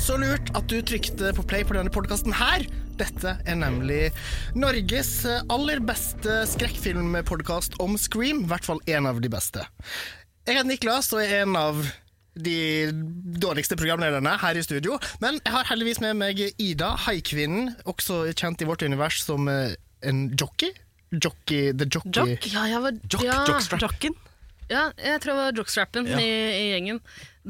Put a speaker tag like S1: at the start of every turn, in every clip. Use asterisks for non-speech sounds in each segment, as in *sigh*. S1: Kult at du trykte på play på denne podkasten her. Dette er nemlig Norges aller beste skrekkfilmpodkast om Scream. I hvert fall en av de beste. Jeg heter Niklas og er en av de dårligste programlederne her i studio. Men jeg har heldigvis med meg Ida, haikvinnen, også kjent i vårt univers som eh, en jockey. Jockey, the jockey.
S2: Jock? Ja, jeg var
S3: Jock,
S2: ja,
S3: jockstrap.
S4: Jocken?
S2: Ja, jeg tror jeg var jockstrappen
S3: Ja.
S2: i, i gjengen.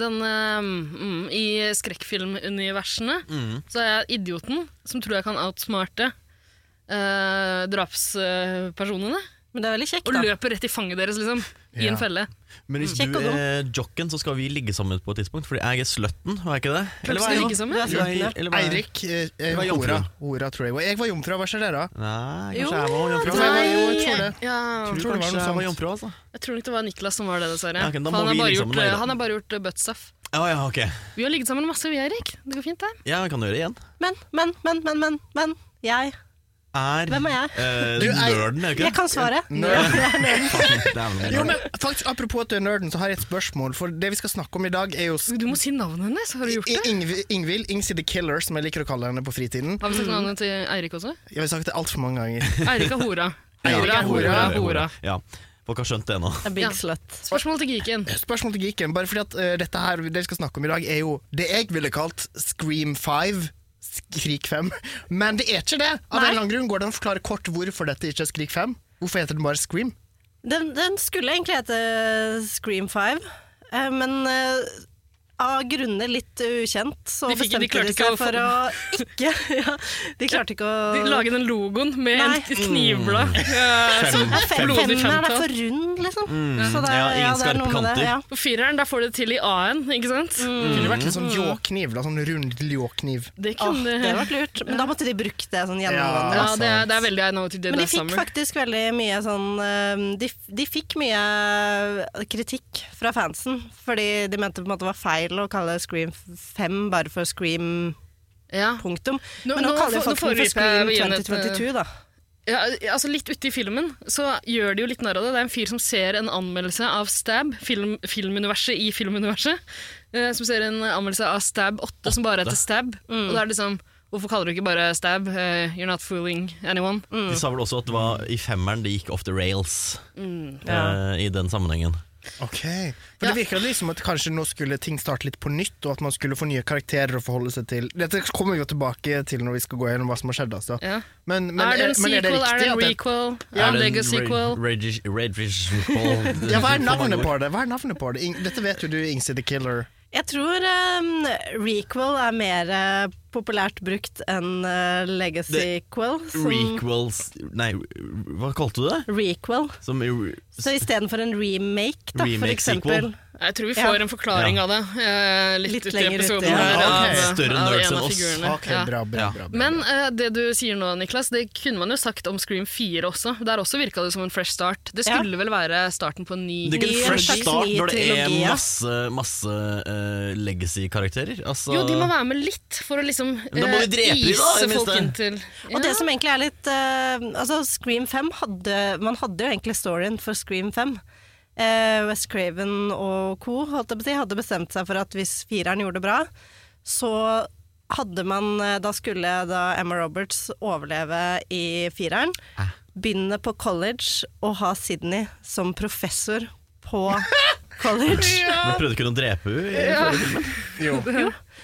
S2: Den eh, mm, I skrekkfilmuniversene
S3: Mm.
S2: så er jeg idioten som tror jeg kan outsmarte eh, drapspersonene.
S4: Men det er veldig kjekt,
S2: og
S4: da.
S2: løper rett i fanget deres, liksom. I
S1: Ja.
S2: en felle.
S3: Men hvis
S4: Kjekk
S3: du
S4: og dum.
S3: er jocken, så skal vi ligge sammen på et tidspunkt. Fordi jeg er slutten, var jeg ikke det?
S2: Hvem
S3: var
S2: skal
S3: jeg-
S2: ligge sammen?
S4: Du er
S3: eller var jeg-
S4: slutten, ja.
S3: eller var jeg-
S1: Eirik. eh, eh,
S3: var jomfru.
S1: Hora, Hora, tror jeg. var. Jeg var jomfru, hva skjer dere?
S3: Nei,
S4: Jo,
S3: kanskje jeg var jomfru.
S1: det-
S3: Jeg
S1: var- jo, jeg tror det.
S2: Ja.
S3: tror
S1: tror det var noe
S3: kanskje jeg var
S1: sånt.
S3: jomfru, altså.
S2: Jeg tror nok det var Niklas som var det, dessverre.
S3: Ja, ok, da
S2: For
S3: må
S2: han, har
S3: vi liksom
S2: bare
S3: ligge sammen
S2: gjort,
S3: nå,
S2: eh,
S3: da.
S2: han har bare gjort eh, buttstuff.
S3: Ja, ja, ok.
S2: Vi har ligget sammen masse, vi, Eirik. Det går fint, det.
S3: Ja, jeg kan gjøre det igjen.
S4: Men, men, men, men, men, men. Jeg.
S3: Er
S4: Hvem er jeg?
S3: eh,
S1: Du er-
S3: nerden, er du ikke
S4: Jeg
S3: det?
S4: kan svare.
S1: Nerd.
S3: Fuck, det er vel
S1: Jo,
S3: noe.
S1: men faktisk, Apropos at du er nerden, så har jeg et spørsmål. For det vi skal snakke om i dag, er jo s-
S2: Du må si navnet hennes. Har du gjort
S1: I-
S2: det?
S1: Ingvi- Ingvild, Ingsi the Killer, som jeg liker å kalle henne på fritiden.
S2: Har vi sagt navnet til Eirik også?
S1: Jeg har sagt det altfor mange *laughs* ganger.
S2: Eirik er hora. Hora,
S1: Ja,
S2: hora, hora.
S3: Ja, folk har skjønt det nå.
S4: A
S2: Ja.
S4: big slut.
S2: Spørsmål til geeken.
S1: Spørsmål til geeken, bare fordi at eh, dette her det vi skal snakke om i dag, er jo det jeg ville kalt Scream 5. Skrik 5. Men det er ikke det! Av en
S2: Nei.
S1: eller annen grunn Går det an å forklare kort hvorfor dette ikke er Skrik 5? Hvorfor heter den bare Scream?
S4: Den, den skulle egentlig hete Scream 5, eh, men eh, av grunner litt ukjent, så
S2: De fikk- de
S4: bestemte de,
S2: klarte ikke
S4: seg
S2: å få-
S4: for å ikke *laughs* ja, De klarte ikke å
S2: De lager den logoen med
S4: Nei.
S2: en knivblad.
S3: Fem-
S4: Ja, fe-
S3: fem-
S2: blodig sånn
S4: Femmeren er
S2: femtall.
S4: for rund, liksom. Så det,
S3: Mm. Ja, ingen
S4: det er
S3: skarpe
S4: noe med
S3: kanter.
S4: Det, ja.
S2: På fireren der får du det til i A-en, ikke sant?
S4: Mm.
S1: Det kunne vært litt sånn ljåkniv. da, Sånn rund ljåkniv.
S2: Det
S4: Åh,
S2: kunne
S4: det hadde vært lurt. Men da måtte de brukt det sånn gjennomgående.
S2: Ja, det er, det er veldig I know what you did
S4: Men de
S2: last
S4: fikk
S2: summer.
S4: faktisk veldig mye sånn eh, de, de fikk mye eh, kritikk fra fansen, fordi de mente på en måte det var feil å kalle Scream 5 bare for Scream
S2: Ja.
S4: punktum.
S2: Nå-
S4: Men nå,
S2: nå
S4: kaller
S2: for- nå
S4: jo folk den for
S2: foregriper jeg
S4: Scream
S2: igjen et,
S4: 2022, da.
S2: Ja, altså Litt ute i filmen så gjør de jo litt narr av det. Det er en fyr som ser en anmeldelse av Stab, film, filmuniverset i filmuniverset, eh, som ser en anmeldelse av Stab 8, som bare heter Stab.
S4: Mm.
S2: Og da er det liksom Hvorfor kaller du ikke bare Stab? Eh, you're not fooling anyone.
S4: Mm.
S3: De sa vel også at det var i femmeren det gikk off the rails
S4: Ja.
S3: eh, i den sammenhengen.
S1: Ok For Det virker liksom at kanskje nå skulle ting starte litt på nytt, og at man skulle få nye karakterer å forholde seg til. Dette kommer vi jo tilbake til når vi skal gå gjennom hva som har skjedd. Altså.
S2: Ja.
S1: Men, men, eh,
S2: er det
S4: eh,
S2: en
S1: men
S2: sequel?
S1: er det
S2: er
S1: riktig?
S2: det en
S1: at det-
S2: requel? er det en
S3: en
S2: legacy-quel?
S3: re- regi- regi-
S1: ja, hva er navnet på det? Hva er navnet på det? Ing- Dette vet jo du, Ingsi the Killer.
S4: Jeg tror eh, requel er mer eh, populært brukt enn eh, legacy-quel. som-
S3: Requels Nei, hva kalte du det?
S4: Requel.
S3: Som i re-
S4: Så istedenfor en remake, da, for
S3: Remake,
S4: eksempel.
S3: sequel.
S2: Jeg tror vi får
S4: Ja.
S2: en forklaring
S3: Ja.
S2: av det eh, litt,
S4: Litt
S2: litt uti
S4: lenger uti,
S2: episoden
S4: ja.
S2: her.
S1: Ok.
S2: Av, eh,
S3: Større
S2: av
S3: nerds
S2: en
S3: enn
S2: av
S3: oss.
S2: figurene.
S1: Ok,
S2: Ja.
S1: bra, bra, bra,
S3: Ja.
S1: bra, bra.
S2: Men eh, det du sier nå, Niklas, det kunne man jo sagt om Scream 4 også. Der også virka det som en fresh start. Det skulle vel være starten på en ny
S3: Det er ikke
S4: Ny
S3: en fresh
S4: Disney
S3: start når det er
S4: trilogi, ja.
S3: masse, masse eh, legacy-karakterer. Altså,
S2: Jo, de må være med litt for å liksom
S3: Da må
S2: eh,
S3: vi drepe de, da, i
S2: ise
S3: det
S2: folk
S3: minste.
S2: inn til
S4: Og det som egentlig er litt eh, Altså, Scream 5 hadde Man hadde jo egentlig storyen for Scream 5. Eh, West Craven og co. Holdt jeg på å si, hadde bestemt seg for at hvis fireren gjorde det bra, så hadde man eh, Da skulle da Emma Roberts overleve i fireren. Begynne på college og ha Sydney som professor på college.
S3: Men prøvde ikke hun å drepe
S2: *laughs*
S3: henne?
S1: Jo.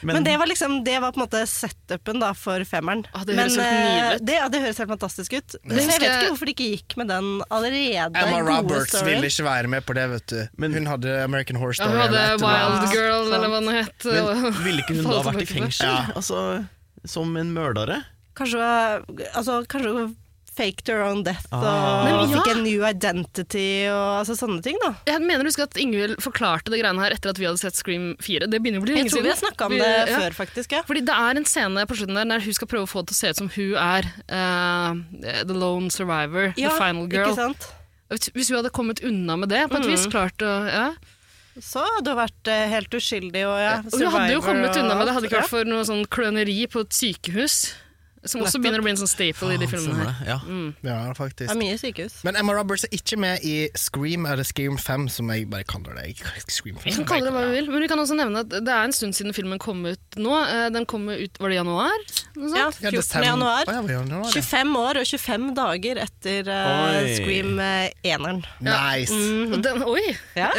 S4: Men, det var liksom Det var på en måte setupen da for femmeren.
S2: Ah, det
S4: Men,
S2: høres helt nydelig
S4: eh,
S2: ut.
S4: det, ja, det høres helt fantastisk ut. Så jeg
S2: husker
S4: vet ikke
S2: jeg-
S4: hvorfor de ikke gikk med den allerede.
S1: Emma
S4: gode
S1: Roberts
S4: storyen.
S1: ville ikke være med på det, vet du. hun hadde American Horror
S2: Ja,
S1: Story.
S2: hun hadde
S1: eller et eller annet.
S2: Wild
S4: Ja,
S2: Girl,
S4: sant.
S2: eller hva det het.
S3: Men ville ikke hun da
S2: Faller
S3: vært i
S2: tilbake på det.
S3: fengsel? Altså, som en mørdere?
S4: Kanskje, altså, kanskje hun faked her own death
S3: Ah.
S4: og
S2: Men ja.
S4: fikk en new identity og altså, sånne ting, da.
S2: Jeg mener du husker at Ingvild forklarte det greiene her etter at vi hadde sett Scream 4. Det begynner å bli
S4: Jeg
S2: lenge
S4: tror
S2: siden.
S4: vi har snakka om
S2: Vi-
S4: det
S2: ja.
S4: før, faktisk. Ja.
S2: Fordi det er en scene på slutten der der hun skal prøve å få det til å se ut som hun er eh, The Lone Survivor,
S4: Ja,
S2: The Final Girl.
S4: Ikke sant? Mm.
S2: Hvis hun hadde kommet unna med det, på et vis klart å ja.
S4: Så hadde hun vært eh, helt uskyldig og ja,
S2: Og hun hadde jo
S4: survivor
S2: kommet
S4: og
S2: unna med det,
S4: alt,
S2: hadde det ikke
S4: ja.
S2: vært for noe sånn kløneri på et sykehus. Som også
S4: Nettopp.
S2: begynner å bli en sånn staple i de filmene her.
S3: Sånn, Ja.
S1: Ja,
S4: Det er
S1: faktisk.
S4: mye sykehus.
S1: Men Emma Roberts er ikke med i Scream eller Scream 5, som jeg bare kaller det. Jeg- Scream 5.
S2: Vi kan kalle det hva vi vil, men vi kan også nevne at det er en stund siden filmen kom ut nå. Eh, Den kom ut, Var det i januar? Noe
S4: Ja,
S2: sånt?
S4: 14. januar.
S1: Å, ja, var det januar, ja.
S4: 25 år og 25 dager etter eh,
S3: Oi.
S4: Scream 1-eren.
S1: Nice.
S4: Mhm.
S2: Og Den, oi!
S4: Ja.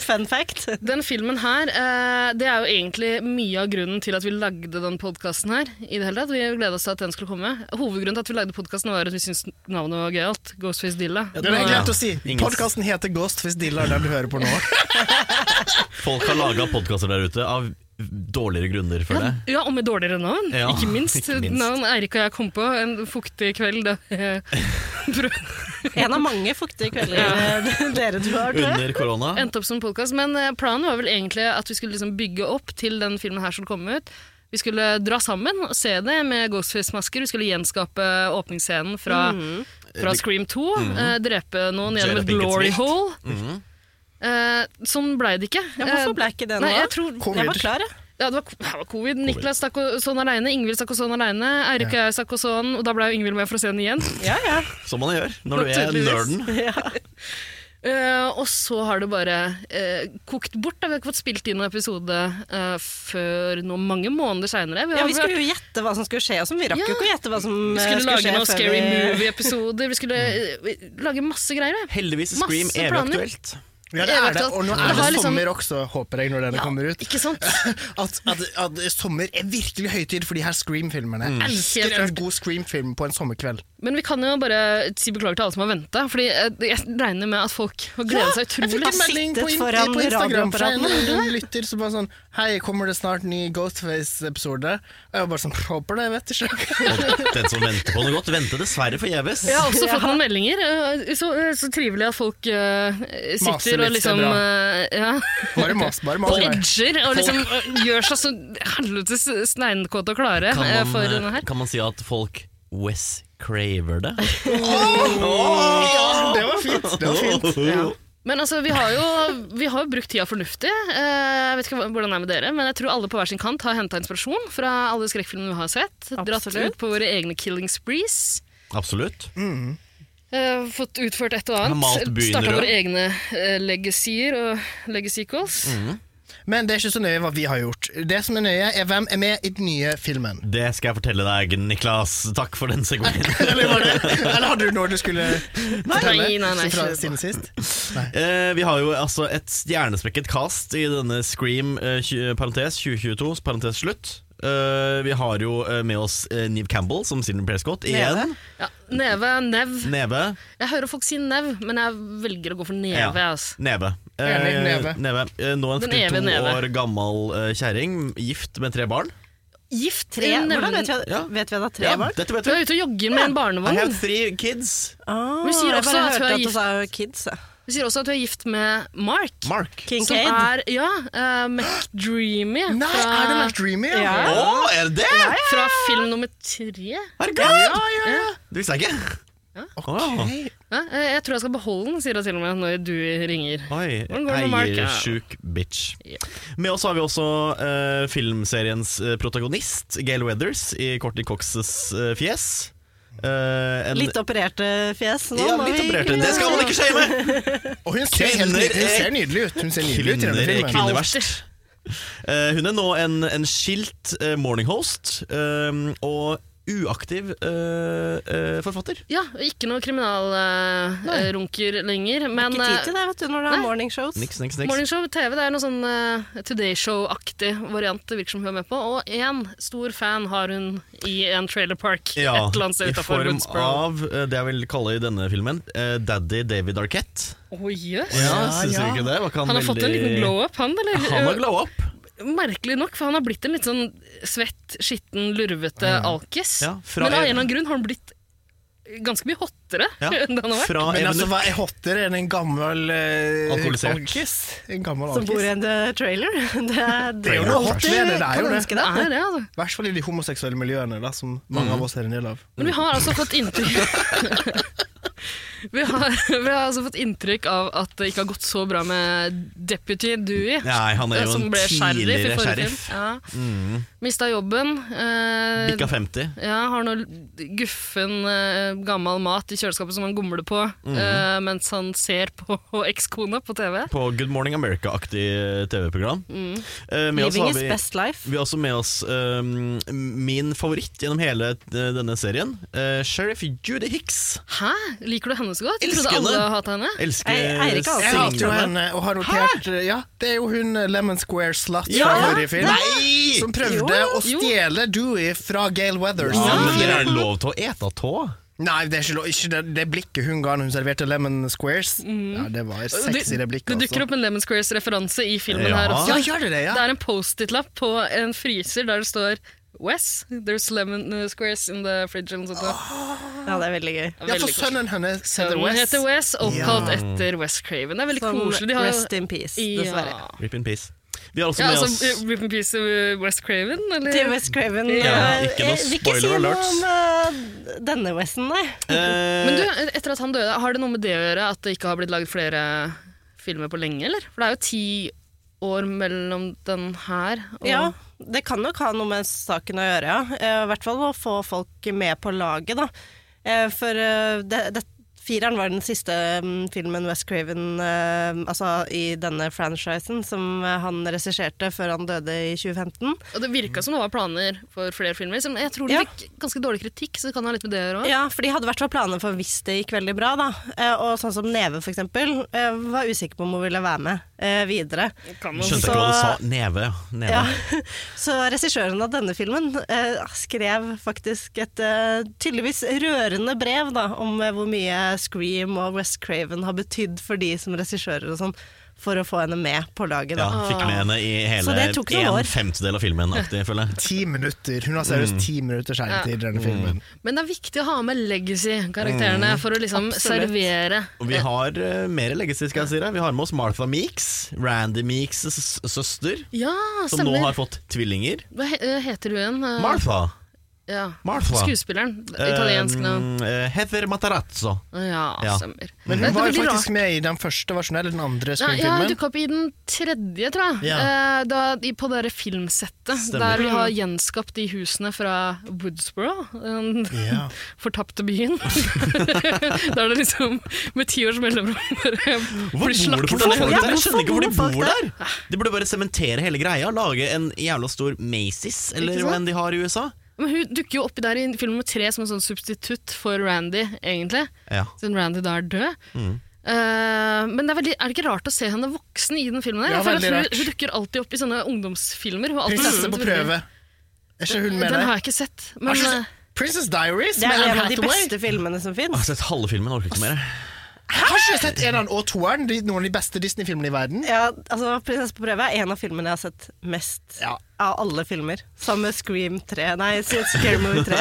S4: *laughs* Fun fact.
S2: Den filmen her, eh, det er jo egentlig mye av grunnen til at vi lagde den podkasten her. i det hele tatt. Vi gleda oss til at den skulle komme. Hovedgrunnen til at vi lagde podkasten, var at vi syntes navnet var gøyalt. Ghostface Dilla.
S1: Det har jeg glemt å si.
S3: Ingen-
S1: Podkasten heter Ghost hvis Dilla er den du hører på nå.
S3: Folk har laga podkaster der ute av dårligere grunner,
S2: Ja,
S3: føler jeg.
S2: ja, og med dårligere navn,
S3: Ja,
S2: ikke minst.
S3: ikke minst.
S2: Navn Eirik og jeg kom på en fuktig kveld da *laughs* jeg prøv-
S4: En av mange fuktige kvelder eh, *laughs* dere to har død.
S3: Under korona.
S2: endte opp som podkast. Men eh, planen var vel egentlig at vi skulle liksom bygge opp til den filmen her skulle komme ut. Vi skulle dra sammen og se det med Ghostface-masker. Vi skulle gjenskape åpningsscenen fra,
S4: Mm.
S2: fra Scream 2. eh, drepe noen gjennom et
S3: Jada Pinkett
S2: glory
S3: Smith.
S2: hole. Eh, sånn blei det ikke.
S4: Ja, hvorfor ble ikke det
S2: Eh,
S4: noe
S2: Nei, jeg
S4: av?
S2: tror
S4: Jeg var klar, jeg.
S2: Ja, det var, det var covid. Niklas stakk og sånn aleine, Ingvild stakk og sånn aleine, Eirik og jeg stakk og sånn, og da ble jo Ingvild med for å se den igjen.
S4: Ja, ja.
S3: Som man gjør når du er
S2: Naturligvis.
S3: nerden.
S2: Eh, og så har det bare eh, kokt bort. Da. Vi har ikke fått spilt inn en episode eh, før nå mange måneder seinere.
S4: ja, vi skulle jo gjette hva som skulle skje, og så vi rakk jo ikke å gjette hva som eh,
S2: skulle
S4: skulle
S2: lage
S4: skje.
S2: noen
S4: før
S2: Scary
S4: vi-
S2: Movie-episoder. Vi skulle eh, lage masse greier. ja.
S3: Heldigvis er
S2: Masse
S3: Scream evig
S2: planer.
S3: aktuelt.
S1: *laughs* Ja, det er det. Og nå er
S2: Det har
S1: det
S2: liksom-
S1: sommer også, håper jeg, når denne kommer ut.
S2: Ikke sant?
S1: At, at, at sommer er virkelig høytid for de her Scream-filmene.
S2: Mm. Helt
S1: Elsker en
S2: klart.
S1: god Scream-film på en sommerkveld.
S2: Men vi kan jo bare si beklager til alle som har venta. Fordi eh, jeg regner med at folk har gleda seg utrolig.
S1: Jeg fikk en melding på,
S4: sittet
S1: in
S4: foran
S1: på Instagram fra en,
S4: radioapparaten.
S1: en lytter som var sånn Hei, kommer det snart ny Ghostface-episode? Og jeg var bare sånn Håper det, jeg vet
S2: *laughs*
S1: ikke.
S3: Den som venter på noe godt, venter dessverre forgjeves.
S2: Jeg har også fått noen meldinger. eh, Så, så trivelig at folk eh,
S1: Maser
S2: sitter
S1: litt,
S2: og
S1: det er
S2: liksom
S1: bra.
S2: eh, ja.
S1: Bare mas, bare mas.
S2: Og edger og liksom øh, gjør seg så helvetes sneinekåte og klare
S3: Kan
S2: eh,
S3: man,
S2: for denne her.
S3: kan man si at folk Wes craver det?
S1: Ja, det var fint. Det var fint.
S2: Ja. Men altså, vi har jo vi har jo brukt tida fornuftig. Eh, Jeg vet ikke hva- hvordan det er med dere, men jeg tror alle på hver sin kant har henta inspirasjon fra alle skrekkfilmene vi har sett. Dratt
S4: Absolutt.
S2: ut på våre egne killing sprees.
S3: Absolutt.
S2: eh, fått utført et og
S3: Har malt
S2: annet.
S3: byen
S2: Starta
S3: rød.
S2: våre egne eh, legacies og legacy-calls.
S3: Mm.
S1: Men det er ikke så nøye hva vi har gjort. Det som er nøye, er hvem er med i den nye filmen.
S3: Det skal jeg fortelle deg, Niklas. Takk for den segmenten.
S1: Eller, var det, eller hadde du noe du skulle fortelle?
S2: Nei, nei, nei,
S1: så fra,
S2: kjør på.
S1: siden sist?
S3: Eh, vi har jo altså et stjernespekket cast i denne Scream eh, tju- parentes 2022, parentes slutt. Eh, vi har jo eh, med oss eh, Neve Campbell som Sidney Prescott igjen.
S2: Ja, neve, nev.
S3: Neve.
S2: Jeg hører folk si nev, men jeg velger å gå for neve.
S3: Ja.
S2: Altså.
S3: Neve.
S1: Enig, neve.
S3: Eh, nå en
S2: Den evige
S3: 42
S2: neve.
S3: år gammel eh, kjerring, gift med tre barn.
S2: Gift
S4: Tre, hvordan vet vi, at-
S3: Ja.
S4: vet vi at det er tre
S3: Ja,
S4: barn?
S3: dette vet
S2: Du
S3: du.
S2: er ute og jogger med en
S3: I
S2: barnevogn.
S3: have three kids.
S4: Ah,
S2: Vi sier
S4: jeg
S2: også
S4: bare
S2: at hun
S4: hørte
S2: er
S4: at du
S2: gift.
S4: sa kids. ja.
S2: Du sier også at du er gift med Mark.
S3: Mark.
S2: Som
S4: Kincaid.
S2: er ja, eh, McDreamy
S4: *gasps*
S1: Nei,
S2: fra,
S1: er det McDreamy?
S4: Ja.
S3: Å, er det det?
S2: fra film nummer tre.
S3: Herregud! Ja, ja, ja. Det visste jeg ikke. Åh.
S1: Ok.
S2: Ja, eh, jeg tror jeg skal beholde den, sier hun til og med når du ringer.
S3: Oi,
S2: Hvordan går det med Mark, ja?
S3: eiersjuk bitch.
S2: Ja.
S3: Med oss har vi også eh, filmseriens eh, protagonist, Gail Weathers, i Courtney Coxes eh, fjes. Eh, en-
S4: Litt opererte fjes. Nå
S3: ja,
S4: må
S3: litt
S4: vi-
S3: operert. Det skal man ikke
S2: *laughs*
S3: shame!
S1: Og hun ser, helt,
S3: Kvinner
S1: nydelig- hun
S3: er-
S1: ser nydelig ut. Hun ser nydelig ut i
S3: Kvinner
S1: denne
S3: er
S1: filmen.
S3: kvinner verst. Eh, hun er nå en, en skilt eh, morning host eh, og uaktiv eh, eh, forfatter.
S2: Ja, og ikke noe kriminalrunker lenger. Men eh,
S4: Ikke tid til det, vet du, når det
S2: Nei.
S4: er morning shows.
S3: Niks, niks,
S2: eh,
S3: niks.
S2: Morning Show TV det er noe sånn eh, Today Show-aktig variant det virker som hun er med på. Og én stor fan har hun i en trailer park et
S3: Ja,
S2: eller annet
S3: i
S2: sted utenfor
S3: form
S2: Woodsboro.
S3: av eh, det jeg vil kalle i denne filmen, eh, Daddy David Arquette.
S2: Å, jøs.
S3: Ja,
S1: Ja,
S3: synes du
S1: ja.
S3: ikke det? Var ikke
S2: Han har fått en
S3: veldig-
S2: liten glow up, han? Eller? Eh,
S3: Han har glow up.
S2: Merkelig nok, for han har blitt en litt sånn svett, skitten, lurvete alkis.
S3: Ja, fra-
S2: Men av en eller annen grunn har han blitt ganske mye hottere
S3: Ja.
S2: *laughs* enn det han har vært.
S3: Fra
S1: Men altså,
S3: Evenuk-
S1: hva er hottere enn en gammel eh,
S3: Alkoholisert.
S1: alkis? En gammel
S4: Som bor i
S1: alkis.
S4: en eh, trailer. *laughs* Det er,
S1: Det er jo noe hot ved det, det er jo det.
S2: Det er det, altså.
S1: I hvert fall i de
S3: Mhm.
S1: homoseksuelle miljøene, da, som mange av oss er en del av.
S2: Men vi har altså fått inntrykk *laughs* Vi har, vi har altså fått inntrykk av at det ikke har gått så bra med deputy Dewey. eh,
S3: Nei, han er jo
S2: som
S3: en
S2: ble sheriff i
S3: tidligere
S2: forrige
S3: sheriff. Mm.
S2: film. Ja. Mista jobben. eh,
S3: Bikka 50.
S2: ja, har noe guffen eh, gammel mat i kjøleskapet som han gomler på
S3: Mm.
S2: eh, mens han ser på *laughs* ekskona på TV.
S3: På Good Morning America-aktig TV-program.
S2: Mm.
S3: Eh, med oss har
S4: Living is
S3: vi-
S4: best life.
S3: Vi har også med oss um, min favoritt gjennom hele eh, denne serien. eh, Sheriff Judy Hicks.
S2: Hæ? Liker du henne så godt? Jeg
S3: Elsker
S2: trodde alle
S3: henne.
S2: hata henne.
S3: Elsker
S4: Jeg- jeg er ikke
S1: Jeg
S4: Synger
S1: hater jo
S3: singlene.
S1: henne og har notert Ja, det er jo hun eh, Lemon Square Slut
S3: Ja,
S1: fra forrige film.
S3: Nei!
S1: Som prøvde
S2: Jo,
S1: å stjele Dewey fra Gale Weathers.
S3: Ja, men det er lov til å ete tå.
S1: Nei, det er ikke, lov- ikke det, det blikket hun ga når hun serverte Lemon Squares. Ja, Det var sexy, det blikket.
S2: Mm. det dukker opp en Lemon Squares-referanse i filmen
S3: Ja.
S2: her
S1: altså. Ja,
S2: også.
S1: gjør det det, ja?
S2: Det er en Post-It-lapp på en fryser der det står Wes, there's lemon eh, squares in the fridge. Eller noe sånt.
S4: Ja, det er veldig gøy.
S1: Ja, for
S2: Veldig koselig.
S1: sønnen hennes heter
S2: Sønnen
S1: Wes.
S2: heter Wes, oppkalt etter Wes Craven. Det er veldig
S4: Som
S2: koselig. De har,
S4: Rest in peace, dessverre.
S2: Ja.
S3: Rip in peace. Vi har også
S2: Ja,
S3: med
S2: altså,
S3: oss
S2: eh, Rip in peace eh, Wes Craven? Eller?
S4: Til Wes Craven.
S3: Ja,
S4: eh,
S3: ikke noe
S4: jeg vil ikke si
S3: spoiler
S4: noe
S3: alerts.
S4: om eh, denne Westen, nei.
S3: eh,
S2: Men du, etter at han døde, har det noe med det å gjøre at det ikke har blitt laget flere filmer på lenge, eller? For det er jo ti år mellom den her og
S4: Ja, det kan nok ha noe med saken å gjøre, ja. Eh, I hvert fall å få folk med på laget, da. Eh, For eh, det, det, fireren var den siste mm, filmen West Craven eh, altså i denne franchisen som eh, han regisserte før han døde i 2015.
S2: Og det virka som det var planer for flere filmer. Som jeg tror de
S4: Ja.
S2: fikk ganske dårlig kritikk, så det kan ha litt med det å gjøre òg.
S4: Ja, for de hadde i hvert fall planer for hvis det gikk veldig bra, da. Eh, Og sånn som Neve, for eksempel, eh, var usikker på om hun ville være med eh, videre.
S3: Skjønte
S4: Så-
S3: ikke hva du sa. Neve. neve.
S4: Ja. *laughs* Så regissøren av denne filmen eh, skrev faktisk et eh, tydeligvis rørende brev da, om eh, hvor mye Scream og West Craven har betydd for de som regissører og sånn, for å få henne med på laget.
S3: Ja,
S4: Da.
S3: fikk med henne i
S4: Så
S3: hele
S4: det tok noen år.
S3: en femtedel av filmen. Aktig, føler jeg.
S1: Ti minutter. Hun har seriøst ti minutter skjermtid i denne filmen.
S2: Men det er viktig å ha med legacy-karakterene for å liksom
S4: Absolutt.
S2: servere.
S3: Og vi har eh, mer legacy, skal jeg si deg. Vi har med oss Martha Meeks. Randy Meeks s- søster.
S2: Ja,
S3: Som nå
S2: stemmer.
S3: har fått tvillinger.
S2: Hva he eh, heter hun igjen? Eh,
S3: Martha.
S2: Ja.
S3: Martha.
S2: Skuespilleren. Italiensk navn.
S3: Eh, eh, Heather Matarazzo.
S2: Ja,
S3: Ja.
S2: stemmer.
S1: Men
S2: Det er
S1: hun var jo
S2: veldig rart.
S1: faktisk med i den første, var sånn, eller den andre
S2: Ja, ja,
S1: Scream-filmen.
S2: dukka opp i den tredje, tror jeg.
S3: Ja.
S2: Eh, da, i, på det der filmsettet
S3: Stemmer.
S2: der vi har gjenskapt de husene fra Woodsboro, den *laughs*
S1: Ja.
S2: fortapte byen. *laughs* da er det liksom med ti års mellomrom *laughs* bare
S3: Hvor bor
S2: blir
S3: det
S2: slakta
S3: for folk
S2: ned.
S3: der?
S4: Ja,
S3: Jeg skjønner ikke hvor de
S4: hvorfor
S3: bor
S4: bor
S3: der! De burde bare sementere hele greia. Lage en jævla stor Macy's, eller
S2: Ikke
S3: hva
S2: sant?
S3: enn de har i USA.
S2: Men hun dukker jo oppi der i film nummer tre som en sånn substitutt for Randy, egentlig.
S3: Ja.
S2: Siden Randy da er død. Eh, men det er, veldig, er det ikke rart å se henne voksen i den filmen? der?
S1: Ja,
S2: Jeg føler
S1: veldig
S2: at hun, hun dukker alltid opp i sånne ungdomsfilmer. Hun, er alltid
S1: Prinsesse
S2: sånn
S1: på
S2: veldig-
S1: prøve. Er ikke hun med
S2: Den
S1: der?
S2: har jeg ikke sett. Men,
S1: Har ikke-
S2: eh,
S1: Princess Diaries
S4: Det
S1: med
S4: er
S1: Anne
S4: en av de
S1: Hathaway.
S4: beste filmene som
S3: Jeg har
S4: fins.
S3: sett Altså, halve filmen, orker ikke mer.
S1: Har ikke sett eneren og toeren? De, noen av de beste Disney-filmene i verden.
S4: Ja, altså, 'Prinsesse på prøve' er en av filmene jeg har sett mest
S1: Ja.
S4: av alle filmer. Sammen med Scream 3, nei, Scary
S2: *laughs*
S4: Movie 3.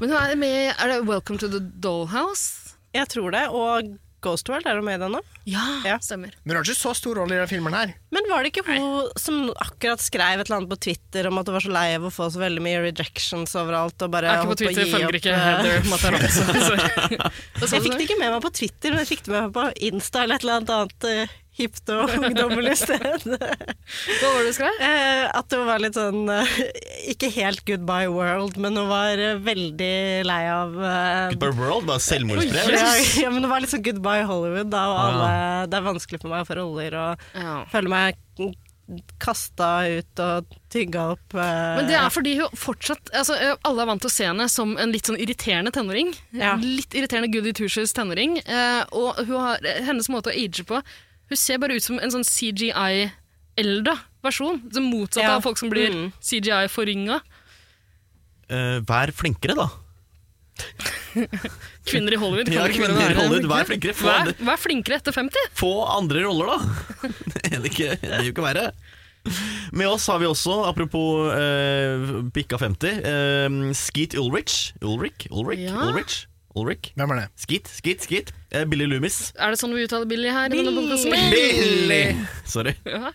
S2: men hun er med i Er det 'Welcome to the Dollhouse'?
S4: Jeg tror det. Og Ghost World, er du med i den nå?
S2: Ja,
S4: Ja.
S2: stemmer.
S1: Men hun har ikke så stor rolle i denne filmen her.
S4: Men var det ikke hun som akkurat skrev et eller annet på Twitter om at hun var så lei av å få så veldig mye rejections overalt og bare
S2: Jeg er ikke på
S4: holdt å
S2: Twitter,
S4: gi
S2: følger
S4: opp,
S2: ikke sånn,
S4: eh,
S2: Heather Matarazzo.
S4: *laughs*
S2: Sorry. Hva sa
S4: Jeg
S2: du
S4: fikk
S2: nå?
S4: det ikke med meg på Twitter, men jeg fikk det med meg på Insta eller et eller annet annet eh, hipt og
S2: *laughs*
S4: ungdommelig sted.
S2: Hva var det du skrev?
S4: Eh, at hun var litt sånn eh, Ikke helt goodbye world, men hun var eh, veldig lei av eh,
S3: Goodbye World, bare selvmordsbrev.
S2: Oi,
S4: ja,
S3: liksom.
S4: ja, men det var litt sånn goodbye Hollywood, da, og alle, det er vanskelig for meg å få roller, og
S2: Ja.
S4: føler meg kasta ut og tygga opp. eh,
S2: Men det er fordi hun fortsatt altså, eh, Alle er vant til å se henne som en litt sånn irriterende tenåring.
S4: Ja.
S2: Litt irriterende Goody Two-Shoes tenåring. eh, Og hun har, eh, hennes måte å age på Hun ser bare ut som en sånn CGI-elda versjon. Det motsatte
S4: Ja.
S2: av folk som blir
S4: Mm.
S2: CGI-forringa.
S3: Eh, vær flinkere, da.
S2: Kvinner i Hollywood kan
S3: Ja,
S2: ikke bare
S3: kvinner i
S2: være-
S3: Hollywood, vær flinkere, få
S2: Vær,
S3: andre-
S2: vær flinkere etter 50!
S3: Få andre roller, da! *laughs* det er ikke- det er jo ikke verre. Med oss har vi også, apropos eh, pikka 50, eh, Skeet Ulrich Ulrich? Ulrich?
S2: Ja.
S3: Ulrich? Ulrich.
S1: Hvem er det?
S3: Skit, skit, skit. Eh, Billy Loomis.
S2: Er det sånn vi uttaler Billy her? i denne
S4: Billy.
S2: podcasten?
S3: Billy! Sorry.
S2: Ja.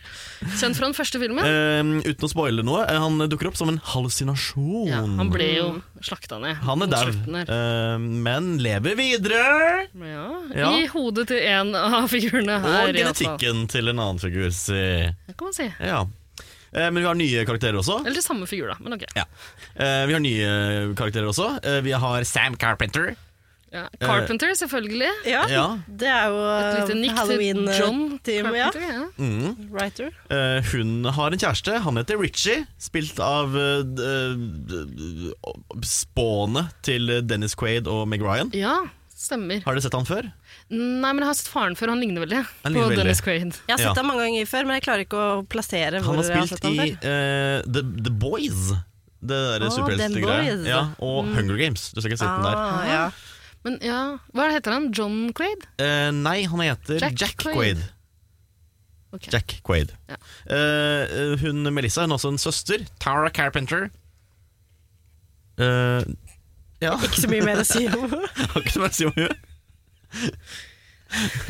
S2: Kjent fra den første filmen.
S3: Eh, uten å spoile noe, eh, han dukker opp som en hallusinasjon.
S2: Ja, han ble jo slakta ned.
S3: Han er
S2: mot
S3: dau,
S2: slutten her.
S3: eh, men lever videre.
S2: Ja.
S3: Ja.
S2: I hodet til en av figurene her.
S3: Og
S2: i hvert fall.
S3: genetikken til en annen figur. si.
S2: Det kan man si.
S3: Ja. Eh, men vi har nye karakterer også.
S2: Eller til samme figur, da. Men ok.
S3: Ja. Eh, vi har nye karakterer også. Eh, vi har Sam Carpenter.
S2: Ja. Carpenter, selvfølgelig.
S4: Ja,
S3: Ja.
S4: det er jo um,
S2: Et lite nikk til John
S4: Halloween-team. eh, Ja.
S2: Carpenter. Ja.
S3: Mm.
S4: Writer.
S3: Eh, hun har en kjæreste. Han heter Richie, spilt av eh, d- d- spånet til Dennis Quaid og Meg Ryan.
S2: ja, stemmer.
S3: Har dere sett han før?
S2: Nei, men jeg har sett faren før. Han ligner veldig
S3: Han
S2: på
S3: ligner veldig.
S2: Dennis Quaid.
S4: Jeg har sett
S3: Ja.
S4: ham mange ganger før, men jeg klarer ikke å plassere
S3: Han
S4: hvor
S3: har
S4: jeg har sett
S3: spilt
S4: ham
S3: i
S4: før.
S3: eh, The, The Boys. Det der
S4: Å, The
S3: superheltegreia.
S4: Boys. Mm.
S3: Ja, og Hunger Games. Du skal ikke sett den der.
S4: Ah, ja.
S2: Men ja, Hva heter han? John Quaid?
S3: Eh, nei, han heter
S2: Jack
S3: Jack,
S2: Quaid.
S3: Quaid.
S2: Ok.
S3: Jack Quaid.
S2: Ja.
S3: Eh, hun Melissa hun har også en søster, Tara Carpenter. Eh, *laughs* ja, jeg
S4: Ikke så mye mer å si om
S3: har ikke noe mer å si om henne.
S2: *laughs*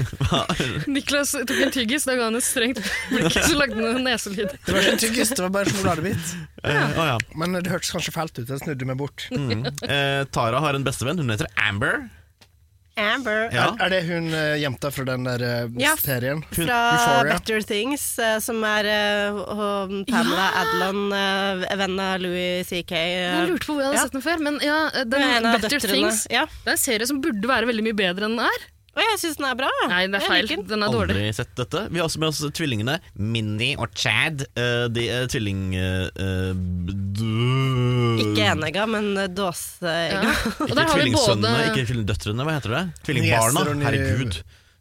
S2: Niklas tok en tyggis, da ga han et strengt blikk som lagde han en neselyd.
S1: Det var ikke en tyggis, det var bare en sjokoladebit.
S3: Eh, å ja.
S1: Men det hørtes kanskje fælt ut. Jeg snudde meg bort.
S3: mm. Eh, Tara har en bestevenn, hun heter Amber.
S4: *laughs* Amber. uh,
S3: Ja.
S1: Er, er det hun eh, jenta fra den der eh,
S4: Ja.
S1: serien?
S4: Fra
S1: Euphoria.
S4: Better Things, eh, som er eh, og Pamela Adlon, eh, venn av Louis CK. eh,
S2: Jeg lurte på hvor jeg hadde
S4: Ja.
S2: sett den før, men ja, eh, den
S4: Hun er en av
S2: Better
S4: døtrene.
S2: Things
S4: Ja.
S2: Det er en serie som burde være veldig mye bedre enn den er.
S4: Og jeg syns den er bra.
S2: Nei, det er
S4: Jeg
S2: feil.
S4: liker den.
S2: Den er dårlig.
S3: Aldri sett dette. Vi har også med oss tvillingene Minnie og Chad. Eh, de er tvilling... eh, eh, d-
S4: Ikke enegga, men eh, dåseegga.
S2: Ja. Og
S3: Ikke
S2: der har vi
S3: tvillingsønnene,
S2: både
S3: ikke tvillingdøtrene, hva heter det? Tvillingbarna,
S1: Nieser og nie-
S3: herregud.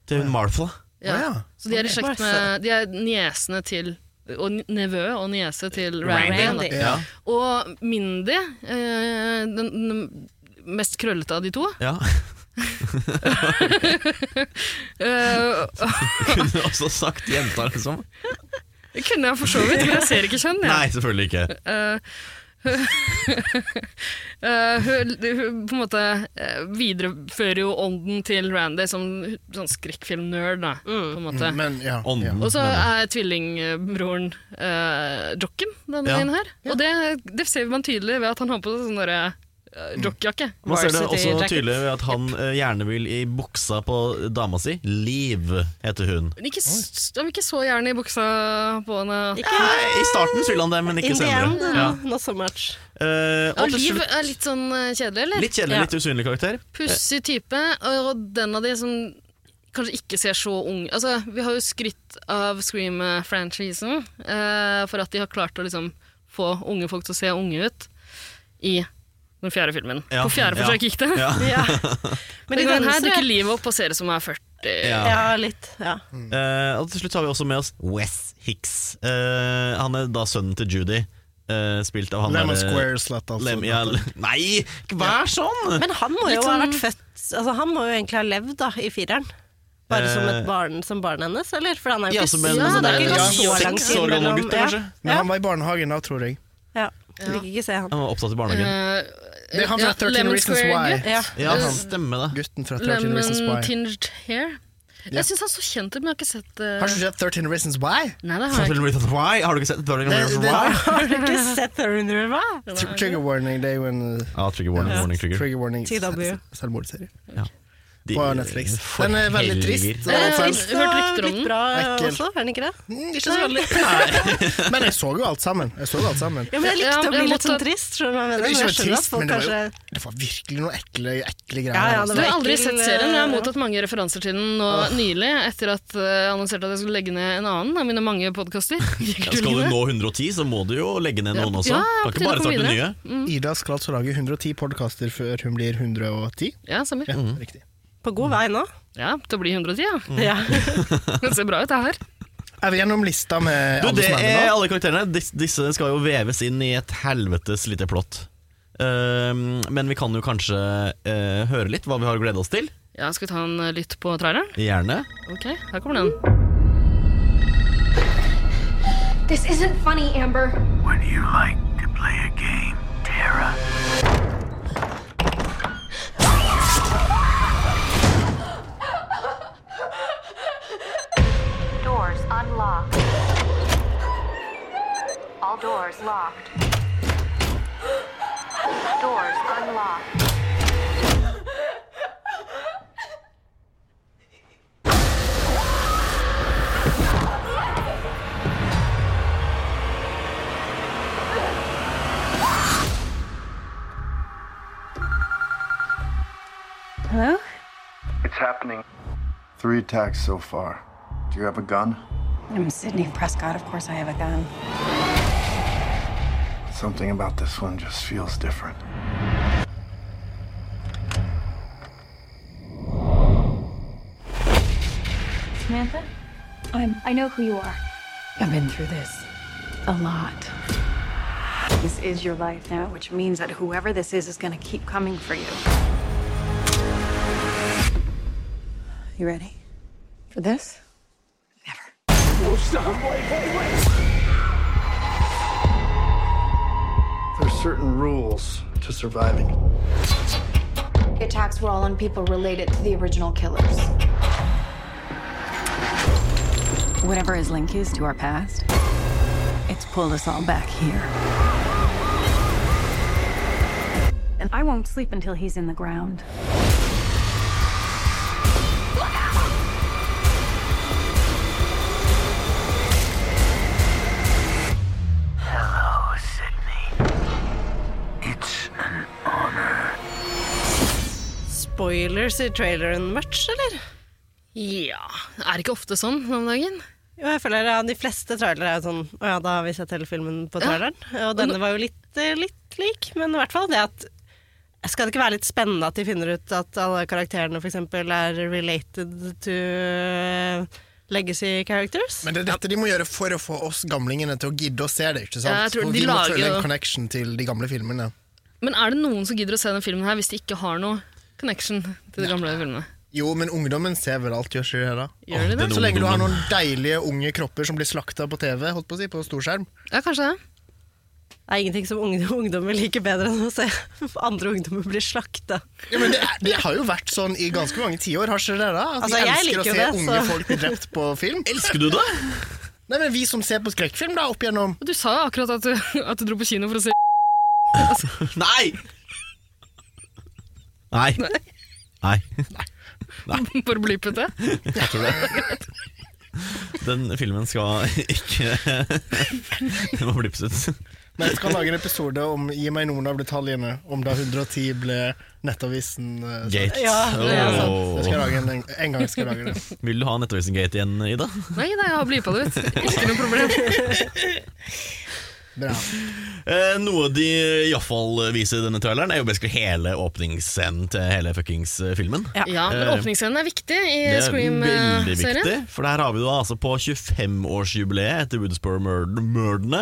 S3: Til hun Martha.
S2: ja.
S1: Å, ja.
S2: Så de er i slekt med De er niesene til Og ni- nevø og niese til Randy.
S4: Randy.
S2: da.
S3: Ja.
S2: Og Mindy, eh, den, den mest krøllete av de to,
S3: ja.
S2: eh,
S3: *laughs*
S2: *laughs*
S3: Kunne også sagt jenta, liksom.
S2: kunne jeg for så vidt, men jeg ser ikke kjønn. jeg.
S3: Nei, selvfølgelig ikke.
S2: Eh, *laughs* eh, hun, hun på en måte eh, viderefører jo ånden til Randy som sånn skrekkfilm-nerd, da, på en måte.
S1: Mm, Men, ja, ja.
S3: Ånden.
S2: Og så er tvillingbroren eh, jocken denne
S3: Ja.
S2: veien her. Og det, det ser man tydelig ved at han har på seg sånn derre eh,
S3: Mm.
S2: jockjakke.
S3: Man ser det
S4: Varsity
S3: også
S4: Jacket.
S3: tydelig ved at han eh, gjerne vil i buksa på dama si. Liv heter hun.
S2: Men Ikke, s- han vil ikke så gjerne i buksa på henne.
S4: Ikke
S3: Nei, I starten så vil han det, men ikke
S4: in the end,
S3: senere. Ja.
S4: eh, not so much.
S3: Eh,
S2: Ja,
S3: og til
S2: Liv
S3: slutt
S2: er litt sånn eh, kjedelig, eller?
S3: Litt kjedelig,
S4: Ja.
S3: litt usynlig karakter.
S2: Pussig type, og den av de som kanskje ikke ser så ung Altså, vi har jo skrytt av Scream-franchisen eh, for at de har klart å liksom få unge folk til å se unge ut i den fjerde filmen.
S3: Ja,
S2: På fjerde
S3: ja.
S2: forsøk gikk det.
S3: Ja. *laughs*
S4: Ja. Men
S2: Men
S4: i
S2: den
S4: denne
S2: her
S4: så
S2: dukker livet opp og ser ut som hun er 40.
S3: Ja.
S4: Ja, litt. Ja.
S3: Eh, og til slutt har vi også med oss Wes Hicks. Eh, han er da sønnen til Judy, eh, spilt av han
S1: Lemon
S3: derre-
S1: Square Slut, altså.
S3: Lem, ja, l- *laughs* nei, ikke vær sånn!
S4: Men han må
S2: Litt
S4: jo ha
S2: sånn-
S4: vært født Altså Han må jo egentlig ha levd da i fireren. Bare som
S3: Eh.
S4: et barn som barnet hennes, eller? For han er jo
S3: Ja,
S4: ikke
S3: som
S4: så-
S3: en
S2: Ja,
S4: det er
S2: det er
S4: ikke
S2: jo
S4: så lang
S3: seks
S4: tid
S3: år gammel
S4: mellom-
S3: gutt,
S4: ja.
S3: kanskje?
S1: Men han var i barnehagen da, tror jeg.
S4: Ja. Jeg Liker ikke se han.
S3: Han var opptatt i barnehagen.
S2: Eh,
S1: Det er han fra 13 Reasons Why.
S4: Ja.
S3: Ja, stemmer det.
S1: Gutten fra 13 Reasons
S2: Lemon
S1: Why.
S2: tinged hair.
S1: Ja.
S2: Jeg syns han så kjent ut, men jeg har ikke sett eh,
S1: Har du ikke sett 13 Reasons Why?
S2: Nei, det har jeg ikke.
S3: Why? Har du ikke sett Dirty Reasons
S1: det-
S3: Why?
S4: Har du ikke sett The Runner, hva?
S1: Tr- Trigger warning, det er jo en uh,
S3: Ja, Trigger Warning,
S4: Ja.
S3: warning trigger.
S1: trigger warning
S4: TW.
S1: se- selvmordserie
S3: De- eh,
S1: på Netflix.
S3: for
S1: Den er veldig
S3: helger.
S1: trist.
S2: Eh,
S1: og fæl.
S2: Hørte rykter om den.
S4: Litt bra
S1: Ekkel.
S4: også, er den ikke det?
S1: Mm, Ikke så veldig Nei. *laughs* Men jeg så jo alt sammen. Jeg så jo alt sammen.
S4: Ja, men jeg
S2: Ja,
S4: likte å
S2: jeg
S4: bli litt
S2: måtte-
S4: sånn trist, skjønner du hva jeg
S1: Det er
S4: mener? Men
S1: ikke
S4: jeg
S1: så
S4: skjønner at
S1: trist,
S4: folk
S1: men det var,
S4: kanskje
S1: jo, det var virkelig noen ekle, ekle greier.
S4: Ja,
S1: her,
S2: Du
S4: ja, det
S1: altså.
S4: var-
S2: har aldri
S4: Michael,
S2: sett serien. Jeg har
S4: eh,
S2: mottatt mange referanser til den nå nylig, etter at eh, jeg annonserte at jeg skulle legge ned en annen av mine mange
S1: *laughs*
S2: podkaster.
S3: Ja, skal du nå 110, så må du jo legge ned noen også.
S2: Ja, ja,
S3: Kan
S2: til
S3: ikke
S2: å
S3: bare
S2: komme
S3: starte nye.
S2: videre.
S1: Ida skal altså lage 110 podkaster før hun blir 110.
S2: Ja, stemmer.
S1: Ja, riktig.
S4: På god vei nå.
S2: Ja, til å bli 110, ja.
S1: Mm.
S4: Ja.
S1: *laughs*
S2: Det ser bra ut, det her.
S1: Er vi gjennom lista med
S3: Du,
S1: alle
S3: det
S1: som er med
S3: er
S1: nå?
S3: alle karakterene. Dis- Disse skal jo veves inn i et helvetes lite plott. Ehm, men vi kan jo kanskje eh, høre litt hva vi har å glede oss til.
S2: Ja, Skal vi ta en eh, lytt på traileren?
S3: Gjerne.
S2: Ok, her kommer den.
S5: This isn't funny, Amber.
S6: Would you like to play a game, Tara? Doors locked. Doors unlocked.
S7: It's happening. Three attacks so far. Do you have a gun?
S8: I'm Sydney Prescott. Of course, I have a gun.
S7: Something about this one just feels different.
S9: Samantha?
S8: I'm.
S9: I know who you are.
S8: I've been through this a lot. This is your life now, which means that whoever this is is going to keep coming for you. You ready for this? Never.
S7: There's certain rules to surviving.
S9: The attacks were all on people related to the original killers.
S8: Whatever his link is to our past, it's pulled us all back here. And I won't sleep until he's in the ground.
S7: Hello, Sydney. It's an honor.
S4: Spoilers i traileren much, eller?
S2: Ja, er det ikke ofte sånn nå om dagen?
S4: Jo, jeg føler ja, De fleste trailere er jo sånn Å ja, da har vi sett hele filmen på traileren. Og denne var jo litt, eh, litt lik, men i hvert fall det at Skal det ikke være litt spennende at de finner ut at alle karakterene f.eks. er related to eh, legacy characters?
S1: Men det er dette de må gjøre for å få oss gamlingene til å gidde å se det. ikke sant?
S2: Ja, jeg tror
S1: For
S2: de
S1: vi må
S2: lager
S1: føle
S2: jo-
S1: en connection til de gamle filmene.
S2: Men er det noen som gidder å se den filmen her hvis de ikke har noe connection til de gamle filmene?
S1: Jo, men ungdommen ser vel alt, gjør ikke det da?
S2: Gjør de det?
S3: Den
S1: Så lenge du har
S3: ungdommen.
S1: noen deilige unge kropper som blir slakta på TV, holdt på å si, på storskjerm.
S2: Ja, kanskje det.
S4: Det er ingenting som ung- *laughs* ungdommer liker bedre enn å se *laughs* andre ungdommer bli slakta.
S1: Ja, men det, er, det har jo vært sånn i ganske mange tiår, har ikke det da? At
S4: Altså,
S1: vi
S4: jeg
S1: elsker å
S4: liker jo
S1: se
S4: det,
S1: unge
S4: så-
S1: folk bli drept på film.
S3: Elsker du det?
S1: Nei, men vi som ser på skrekkfilm da, opp igjennom.
S2: Og Du sa jo akkurat at du, at du dro på kino for å se
S3: *laughs* Nei! Nei. Nei.
S2: *laughs* for blipete.
S3: Jeg tror det. Den filmen skal ikke *laughs* Den må blippes ut.
S1: Men jeg skal lage en episode om Gi meg noen av detaljene om da 110 ble Nettavisen. eh,
S3: Gate. Oh.
S4: Ja, det er sant.
S3: Åh.
S1: Det skal jeg lage en, en gang skal jeg lage det.
S3: Vil du ha Nettavisen Gate igjen, Ida?
S2: Nei, nei, jeg har blipa det ut. Ikke noe problem.
S1: Bra.
S3: Eh, noe de iallfall viser i denne traileren, er jo basically hele åpningsscenen til hele fuckings eh, filmen.
S2: Ja, eh, men åpningsscenen er viktig i
S3: Det er veldig
S2: Scream-serien.
S3: viktig, for der har vi da altså på 25-årsjubileet etter Woodsboro-mordene,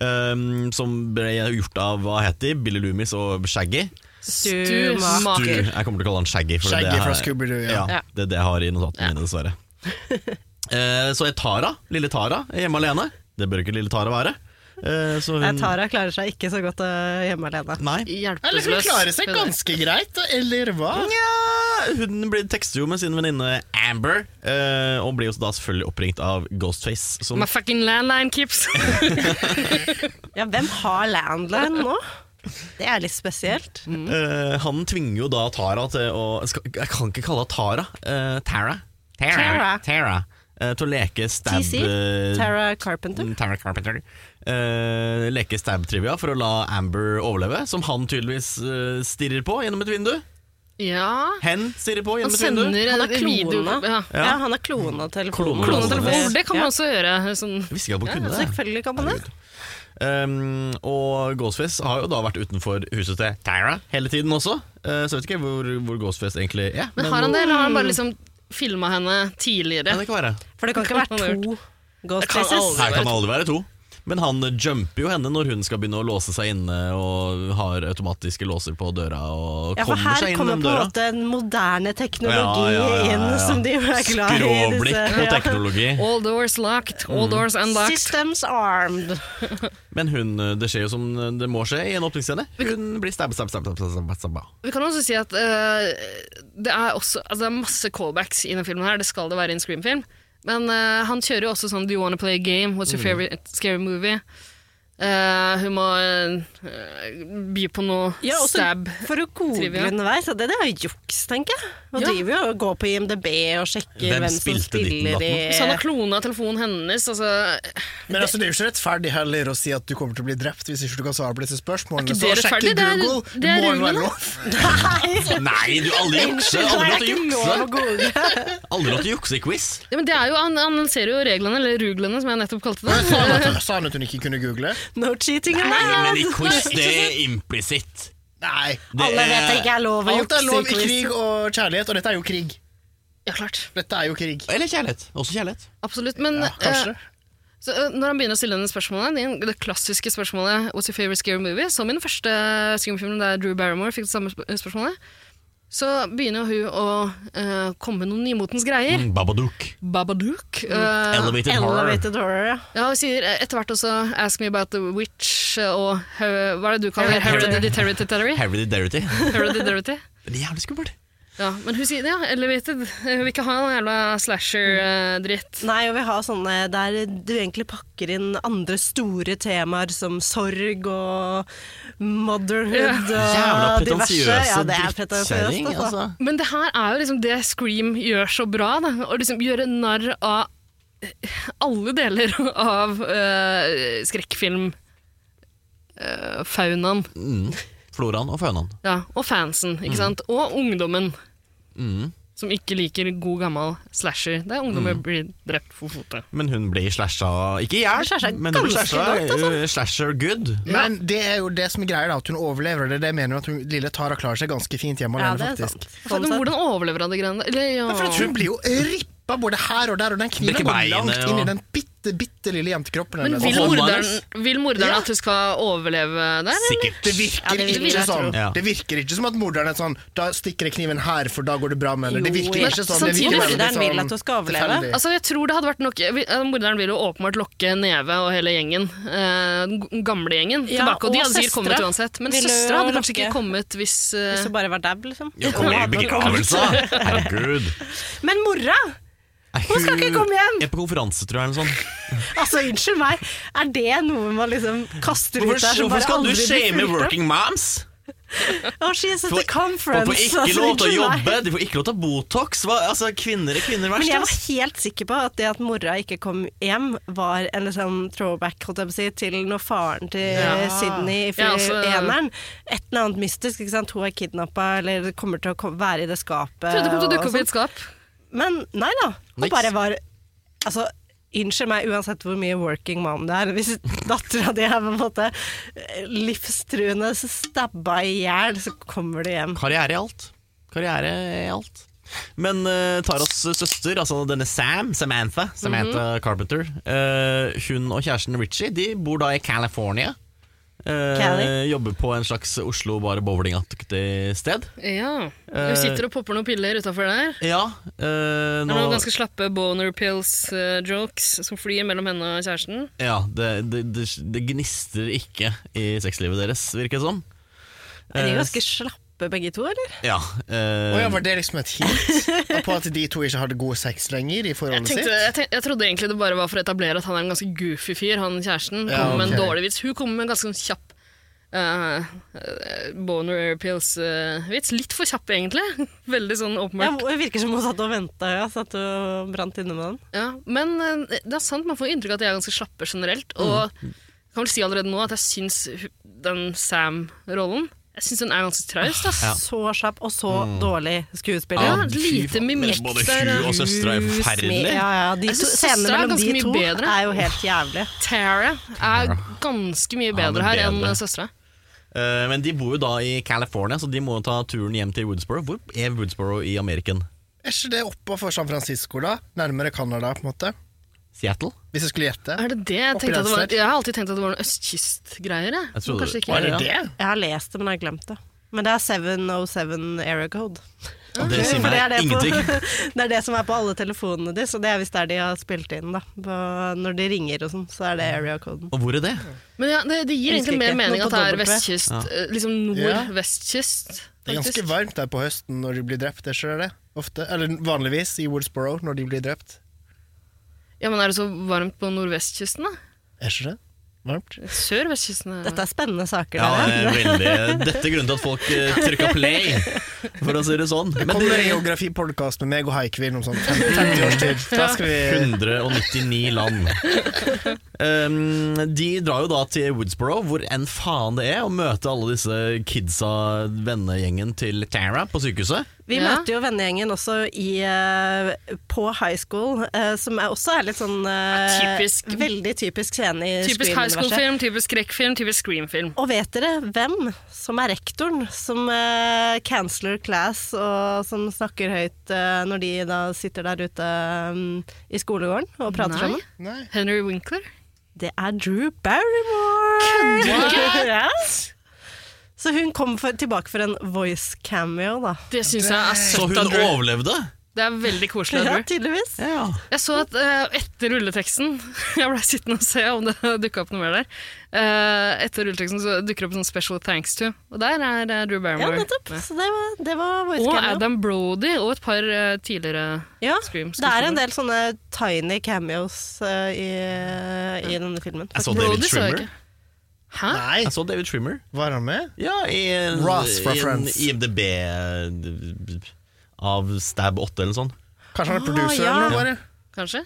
S3: ehm, som ble gjort av hva het de? Billy Loomis og Shaggy.
S4: Stu
S3: Du,
S2: Maker.
S3: jeg kommer til å kalle han Shaggy. For
S1: Shaggy
S3: det er-
S1: fra Scooby-Doo, ja.
S3: ja. Det er det jeg har i notatene mine, dessverre. Eh, så er Tara, lille Tara, er hjemme alene. Det bør ikke lille Tara være. Eh, så
S4: Nei,
S3: hun
S4: Tara klarer seg ikke så godt eh, hjemme alene.
S3: Nei.
S1: Eller hun klarer seg ganske greit, eller hva?
S3: Nja, hun blir, tekster jo med sin venninne Amber, eh, og blir jo da selvfølgelig oppringt av Ghostface. Som
S2: My fucking landline *laughs* keeps.
S4: Ja, hvem har landline nå? Det er litt spesielt.
S3: Eh, han tvinger jo da Tara til å skal, Jeg kan ikke kalle henne Tara. eh, Tara.
S4: Tara.
S3: Tara. Eh, til å leke stab...
S4: TC?
S3: eh,
S4: Tara Carpenter.
S3: Mm, Tara Carpenter. Eh, leke stab-trivia for å la Amber overleve, som han tydeligvis eh, stirrer på gjennom et vindu.
S2: Ja
S3: Hen stirrer på
S2: Han
S3: gjennom et vindu.
S2: sender
S4: Han er
S2: en video
S4: klona.
S2: ja.
S4: Ja. han er klona telefonen.
S3: Klona
S2: Klonetelefon,
S3: telefonen.
S2: det kan man også gjøre. Sånn.
S3: Jeg visste ikke at man kunne det.
S4: Selvfølgelig kan man det.
S3: Um, og Ghostface har jo da vært utenfor huset til Tara hele tiden også, Eh, så jeg vet ikke hvor, hvor Ghostface egentlig er.
S2: Men har han det, eller har han bare liksom filma henne tidligere?
S3: Kan det ikke være?
S4: For det kan ikke
S2: Det
S4: være
S2: kan
S4: to
S2: Det kan
S4: ghostfaces.
S2: aldri.
S3: Her kan det aldri være to. Men han jumper jo henne når hun skal begynne å låse seg inne og har automatiske låser på døra og
S4: Ja, for
S3: kommer
S4: her
S3: seg inn
S4: kommer
S3: gjennom
S4: på en
S3: døra.
S4: måte en moderne teknologi
S3: Ja, ja, ja, ja, ja.
S4: inn som de er glad i. i
S3: Skråblikk
S4: disse-
S3: på teknologi.
S2: All doors locked, all
S1: Mm.
S2: doors
S4: Ja.
S2: unlocked.
S4: Systems armed.
S3: Men hun, det skjer jo som det må skje i en åpningsscene. Hun blir stabba, stabba, stabba, stabba,
S4: *laughs*
S3: stabba.
S2: Vi kan også si at eh, det, er også, altså det er masse callbacks i denne filmen. her, Det skal det være i en
S1: Mm.
S2: Scream-film. Men eh, han kjører jo også sånn Do you wanna play a game? What's your favorite scary movie? Eh, hun må eh, by på noe
S4: Ja, også
S2: stab.
S4: For å google
S2: Trivia.
S4: underveis, og det, det er juks, tenker jeg. Man
S2: Ja.
S4: driver jo og går på IMDb og sjekker
S3: Hvem
S4: hvem, som
S3: spilte
S4: spiller i
S2: Så han har klona telefonen hennes. Altså,
S1: Men altså, det er jo ikke rettferdig heller å si at du kommer til å bli drept hvis ikke du kan svare på disse spørsmålene.
S2: Er ikke
S1: Så
S2: det
S1: sjekk i
S2: rettferdig? Det er-
S1: Google.
S2: det
S1: må
S2: er
S1: jo være
S2: reglene.
S1: lov.
S3: Nei, du aldri jukse! Aldri lov til å jukse!
S4: google. *laughs*
S3: Aldri lov til å jukse i quiz!
S2: ja, men det er jo, han han annonserer jo reglene, eller ruglene, som jeg nettopp kalte det.
S1: Sa han at- Sa han at hun ikke kunne google?
S4: No cheating
S3: Nei,
S4: allowed.
S3: men i quiz det er implisitt.
S1: Nei.
S3: Det
S4: Alle vet det
S3: er-
S4: ikke er lov å
S1: Alt
S4: jukse
S1: er lov i
S4: quiz.
S1: krig og kjærlighet, og dette er jo krig.
S2: Ja, klart.
S1: Dette er jo krig.
S3: Eller kjærlighet. Også kjærlighet.
S2: Absolutt. Men
S1: Ja, kanskje.
S2: eh, så, eh, når han begynner å stille henne spørsmålet, det- det klassiske spørsmålet 'What's your favorite scary movie?' som i den første skumfilmen der Drew Barrymore fikk det samme sp- spørsmålet, så begynner jo hun å eh, komme med noen nymotens
S3: Mm.
S2: greier.
S3: Babadook.
S2: Babadook. eh,
S3: Elevated horror.
S4: Elevated horror, ja.
S2: ja, hun sier eh, etter hvert også 'Ask me about the witch' eh, og her, hva er det du kaller hereditary?
S4: Hereditary.
S3: Hereditary.
S2: Hereditary.
S3: Det er jævlig skummelt.
S2: Ja, men hun sier ja, elevated. Hun vil ikke ha noe jævla eh, slasher-dritt.
S4: Nei, og vi har sånne der du egentlig pakker inn andre store temaer som sorg og motherhood
S3: Jævla
S4: og diverse.
S3: pretensiøse
S4: Ja, det er
S3: drittkjerring,
S4: pretensiøst. Altså.
S3: altså.
S2: Men det her er jo liksom det Scream gjør så bra. Da. Å liksom gjøre narr av eh, alle deler av eh, skrekkfilm. eh, faunaen
S3: Floraen og fønaen.
S2: ja, og fansen, ikke sant? Og ungdommen. Som ikke liker god gammel slasher. Der ungdommer blir drept for fotet.
S3: Men hun blir slasha Ikke i hjel, men hun blir
S4: ganske altså.
S3: slasha uh, slasher good.
S1: Men det er jo det som er greia, da, at hun overlever. og Det er det jeg mener at hun, lille Tara klarer seg ganske fint hjemme
S4: Ja,
S1: alene,
S4: det er
S1: faktisk.
S4: sant.
S2: Men
S4: Sånn sett.
S2: Hvordan overlever han det greiene der? Eller,
S1: Men for at
S2: ja.
S1: hun blir jo rippa både her og der, og den kniven
S3: Brekker
S1: går langt
S3: beinet,
S1: inn i
S3: og-
S1: den bitte, bitte lille jentekroppen
S2: Men
S1: hennes. Altså,
S2: vil
S3: Og hånda
S2: morderen,
S3: hennes.
S2: vil morderen
S1: Ja.
S2: at hun skal overleve der? eller?
S3: Sikkert.
S1: Det virker,
S4: Ja, det vil
S1: ikke
S4: jeg
S1: sånn.
S3: tro. Ja.
S1: det virker ikke som at morderen er sånn Da stikker jeg kniven her, for da går det bra med henne. Det
S4: Jo,
S1: virker
S4: men
S1: ikke sånn. Det virker
S2: samtidig-
S1: veldig
S4: Morderen vil
S1: sånn
S4: at hun skal overleve.
S1: tilfeldig.
S2: Altså, jeg tror det hadde vært nok vi- eh, Morderen vil jo åpenbart lokke Neve og hele gjengen, eh, den g- gamle gjengen,
S4: Ja,
S2: tilbake. Og de
S4: og
S2: hadde sikkert
S4: søstre
S2: kommet uansett. Men
S4: ville jo
S2: søstera hadde kanskje
S4: lokke.
S2: ikke kommet hvis eh,
S4: Hvis hun bare var dab, liksom.
S3: Ja, kommer i begravelse! Herregud.
S4: Men mora! Hun skal ikke komme hjem!
S3: Er på konferanse, tror jeg. eller sånn.
S4: Altså, unnskyld meg. Er det noe man liksom kaster ut
S3: Hvorfor,
S4: der som
S3: hvorfor
S4: bare
S3: skal du
S4: aldri blir
S3: shame
S4: fulgt opp?
S3: working moms?
S4: Oh, she's at
S3: For-
S4: the conference.
S3: Og får ikke
S4: altså,
S3: lov til å
S4: unnskyld meg.
S3: jobbe, de får ikke lov til å ha Botox. Hva, altså, kvinner er kvinner
S4: Men
S3: verst.
S4: jeg var
S3: ass.
S4: helt sikker på at det at mora ikke kom hjem, var en liksom throwback holdt jeg på å si, til når faren til
S2: Ja.
S4: Sydney i
S2: Ja, altså-
S4: eneren Et eller annet mystisk. ikke sant? Hun er kidnappa eller kommer til å ko- være i det skapet.
S2: trodde det kom til å
S4: og sånn.
S2: dukke opp i
S4: sånt.
S2: et skap.
S4: Men nei da. Hun
S3: Niks.
S4: bare var Altså, unnskyld meg, uansett hvor mye working mom det er, hvis dattera di er på en måte livstruende stabba i hjel, så kommer du hjem.
S3: Karriere er alt. Karriere er alt. Men eh, Taras søster, altså denne Sam, Samantha, Samantha Carpenter, eh, hun og kjæresten Richie de bor da i California. Eh,
S4: Cali.
S3: jobber på en slags Oslo bare bowlingaktig sted.
S2: Ja.
S3: Eh.
S2: Hun sitter og popper noen piller utafor der.
S3: Ja, eh,
S2: Det er
S3: nå,
S2: noen ganske slappe boner pills-jokes som flyr mellom henne og kjæresten.
S3: ja det, det, det, det gnister ikke i sexlivet deres, virker det som.
S4: Er de
S3: Eh,
S4: ganske slappe begge to, eller?
S3: Ja, eh,
S1: Å ja, var det liksom et hint på at de to ikke hadde god sex lenger i
S2: Jeg,
S1: forholdet
S2: tenkte,
S1: sitt?
S2: jeg, tenk- jeg trodde egentlig det bare var for å etablere at han er en ganske goofy fyr, han kjæresten.
S1: Ja,
S2: Kommer med en
S1: ok.
S2: dårlig vits. Hun kommer med en ganske sånn kjapp eh, eh, boner pills-vits. Litt for kjapp, egentlig. *laughs* Veldig sånn
S4: Ja,
S2: åpenbart.
S4: det virker som hun satt og venta, ja. Satt og brant inne med den.
S2: Ja, men eh, det er sant, man får inntrykk av at de er ganske slappe generelt. Og jeg kan vel si allerede nå at jeg syns hu- den Sam-rollen Jeg synes den er ganske traust. ass.
S4: Så slapp og så dårlig skuespiller.
S2: Mm. Ja,
S3: fy
S2: lite
S3: faen, altså, men
S2: mimikk
S3: Både
S2: der,
S3: hun og
S2: ja.
S3: søstera er forferdelige.
S4: Ja, ja, de
S2: Jeg
S4: to,
S2: synes
S4: scenene
S2: søstera er
S4: mellom de
S2: ganske
S4: to
S2: mye bedre.
S4: er jo helt jævlig.
S2: Tara er ganske mye
S3: Ja,
S2: bedre
S3: men
S2: her enn
S3: bedre.
S2: søstera.
S3: Eh, men de bor jo da i California, så de må jo ta turen hjem til Woodsboro. Hvor er Woodsboro i Ameriken?
S1: Er ikke det oppe for San Francisco, da? Nærmere Canada, på en måte?
S3: Seattle?
S1: Hvis jeg skulle gjette.
S2: Er det det? Jeg,
S1: Oppi
S2: tenkte at det var,
S1: Rensselaer.
S2: jeg har alltid tenkt at det var noen østkystgreier. jeg.
S3: Jeg
S2: Men
S3: trodde-
S2: kanskje ikke
S3: Var
S2: er
S3: det
S2: det.
S3: det?
S4: Jeg har lest det, men jeg har glemt det. Men det er 707 area code.
S3: Ja, Det sier
S4: For
S3: meg
S4: det, er det,
S3: ingenting.
S4: på, *laughs* det er det som er på alle telefonene deres, og det er visst der de har spilt inn. da på, Når de ringer og sånn, så er det area coden.
S3: Og hvor er det?
S2: Men ja, det, det gir
S4: Jeg husker
S2: egentlig mer
S4: ikke.
S2: mening
S4: Noe
S2: at
S4: på
S2: det er
S4: dobbelt V.
S2: vestkyst. eh, Liksom
S1: Ja.
S2: nord-vestkyst.
S1: Det er ganske
S2: faktisk.
S1: varmt der på høsten når de blir drept, er ikke det det? Ofte. Eller vanligvis i Woodsboro når de blir drept.
S2: Ja, men er det så varmt på nordvestkysten, da?
S1: Er ikke det? Varmt.
S2: Sørvestkysten er
S4: Dette er spennende saker.
S3: Ja, det
S4: dere.
S3: er veldig, dette er grunnen til at folk eh, trykka play, for å si det sånn. Men
S1: Kommer en
S3: det Mm.
S1: geografipodkast med meg og Haikvin om sånn 50 års tid. Da skal vi
S3: 199 land. Um, de drar jo da til Woodsboro, hvor enn faen det er, og møter alle disse kidsa, vennegjengen til Tara på sykehuset.
S4: Vi
S2: Ja.
S4: møter jo vennegjengen også i, eh, på high school, eh, som er også er litt sånn eh,
S2: Ja, typisk.
S4: Veldig typisk scene i
S2: Typisk high
S4: Scream-universet.
S2: school-film, typisk skrekkfilm, typisk scream-film.
S4: Og vet dere hvem som er rektoren? Som uh, canceler class, og som snakker høyt eh, når de da sitter der ute mm, i skolegården og prater
S2: Nei.
S4: sammen?
S1: Nei.
S2: Henry Winkler?
S4: Det er Drew Barrymore! *laughs*
S2: Kødder du?
S4: Ja. Så hun kom for, tilbake for en voice cameo, da.
S2: Det syns jeg er
S3: Så
S2: søtt
S3: hun
S2: av Drew.
S3: overlevde!
S2: Det er veldig koselig av
S4: Ja,
S2: Drew.
S4: tydeligvis.
S3: Ja.
S2: Jeg så at eh, etter rulleteksten *laughs* Jeg ble sittende og se om det *laughs* dukka opp noe mer der. Eh, etter rulleteksten så dukker det opp en sånn special thanks to, og der er eh, Drew
S4: Ja,
S2: Barrymore.
S4: nettopp. Så det var, det var voice
S2: og
S4: cameo.
S2: Adam Brody og et par eh, tidligere
S4: Ja,
S2: Scream-
S4: det er en del sånne tiny cameos eh, i, i denne filmen.
S3: Jeg så David
S2: Brody så jeg
S3: Trimmer.
S2: ikke. Hæ?
S1: Nei,
S3: Jeg så David Trimmer.
S1: var han med?
S3: Ja, i en,
S1: Ross fra
S3: i en
S1: Friends.
S3: IMDb eh, av Stab 8 eller sånn.
S1: Kanskje han er producer
S4: Ah, ja.
S1: eller noe? bare
S2: Kanskje?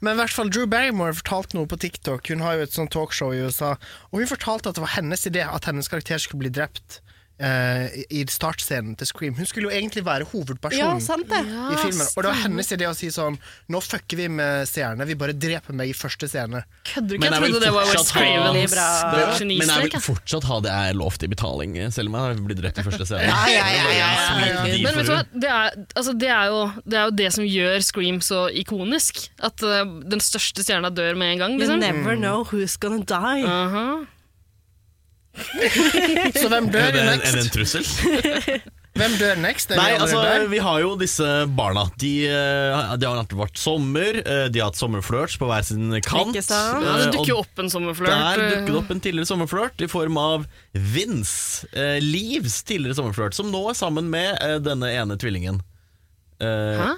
S1: Men i hvert fall Drew Barrymore fortalte noe på TikTok. Hun har jo et sånt talkshow i USA, og hun fortalte at det var hennes idé at hennes karakter skulle bli drept eh, i i startscenen til Scream. Hun skulle jo egentlig være
S4: Ja,
S1: hovedpersonen.
S4: sant det.
S1: i filmen, Og det var hennes idé å si sånn Nå fucker vi med seerne, vi bare dreper meg i første scene.
S2: Kødder du ikke? Jeg
S3: Men det er vel
S2: trodde det var Wes
S3: fortsatt
S4: veldig
S2: Cravens
S4: bra.
S2: Ah. det var
S3: Men jeg
S2: genistrek.
S3: vil
S2: jeg.
S3: fortsatt ha det jeg lovte i betaling, eh, selv om jeg blir drept i første scene.
S4: ja, ja, ja, ja,
S3: Jeg smiler
S2: Men vet du hva,
S3: for-
S2: det er, altså, det, er jo, det er jo det som gjør Scream så ikonisk. At eh, den største stjerna dør med en gang.
S4: You
S2: Liksom.
S4: never know who's gonna die.
S2: Aha.
S1: Så hvem
S3: *laughs* Er
S1: dør
S3: det, en, er det
S1: next?
S3: en trussel?
S2: *laughs*
S1: Hvem dør next? Er vi
S3: Nei,
S1: allerede
S3: altså,
S1: der?
S3: vi har jo disse barna. De, eh, de har hatt vært sommer, eh, de har hatt sommerflørts på hver sin kant.
S4: Ikke sant?
S2: Ja, det
S3: eh, og
S2: dukker jo opp en
S3: Der
S2: sommerflørt.
S3: dukket det opp en tidligere sommerflørt i form av Vince, eh, Livs tidligere sommerflørt, som nå er sammen med eh, denne ene tvillingen. Eh,
S2: Hæ?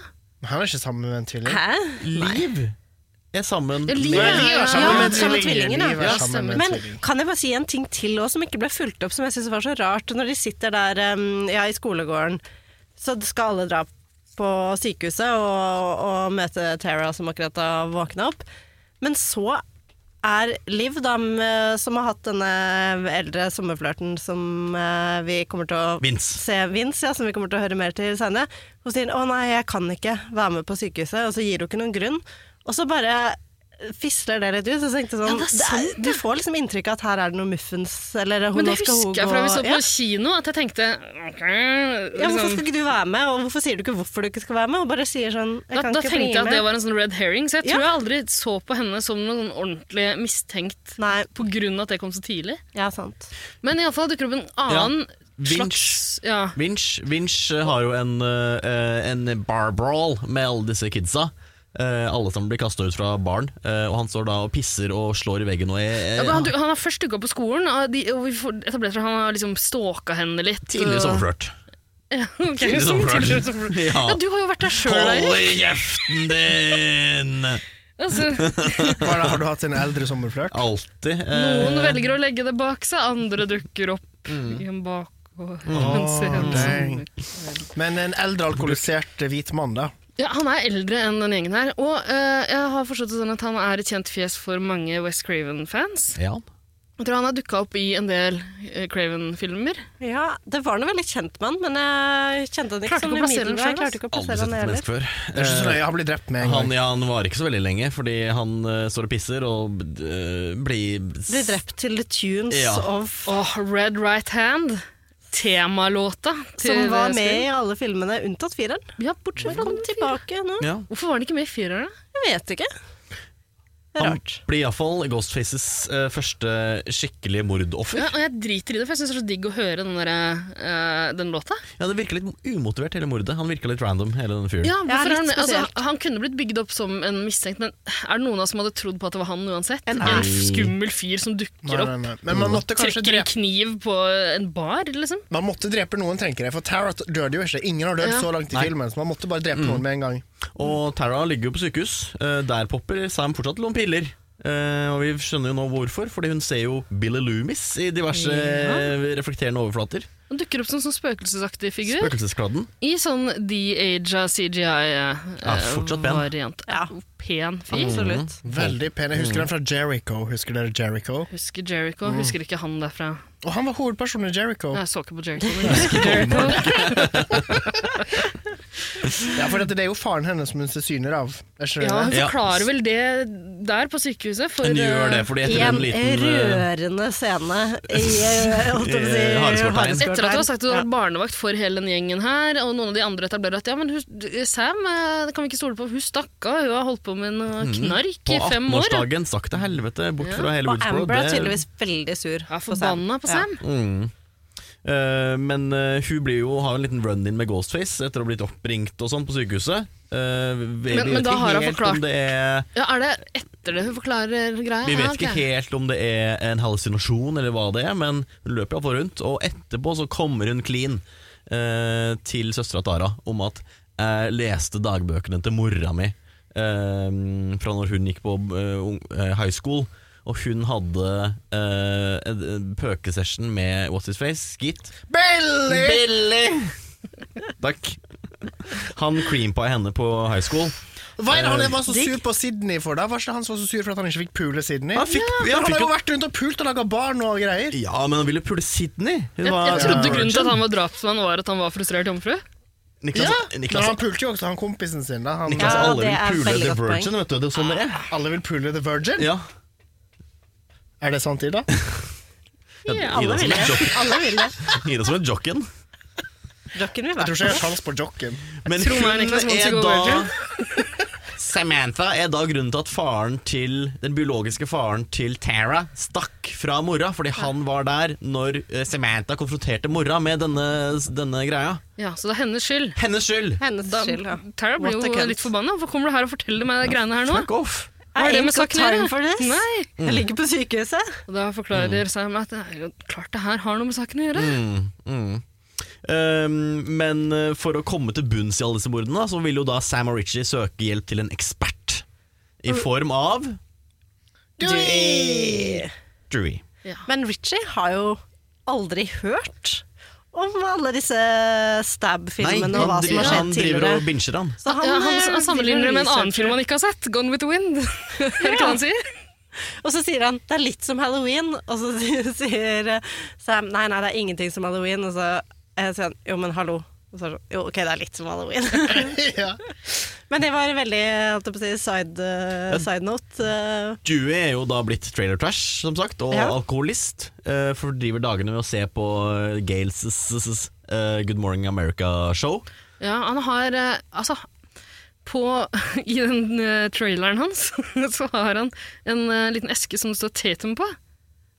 S1: Han er ikke sammen med en tvilling.
S4: Hæ?
S3: Liv er sammen
S2: Ja, Liv
S1: Nei,
S2: er-
S1: de er sammen
S2: Ja,
S1: med en
S4: sammen med
S1: tvilling.
S4: tvillingen, ja.
S1: Liv er
S2: Ja,
S1: sammen med en
S4: Men
S1: tvilling.
S4: kan jeg bare si en ting til også, som ikke ble fulgt opp, som jeg syns var så rart. Når de sitter der em, ja, i skolegården, så skal alle dra på sykehuset og, og møte Tara, som akkurat har våkna opp. Men så er Liv, da, m- som har hatt denne eldre sommerflørten som eh, vi kommer til å
S3: Vince.
S4: se Vince, ja, som vi kommer til å høre mer til senere. Hun sier 'Å nei, jeg kan ikke være med på sykehuset', og så gir hun ikke noen grunn. Og så bare fisler det litt ut. Så jeg tenkte
S2: Ja,
S4: sånn,
S2: det er sant,
S4: det er- Du får liksom inntrykk av at her er det noe muffens, eller hun
S2: Men
S4: nå
S2: det
S4: skal hun
S2: husker jeg
S4: gå
S2: fra vi så
S4: ja.
S2: på kino, at jeg tenkte ok,
S4: ja, Hvorfor
S2: liksom,
S4: skal ikke du være med, og hvorfor sier du ikke hvorfor du ikke skal være med? Og bare sier sånn jeg
S2: da,
S4: kan
S2: da
S4: ikke
S2: tenkte
S4: bli
S2: jeg at
S4: med.
S2: det var en sånn red herring, så jeg
S4: Ja.
S2: tror jeg aldri så på henne som noen ordentlig mistenkt
S4: Nei,
S2: på grunn av at det kom så tidlig.
S4: ja, sant.
S2: Men iallfall dukker det opp en annen slags
S3: Vinch.
S2: ja.
S3: Vinch, Vinch eh, har jo en, eh, en bar brawl med alle disse kidsa. Eh, alle som blir kasta ut fra baren. eh, og han står da og pisser og slår i veggen og er, eh,
S2: Ja, men han, han har først dukka opp på skolen, og, de, og vi får etablert at han har liksom stalka henne litt.
S3: tidligere sommerflørt.
S2: Ja, ok,
S3: Tidlig
S2: som
S3: sommerflørt.
S2: *laughs* tidligere sommerflørt.
S3: Ja.
S2: *laughs* ja, du har jo vært der sjøl,
S3: Hold
S2: Eirik.
S3: i kjeften din!
S2: Altså,
S1: Bare har du hatt en eldre sommerflørt?
S3: Alltid. eh,
S2: Noen velger å legge det bak seg, andre dukker opp i en bak og en scene.
S1: dang. Men en eldre alkoholisert eh, hvit mann, da.
S2: ja, Han er eldre enn den gjengen her, og eh, jeg har forstått det sånn at han er et kjent fjes for mange West Craven-fans.
S3: Ja.
S2: Jeg tror han har dukka opp i en del eh, Craven-filmer.
S4: Ja, det var noe veldig kjent med han, men jeg kjente han ikke
S2: Klarte
S4: sånn
S2: ikke å plassere han
S4: umiddelbart. Jeg
S2: selv,
S4: klarte ikke å
S3: Aldri
S4: plassere
S3: sett
S4: han
S3: et
S4: heller.
S3: menneske før.
S1: Det er ikke så nøye, han blir drept med en
S3: Eh, Han,
S1: gang.
S3: ja, han varer ikke så veldig lenge, fordi han eh, står og pisser og eh, blir
S4: Blir drept til the tunes
S3: Ja.
S4: of
S2: Og Red Right Hand, temalåta til eh,
S4: Som var med i
S2: Scream.
S4: alle filmene unntatt fireren.
S2: Ja, bortsett fra
S4: Kom
S2: den tilbake.
S4: tilbake nå.
S3: Ja.
S2: Hvorfor var den ikke med i fireren? da?
S4: Jeg vet ikke. Det er
S3: Han
S4: rart.
S3: blir iallfall Ghostfaces eh, første skikkelige mordoffer.
S2: Ja, og jeg driter i det, for jeg syns det er så digg å høre den, der, eh, den låta.
S3: Ja, Det virker litt umotivert, hele mordet. Han virker litt random, hele den fyren.
S2: Ja,
S4: Ja,
S2: hvorfor er han,
S4: litt
S2: altså,
S4: spesielt.
S2: han kunne blitt bygd opp som en mistenkt, men er det noen av oss som hadde trodd på at det var han uansett? En
S3: Nei.
S2: skummel fyr som dukker
S1: Nei, nei,
S2: opp,
S1: nei. Men man måtte kanskje
S2: trekker en
S1: drepe
S2: kniv på en bar, liksom?
S1: Man måtte drepe noen, tenker jeg, for Tara døde jo ikke. Ingen har dødd
S2: Ja.
S1: så langt i
S3: Nei. Mm.
S1: filmen, så man måtte bare drepe noen med en gang.
S3: Og Tara ligger jo på sykehus. Eh, der popper Sam fortsatt noen piller. Eh, og vi skjønner jo nå hvorfor, fordi hun ser jo Billy Loomis i diverse eh, reflekterende overflater.
S2: Han dukker opp som en sånn spøkelsesaktig figur
S3: Spøkelseskladden.
S2: i sånn de-aga
S3: Ja, fortsatt pen.
S2: CGI-variant.
S4: Ja.
S2: eh, pen fyr.
S4: Absolutt.
S3: Mm.
S1: Veldig pen. Jeg husker den fra Jericho. Husker dere Jericho?
S2: Husker Jericho, husker ikke han derfra.
S1: Og han var hovedpersonen i Jericho.
S2: Jeg så ikke på Jericho, men husker Jericho.
S1: Ja, for dette, det er jo faren hennes som hun ser syner av. Er ikke det
S2: Ja, hun
S1: det?
S3: Ja.
S2: forklarer vel det der på sykehuset. For,
S3: Hun gjør det
S2: eh,
S3: fordi etter
S4: En
S3: en liten eh,
S4: rørende scene i
S3: *laughs*
S4: eh, holdt jeg på å si,
S3: I Hareskård Tegn.
S4: Hareskård
S2: Etter at du har
S4: Tegn.
S2: sagt at du har vært barnevakt for hele den gjengen her, og noen av de andre etablerer at ja, men hun, Sam eh, det kan vi ikke stole på, hun stakk av, hun har holdt på med noe knark
S3: Mhm. På
S2: i fem år.
S3: 18-årsdagen stakk til helvete bort fra hele
S4: Og
S3: Woodsboro.
S4: Amber er tydeligvis veldig sur.
S2: Ja,
S4: på Sam.
S2: forbanna på
S4: Ja.
S2: Sam.
S3: *laughs* Mm. Eh, men eh, hun blir jo, har jo en liten run-in med Ghostface etter å ha blitt oppringt og sånn på sykehuset. Eh, vi
S2: Men-
S3: vet
S2: men da
S3: ikke
S2: har hun
S3: helt
S2: forklart-
S3: om det er
S2: Ja, Er det etter det hun forklarer greia?
S3: Vi vet
S2: Ja, Ah, ok.
S3: ikke helt om det er en hallusinasjon eller hva det er, men hun løper iallfall rundt. Og etterpå så kommer hun clean eh, til søstera Tara om at jeg leste dagbøkene til mora mi eh, fra når hun gikk på eh, ung- eh, high school. Og hun hadde eh, en- en pøkesession med What's His Face, Skit.
S1: Billy!
S3: Takk. Han creampa henne på high school.
S1: Hva er det han var så sur på Sydney for, da? Var ikke det han som var så sur for at han ikke fikk pule Sydney?
S3: Han fikk,
S1: Men
S3: ja,
S1: han
S3: fikk
S1: har jo
S3: jo,
S1: vært rundt og pult og laga barn og greier.
S3: ja, men han ville pule Sydney. Hun
S2: Jeg,
S3: var-
S2: jeg trodde
S3: Ja.
S2: grunnen til at han var drapsmann, var at han var frustrert jomfru.
S1: Ja,
S3: Niklas,
S1: Altså, Men
S3: Niklas
S1: han pulte jo også han kompisen sin. da han,
S3: Niklas,
S4: Ja,
S3: alle
S4: det
S3: vil
S4: er
S3: pule
S4: veldig
S3: The
S4: godt Ah.
S3: Virgin, vet du. Det er sånn det er.
S1: Alle vil pule the virgin?
S3: Ja.
S1: Er det sant, Ida?
S3: Ja,
S4: Alle vil det. *laughs* Alle vil det.
S3: Gi deg som en jocken.
S4: Jocken vil
S1: Jeg tror
S4: være
S1: ikke jeg har sjans på jocken.
S3: Men
S2: Tror meg, Niklas Monsen går virgin.
S3: *laughs* Samantha er da grunnen til at faren til den biologiske faren til Tara stakk fra mora, fordi han var der når eh, Samantha konfronterte mora med denne, denne greia.
S2: Ja, Så det er hennes skyld.
S3: Hennes skyld!
S4: hennes
S2: Da,
S4: skyld. Ja.
S2: Tara blir
S4: What a
S2: jo
S4: cunt.
S2: litt forbanna. Hvorfor kommer du her og forteller meg de greiene her nå?
S3: Fuck off!
S2: Hva er det med
S4: Ain't got
S2: saken å gjøre?
S4: time for this.
S2: Nei.
S4: Jeg
S3: Mm.
S4: ligger på sykehuset.
S2: Og da forklarer Sam at det er jo klart det her har noe med saken å gjøre.
S3: Mm. Um, men eh, for å komme til bunns i alle disse mordene, da, så vil jo da Sam og Richie søke hjelp til en ekspert. I
S4: Mm.
S3: form av Drewy.
S4: Men Richie har jo aldri hørt om alle disse stab-filmene og hva som har
S3: han
S4: skjedd
S3: driver og
S4: tidligere.
S3: binsjer han.
S4: Så
S2: Ah, ja, han,
S4: eh,
S2: han sammenligner
S4: driver
S2: det med en
S4: og
S2: annen
S4: researcher.
S2: film han ikke har sett, 'Gone with the Wind'. *laughs* Er det ikke hva han sier?
S4: Og så sier han det er litt som halloween, og så *laughs* sier- sier eh, Sam nei, nei, det er ingenting som halloween. Og så eh, sier han jo, men hallo. Og så er det sånn, jo, ok, det er litt som halloween. *laughs*
S1: ja.
S4: men det var veldig holdt jeg på å si, side, eh, side note. eh,
S3: Dewey er jo da blitt trailer trash, som sagt, og
S4: Ja.
S3: alkoholist. eh, fordriver dagene med å se på eh, Gales eh, Good Morning America-show.
S2: Ja, han har eh, Altså, på, *laughs* i den eh, traileren hans *laughs* så har han en eh, liten eske som det står Tatum på.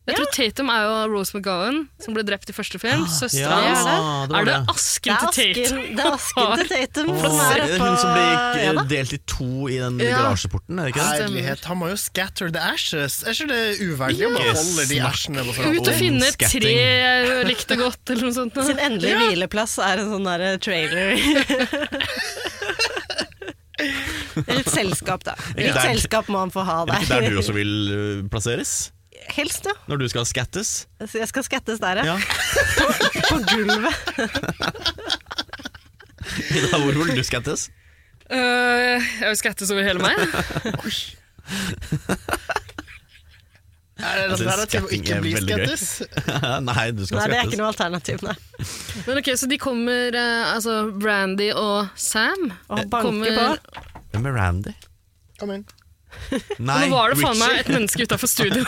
S2: Jeg tror Tatum er jo Rose McGowan, som ble drept i første film. Søstera
S3: ja,
S2: hans.
S3: Ah, det
S2: er Ah, det
S3: var det.
S4: Det
S2: asken
S4: er
S2: til Tatum?
S4: asken, det er asken til Tatum som er
S3: Se-
S4: oppå
S3: Hun som ble
S4: ja, da.
S3: eh, delt i to i den
S2: Ja.
S3: garasjeporten, er det ikke det?
S1: Herlighet, han må jo scatter the ashes. Er ikke det uverdig å bare
S3: Ikke
S1: holde de
S3: snakk
S1: ashene på
S2: Ut og
S1: forhånd?
S2: finne et
S3: Skatting.
S2: tre jeg likte godt, eller noe sånt.
S4: Sin endelige hvileplass er en sånn der
S3: *laughs*
S4: trailer. Litt selskap, da.
S3: Ikke
S4: Litt
S3: der-
S4: selskap må han få ha
S3: Er det ikke der du
S4: der.
S3: også vil eh, plasseres?
S4: *laughs* Helst, ja.
S3: Når du skal skattes?
S4: Så jeg skal skattes der, ja. *laughs*
S3: Ja.
S4: På gulvet.
S3: *laughs* Ida, hvor vil du skattes?
S2: Øh, jeg vil skattes over hele
S3: *laughs*
S2: meg.
S1: Er det
S3: Jeg synes
S1: alternativ å
S3: skatting
S1: ikke
S3: er
S1: bli
S3: veldig gøy.
S1: skattes?
S3: *laughs* Nei, du skal
S4: Nei, det er
S3: skattes.
S4: ikke noe alternativ, nei.
S2: Men ok, Så de kommer, eh, altså Brandy og Sam
S4: Å banke på.
S2: kommer
S3: Hvem er Randy?
S1: Kom inn.
S3: Nei,
S2: Nå var det faen meg
S3: Richie.
S2: et menneske utafor studio.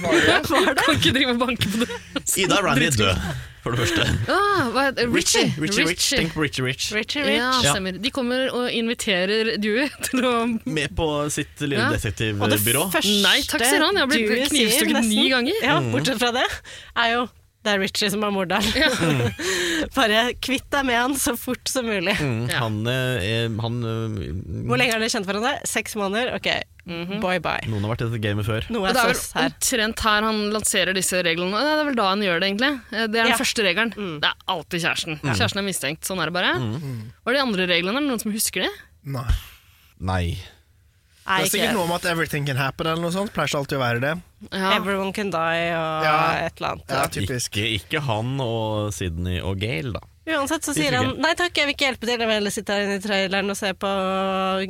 S2: Kan ikke drive og banke på det.
S3: Ida Randy er død, for det første.
S2: Ah, hva heter Richie.
S3: Richie Rich. Tenk på Richie Rich.
S4: Richie
S2: Ja,
S4: Rich.
S3: Ja.
S2: stemmer. De kommer og inviterer Dewey *laughs* til å
S3: Med på sitt lille
S2: Ja.
S3: detektivbyrå.
S2: Nei takk, sier han. Jeg har blitt
S4: du sier
S2: knivstukket
S4: nesten-
S2: ni ganger.
S4: Ja,
S1: Mm.
S4: bortsett fra det, er jo det er Richie som er morderen. *laughs* Bare kvitt deg med han så fort som mulig.
S3: Mm,
S2: Ja.
S3: Han, eh, er- han eh,
S4: Hvor lenge har dere kjent hverandre? Seks måneder? Ok, bye bye.
S3: Noen har vært i dette gamet før.
S4: Noe
S2: Mhm. Og
S4: er
S2: det er
S4: sås
S2: vel
S4: her.
S2: omtrent her han lanserer disse reglene. Det er vel da han gjør det, egentlig. Eh, Det er den
S4: Ja.
S2: første regelen. Det er alltid kjæresten. Kjæresten er mistenkt. Sånn er det bare. Hva er de andre reglene? Er det noen som husker det?
S1: Nei.
S3: Nei.
S4: Nei,
S1: Det er sikkert
S4: ikke
S1: noe om at 'everything can happen' eller noe sånt. Pleier ikke alltid å være det.
S2: Ja.
S4: Everyone can die og
S1: Ja.
S4: et eller annet.
S1: Ja, typisk.
S3: Ikke, ikke han og Sydney og Gail, da.
S4: Uansett så
S3: Det
S4: sier
S3: tror
S4: han
S3: jeg.
S4: nei takk, jeg vil ikke hjelpe til, jeg vil heller sitte her inne i traileren og se på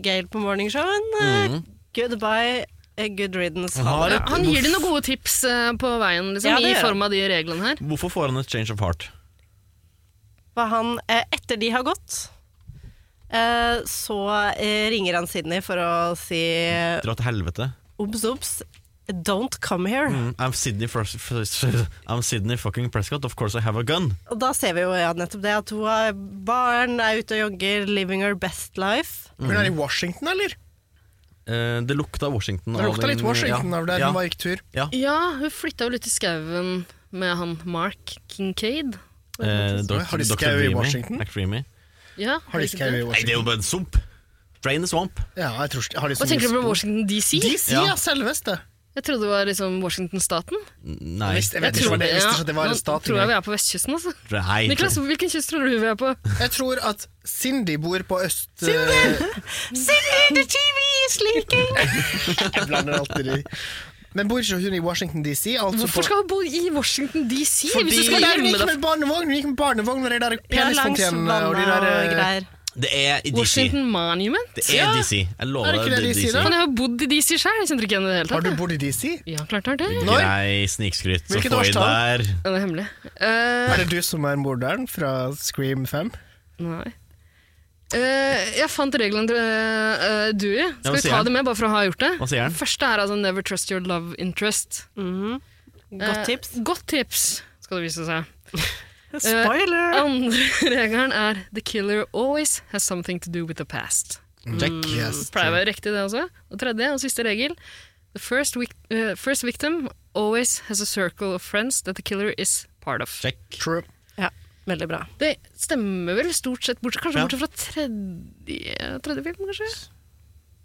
S4: Gail på morningshowen. Eh,
S1: Mhm.
S4: Goodbye, eh, good riddance.
S3: Han har
S4: det
S3: et-
S4: bra.
S2: Han gir de noen gode tips eh, på veien, liksom,
S4: Ja, det
S2: i
S4: gjør han.
S2: form av de reglene her.
S3: Hvorfor får han et change of heart?
S4: Hva han, eh, etter de har gått, eh, så eh, ringer han Sydney for å si
S3: Dra til helvete.
S4: obs, obs, don't come here.
S2: Eh.
S3: Mm, I'm Sydney, first, first, I'm Sydney fucking Prescott, of course I have a gun.
S4: Og da ser vi jo ja, nettopp det, at hun har barn, er ute og jogger, living her best life.
S1: Hun er i Washington, eller?
S3: Eh, det lukta Washington.
S1: Det
S3: av
S1: lukta
S3: den-
S1: litt Washington
S3: ja,
S1: av der
S3: ja.
S1: hun var gikk tur.
S2: Ja, hun flytta jo litt i skauen med han Mark Kincaid.
S3: Eh, Dr.
S1: Har de
S3: Dr.
S1: skau i
S3: Dreamy,
S1: Washington?
S3: Mac Dreamy.
S2: Ja,
S1: Har de
S2: ikke
S1: skau
S2: det?
S1: i
S3: Nei, det er jo
S1: Washington?
S3: bare en swamp. Drain the swamp.
S1: Ja, jeg tror ikke- har de så
S2: Hva tenker du
S1: mye
S2: på
S1: spor?
S2: Washington
S1: De
S2: DC?
S1: sier
S3: Ja.
S1: ja. selveste!
S2: Jeg trodde det var liksom Washington-staten.
S3: Nei.
S1: Visst, jeg vet ikke hva det- jeg visste ikke at det var en
S2: Nå
S1: stat
S2: tror jeg
S1: engang.
S2: vi er på vestkysten, altså.
S3: Nei.
S2: Niklas, hvilken kyst tror du vi er på?
S1: Jeg tror at Cindy bor på øst... Cindy!
S4: Silly the TV is leaking!
S1: *laughs* Jeg blander alltid de. Men bor ikke hun i Washington DC? Altså
S2: Hvorfor skal hun bo i Washington DC? hvis du
S1: Fordi Nei,
S2: skal
S1: hun
S2: gjemme
S1: gikk
S2: deg
S1: med barnevogn Hun gikk med barnevogn med de der
S4: Ja, langs
S1: penisfontenene
S4: vannet
S1: og
S4: og
S1: de der eh,
S4: greier.
S3: Det er i DC.
S2: Washington Monument?
S3: Det er DC. Jeg lover
S1: Er det ikke det
S3: er
S1: de sier da?
S2: Men jeg har bodd i DC sjøl, jeg kjenner ikke igjen det i det hele
S1: Har
S2: tatt.
S1: du
S2: jeg.
S1: bodd i DC?
S2: Ja, klart har det. Ja,
S1: Når?
S3: Grei snikskryt. Så
S1: Hvilket
S3: få i
S1: årstall?
S3: der.
S2: Det er hemmelig. Eh,
S1: Er det du som er morderen fra Scream 5?
S2: nei. Eh, jeg fant reglene til eh, Dewey.
S3: Ja,
S2: Skal
S3: hva
S2: vi
S3: sier
S2: ta
S3: han?
S2: det med, bare for å ha gjort det?
S3: Hva sier han?
S2: Den første er altså never trust your love interest. Eh,
S4: Godt tips.
S2: Godt tips, skal det vise seg.
S4: Spoiler!
S2: oh. Andre *laughs* regelen er the killer always has something to do with the past.
S3: Check.
S1: Yes.
S2: Pleier å være riktig, det også. Og tredje og siste regel the first, vic eh, first victim always has a circle of friends that the killer is part of.
S3: Check.
S1: True.
S4: Ja, veldig bra.
S2: Det stemmer vel stort sett, bortsett, kanskje
S3: Ja.
S2: bortsett fra tredje, tredje film, kanskje?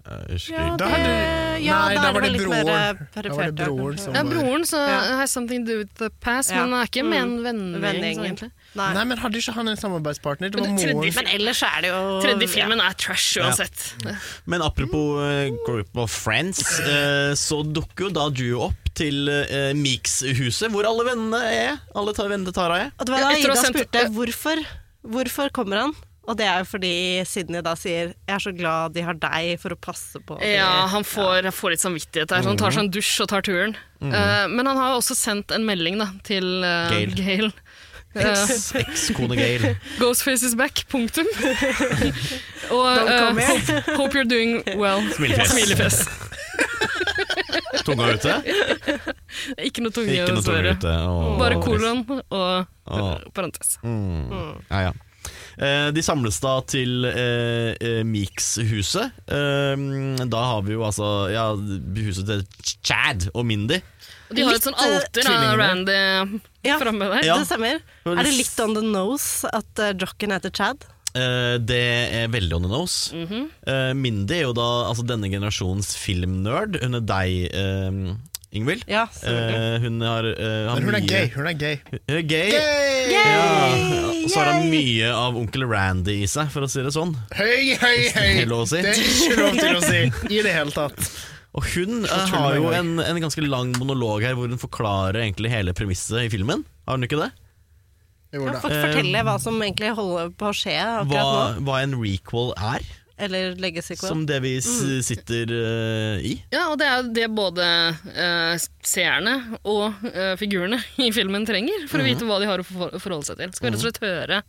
S3: Jeg husker
S4: Ja,
S3: ikke.
S1: Da
S4: det,
S1: hadde-
S4: ja,
S1: Nei,
S4: da
S1: da
S4: er
S1: var det
S4: det vel litt mer eh,
S1: broren. Da var
S4: perifert.
S1: det broren som-
S2: Ja, broren så
S4: Ja.
S2: has something to do with the past,
S4: Ja.
S2: men han er ikke med en vennegjeng, sånn
S4: Vennegjengen.
S2: egentlig.
S4: Nei.
S1: Nei, men hadde ikke han en samarbeidspartner? Det var
S2: Men det-
S1: moren.
S4: Men ellers er det jo
S2: Tredje filmen er trash uansett.
S3: Men apropos eh, Group of Friends, eh, så dukker jo da Drew opp til eh, Meeks-huset, hvor alle vennene er. Alle tar, vennene til Tara er.
S4: Og det var da
S2: Ja, etter å
S4: Ida
S2: ha sendt-
S4: spurte hvorfor, hvorfor kommer han? Og det er jo fordi Sydney da sier 'jeg er så glad de har deg for å passe på'. de».
S2: Ja, han får, han får litt samvittighet der, så han tar seg en dusj og tar turen. Eh, men han har også sendt en melding da, til eh,
S3: Gail.
S2: Gail. Eh,
S3: Ekskone Gail.
S2: Ghostface is back, punktum. og eh, *laughs*
S4: come here.
S2: hope, hope you're doing well.
S3: Smilefjes.
S2: Smilefjes.
S3: Tunga ute?
S2: Ikke noe tunge,
S3: Ikke noe tunge
S2: dessverre.
S3: ute. Åh.
S2: Mm. Bare kolon og
S3: Åh.
S2: parentes.
S3: Ja, ja. Eh, De samles da til eh, eh, Meeks-huset. Eh, da har vi jo altså ja, huset til Ch- Chad og Mindy.
S2: Og De har
S4: Litt,
S2: et sånn
S4: eh,
S2: alter av
S1: tvillingene.
S2: Randy
S4: Ja.
S2: framme der.
S3: Ja.
S4: Det stemmer.
S3: var
S4: Er det
S3: litt-
S4: litt on the nose at uh, jocken heter Chad?
S3: Eh, det er veldig on the nose. Eh, Mindy er jo da altså, denne generasjons filmnerd. Hun er deg, eh, Ingvild.
S4: Ja, selvfølgelig.
S3: Eh, hun har, eh, har
S1: Men hun er
S3: mye-
S1: gay. Hun er gay.
S3: Hun er gay.
S1: Gay!
S3: Ja. Og så har hun mye av onkel Randy i seg, for å si det sånn.
S1: Høy, høy, høy!
S3: Det er lov å si.
S1: Det er ikke lov til å si
S4: *laughs*
S1: i det hele tatt.
S3: Og hun eh,
S1: tuller
S3: har
S1: med
S3: jo
S1: meg.
S3: en, en ganske lang monolog her hvor hun forklarer egentlig hele premisset i filmen. Har hun ikke det?
S1: Jo
S4: Ja,
S1: da.
S4: fort- fortelle hva som egentlig holder på å skje
S3: Hva,
S4: akkurat nå.
S3: Eh, hva en requel er,
S4: Eller legge seg
S3: som det vi s
S4: Mm.
S3: sitter eh, i.
S2: Ja, og det er jo det både eh, seerne og eh, figurene i filmen trenger for å
S4: Mhm.
S2: vite hva de har å for forholde seg til. Skal vi rett og slett høre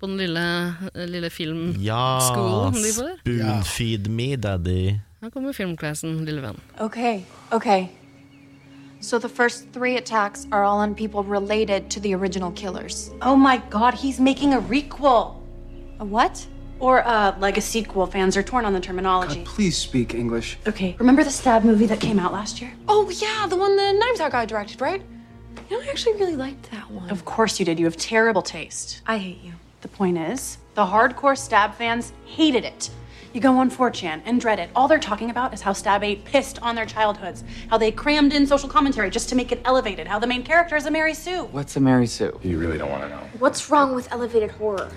S2: på den lille, lille film...
S3: Ja,
S2: Skolen de får.
S3: spoonfeed me, daddy.
S2: Her kommer filmklassen, lille venn.
S9: Okay, okay.
S6: So the first three attacks are all on people related to the original killers.
S8: Oh my god, he's making a requel!
S6: A what?
S8: Or uh, like a sequel, fans are torn on the terminology.
S7: Please speak English.
S8: Okay, remember the stab movie that came out last year?
S6: Oh yeah, the one the Knives Out guy directed, right? You know, I actually really liked that one.
S8: Of course you did, you have terrible taste.
S6: I hate you.
S8: The point is, the hardcore stab fans hated it. You go on 4chan and Reddit, all they're talking about is how Stab 8 pissed on their childhoods, how they crammed in social commentary just to make it elevated, how the main character is a Mary Sue.
S10: What's a Mary Sue?
S7: You really don't want to know.
S5: What's wrong with elevated horror?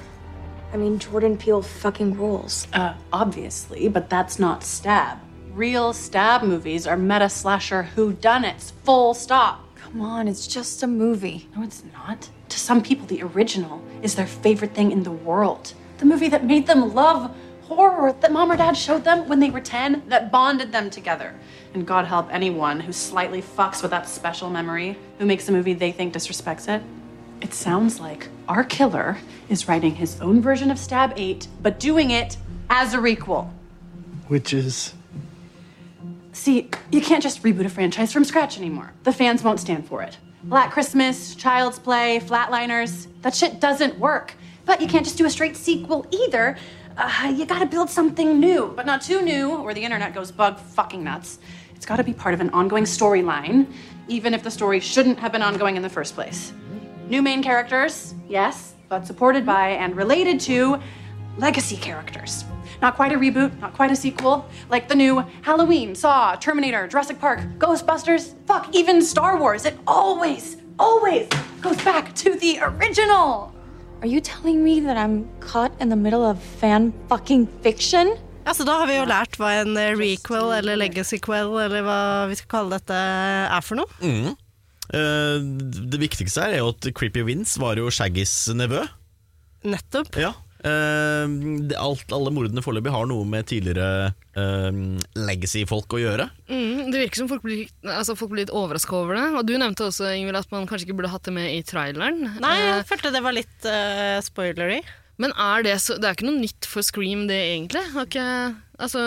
S5: I mean, Jordan Peele fucking rules.
S8: Uh, obviously, but that's not Stab. real stab movies are meta slasher whodunits, full stop.
S6: Come on, it's just a movie.
S8: No, it's not. To some people, the original is their favorite thing in the world. The movie that made them love horror, that mom or dad showed them when they were 10, that bonded them together. And God help anyone who slightly fucks with that special memory, who makes a movie they think disrespects it. It sounds like our killer is writing his own version of Stab 8, but doing it as a requel.
S7: Which is.
S8: See, you can't just reboot a franchise from scratch anymore. The fans won't stand for it. Black Christmas, Child's Play, Flatliners, that shit doesn't work. But you can't just do a straight sequel either. Uh, you gotta build something new, but not too new, or the internet goes bug fucking nuts. It's gotta be part of an ongoing storyline, even if the story shouldn't have been ongoing in the first place. New main characters, yes, but supported by and related to legacy characters. Not quite a reboot, not quite a sequel, like the new Halloween, Saw, Terminator, Jurassic Park, Ghostbusters, fuck, even Star Wars. It always, always goes back to the original.
S9: Are you telling me that I'm caught in the middle of fan fucking fiction?
S4: Altså, da har vi jo lært hva en eh, requel eller legacyquel eller hva vi skal kalle dette er for noe.
S3: Eh, det viktigste her er jo at Creepy Vince var jo Shaggys nevø.
S4: Nettopp.
S3: Ja. Eh, det- alt, alle mordene foreløpig har noe med tidligere eh, legacy-folk å gjøre.
S2: Mm, det virker som folk blir, altså folk blir litt overraska over det. Og du nevnte også Ingvild, at man kanskje ikke burde hatt det med i traileren.
S4: Nei,
S2: Eh,
S4: jeg følte det var litt eh, spoilery.
S2: Men er det, så, det er ikke noe nytt for Scream, det egentlig? Har ikke, altså,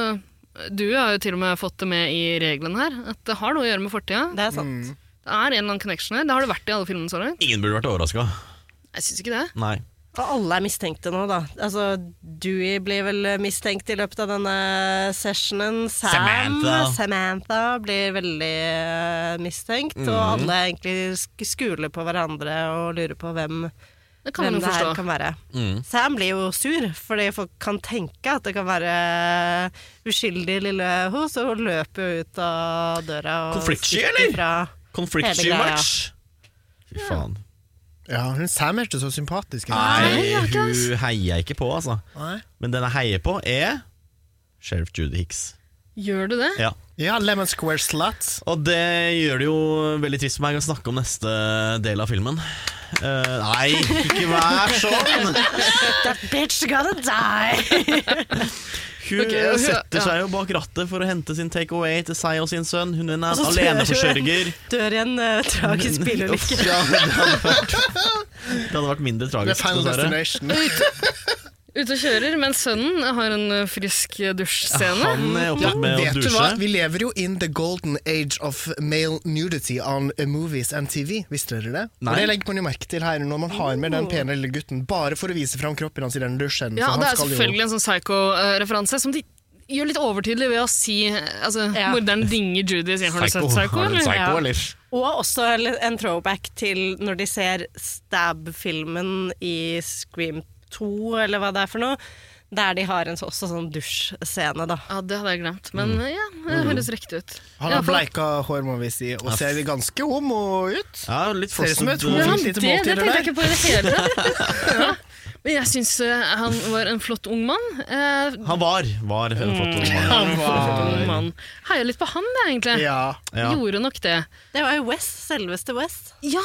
S2: du har jo til og med fått det med i reglene her. At det har noe å gjøre med fortida.
S4: Det er
S3: Mm.
S4: sant.
S2: Det er en eller annen connection her. Det har det vært i alle filmene så langt.
S3: Ingen burde vært overraska.
S2: Jeg syns ikke det.
S3: Nei.
S4: Og alle er mistenkte nå, da. Altså, Dewey blir vel mistenkt i løpet av denne sessionen. Sam,
S3: Samantha.
S4: Samantha blir veldig eh, mistenkt.
S3: Mhm.
S4: Og alle er egentlig sk- skuler på hverandre og lurer på hvem,
S2: Det kan
S4: hvem
S2: man jo
S4: det her
S2: forstå.
S4: kan være.
S3: Mhm.
S4: Sam blir jo sur, fordi folk kan tenke at det kan være uskyldig lille hos, og hun løper jo ut av døra. og
S3: Konfliktsky,
S4: stikker
S3: eller?
S4: fra- Hele greia.
S3: Confliction-match! Fy faen.
S1: Ja, hun Sam er ikke så sympatisk.
S3: Nei, hun heier jeg ikke på, altså.
S1: Nei.
S3: Men den jeg heier på, er Sheriff Judy Hicks.
S2: Gjør du det?
S3: Ja.
S1: Ja, Lemon Square Slut.
S3: Og det gjør det jo veldig trist for meg å snakke om neste del av filmen. Eh, nei, ikke vær sånn!
S4: That bitch gonna die!
S3: Hun
S2: Ok, og hun-
S3: setter
S2: ja.
S3: seg jo bak rattet for å hente sin take away til seg og sin sønn. Hun er en
S4: *laughs* Og
S1: Altså,
S4: så dør hun.
S3: aleneforsørger.
S4: Dør i en eh, tragisk
S3: *laughs*
S4: bilulykke.
S3: Uff, ja, det, hadde vært, det hadde vært mindre
S1: Det er
S3: tragisk.
S1: Final
S3: dessverre.
S4: *laughs*
S1: Destination.
S2: Ute og kjører, men sønnen har en eh, frisk dusjscene.
S3: Han er
S1: Ja,
S3: opptatt med å
S1: vet du hva?
S3: dusje.
S1: Vi lever jo in the golden age of male nudity on movies and TV. Visste dere det?
S3: Nei.
S1: Og det legger man jo merke til her når man har med den pene lille gutten bare for å vise fram kroppen hans i den dusjen.
S2: Ja,
S1: for
S2: og
S1: han
S2: det er
S1: skal jo-
S2: selvfølgelig en sånn psycho-referanse som de gjør litt overtydelig ved å si altså,
S4: Ja.
S2: Morderen ringer Judy og sier 'Har du sett Psycho?'
S3: Har du
S2: eller?
S3: psycho, eller?
S4: Og også en- en throwback til når de ser Stab-filmen i Scream 2, eller hva det er for noe. Der de har en så, også sånn dusjscene, da.
S2: Ja, det hadde jeg glemt. Men eh, ja, det høres riktig ut.
S1: Han har bleika hår, må vi si, og ser ganske homo ut.
S3: Ja, litt eh,
S1: Ser ut som et
S3: frossent.
S2: Ja,
S1: homo.
S2: det,
S1: lite
S2: det
S1: måltider
S2: tenkte jeg
S1: der.
S2: ikke på i det hele tatt. Ja. Men jeg syns han var en flott ung mann. Eh,
S3: Han var, var
S2: Mm.
S3: en flott ung
S2: *laughs*
S3: mann.
S1: Han var
S2: ung mann. Heia litt på han, det, egentlig.
S1: Ja.
S3: Ja.
S2: Gjorde nok det.
S4: Det var jo Wes, selveste Wes.
S2: Ja!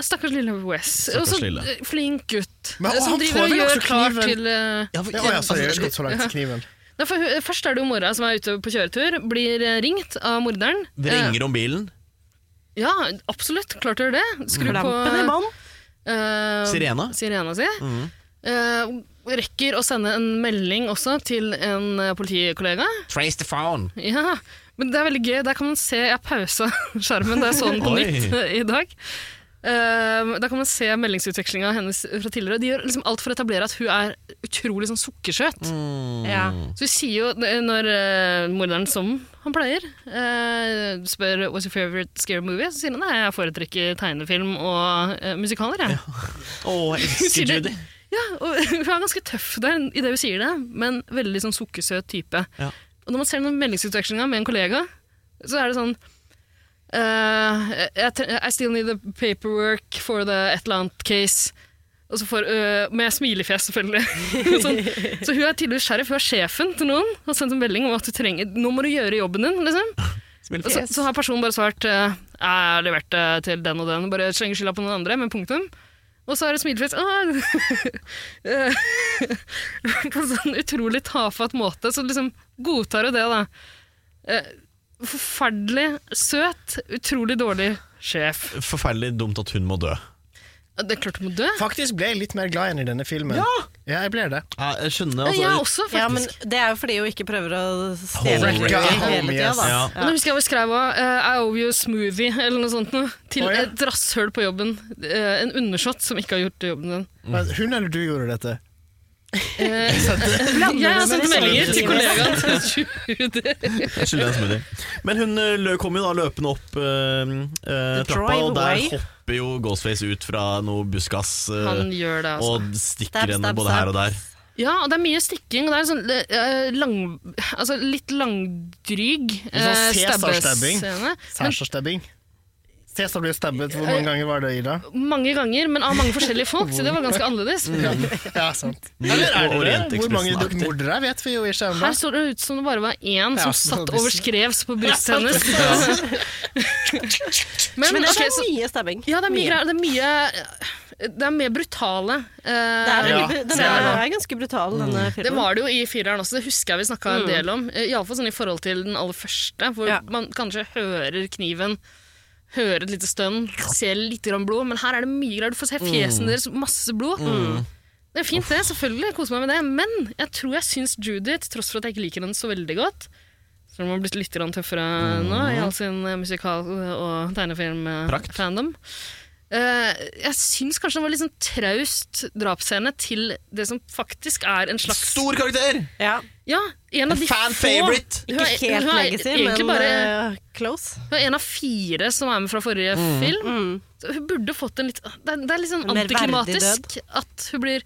S2: Stakkars lille Wes. Og så
S3: lille.
S2: eh, flink gutt.
S1: Men,
S2: eh,
S1: og
S2: som
S1: han
S2: driver
S1: får
S2: og
S1: vel
S2: gjør
S1: også
S2: klart
S1: kniven.
S2: til eh,
S3: Ja, for- altså,
S1: Ja, å ja, sorry, jeg har gått så langt til kniven.
S2: Nei, for, hun- først er det jo mora som er ute på kjøretur, blir eh, ringt av morderen.
S3: Det ringer om bilen.
S2: Eh, ja, absolutt. Klart du gjør det. Skru på
S4: Lampen i bånn.
S2: eh,
S3: Sirena. Mhm.
S2: Sirena si. Eh, rekker å sende en melding også til en eh, politikollega.
S3: Trace the phone.
S2: Ja, men det er veldig gøy. Der kan man se Jeg pausa *laughs* skjermen da jeg så den på
S3: Oi.
S2: nytt eh, i dag. Eh, da kan man se meldingsutvekslinga hennes fra tidligere. De gjør liksom alt for å etablere at hun er utrolig sånn sukkerskjøt.
S4: Ja.
S2: Så hun sier jo, eh, når eh, morderen som han pleier, eh, spør «What's your favorite scary movie?», så sier han «Nei, jeg foretrekker tegnefilm og eh, musikaler, jeg».
S3: Å, jeg
S2: Sier
S3: elsker
S2: det-
S3: Judy.
S2: Ja, og *laughs* hun er ganske tøff der i det hun sier det, men veldig sånn sukkersøt type.
S3: Ja.
S2: Og når man ser den meldingsutvekslinga med en kollega, så er det sånn eh, jeg tre- I still need the paperwork for the et eller annet case. Og så får, øh, med smilefjes, selvfølgelig. *laughs* sånn. Så hun er tydeligvis sheriff, hun er sjefen til noen. Har sendt en melding om at du trenger Nå må du gjøre jobben din, liksom. Og
S3: Altså,
S2: så, så har personen bare svart øh, Jeg har levert det til den og den, bare slenger skylda på noen andre, men punktum. Og så er det smilefjes «Åh!» Eh, *laughs* På en sånn utrolig tafatt måte, så liksom godtar hun det, da. Eh, Forferdelig søt, utrolig dårlig sjef.
S3: Forferdelig dumt at hun må dø.
S2: Det er klart du må dø.
S1: Faktisk ble jeg litt mer glad igjen i denne filmen. Ja, jeg ble det.
S3: Ja, jeg skjønner
S2: Jeg
S3: altså,
S2: også, faktisk.
S4: Ja, men det er jo fordi hun ikke prøver å stjele
S3: Hold
S4: hele
S1: it.
S4: tida, da.
S3: Ja.
S2: Og da husker jeg hvor jeg skrev også, eh, I owe you a smoothie, eller noe sånt noe. Til
S1: Å, ja.
S2: et rasshøl på jobben. Eh, en undersått som ikke har gjort jobben din.
S3: Mm.
S1: Men hun eller du gjorde dette? *laughs*
S2: Eh, jeg har sendt meldinger til *laughs* kollegaen. som
S1: *laughs*
S2: skjuler.
S3: Jeg skylder deg en smoothie. Men hun eh, lø- kom jo da løpende opp eh, eh,
S4: The
S3: trappa, og der
S4: driveway.
S3: hopper jo Ghostface ut fra noe buskas eh,
S2: Han gjør det, altså.
S3: og stikker
S4: Stab,
S3: henne
S4: stab,
S3: både her og
S4: stab.
S3: der.
S2: Ja, og det er mye stikking, og det er sånn eh, lang, altså litt langdryg eh,
S1: Sånn Cæsar-stabbing.
S2: stabbescene. Men
S1: Særstabbing. Cæsar ble jo stabbet. Hvor mange ganger var det, Ida?
S2: mange ganger, men av mange forskjellige folk, så det var ganske annerledes.
S1: Ja, sant. Eller er det det? Hvor mange
S3: Orientekspressen-aktig.
S1: mordere er, vet vi jo ikke ennå.
S2: Her så det ut som det bare var én
S1: Ja,
S2: som satt
S1: det-
S2: overskrevs på brystet hennes. *laughs* men,
S4: Men det
S2: ok,
S4: er
S2: så,
S4: så mye stabbing.
S2: ja, det er mye greier. Det er mye Det er mer brutale. eh,
S4: Det er,
S1: Ja,
S4: veldig- den
S1: det er
S4: er,
S1: det.
S4: er ganske brutal, denne filmen.
S2: det var det jo i fireren også, det husker jeg vi snakka
S3: Mm.
S2: en del om. Iallfall sånn i forhold til den aller første, hvor
S4: Ja.
S2: man kanskje hører kniven, hører et lite stønn, ser litt grann blod, men her er det mye greier. Du får se
S3: Mm.
S2: fjesen deres, masse blod. Det er fint, det. Selvfølgelig. Jeg koser meg med det. Men jeg tror jeg syns Judy, til tross for at jeg ikke liker henne så veldig godt Selv om hun har blitt litt grann tøffere nå
S3: Mm.
S2: i all sin eh, musikal- og
S3: Prakt.
S2: tegnefilm-fandom. Eh, jeg syns kanskje det var litt sånn traust drapsscene til det som faktisk er en slags
S3: Stor karakter!
S4: Ja,
S2: ja, en av de
S3: Fan
S2: få
S3: favorite!
S2: Hun
S4: ikke
S2: er-
S4: helt
S2: hun er
S4: legacy,
S2: egentlig
S4: men
S2: bare,
S4: eh, close.
S2: Hun er en av fire som er med fra forrige
S3: Mm.
S2: film. Så hun burde fått en litt Det er, det er litt sånn
S4: Mm. En mer verdig
S2: antiklimatisk at hun blir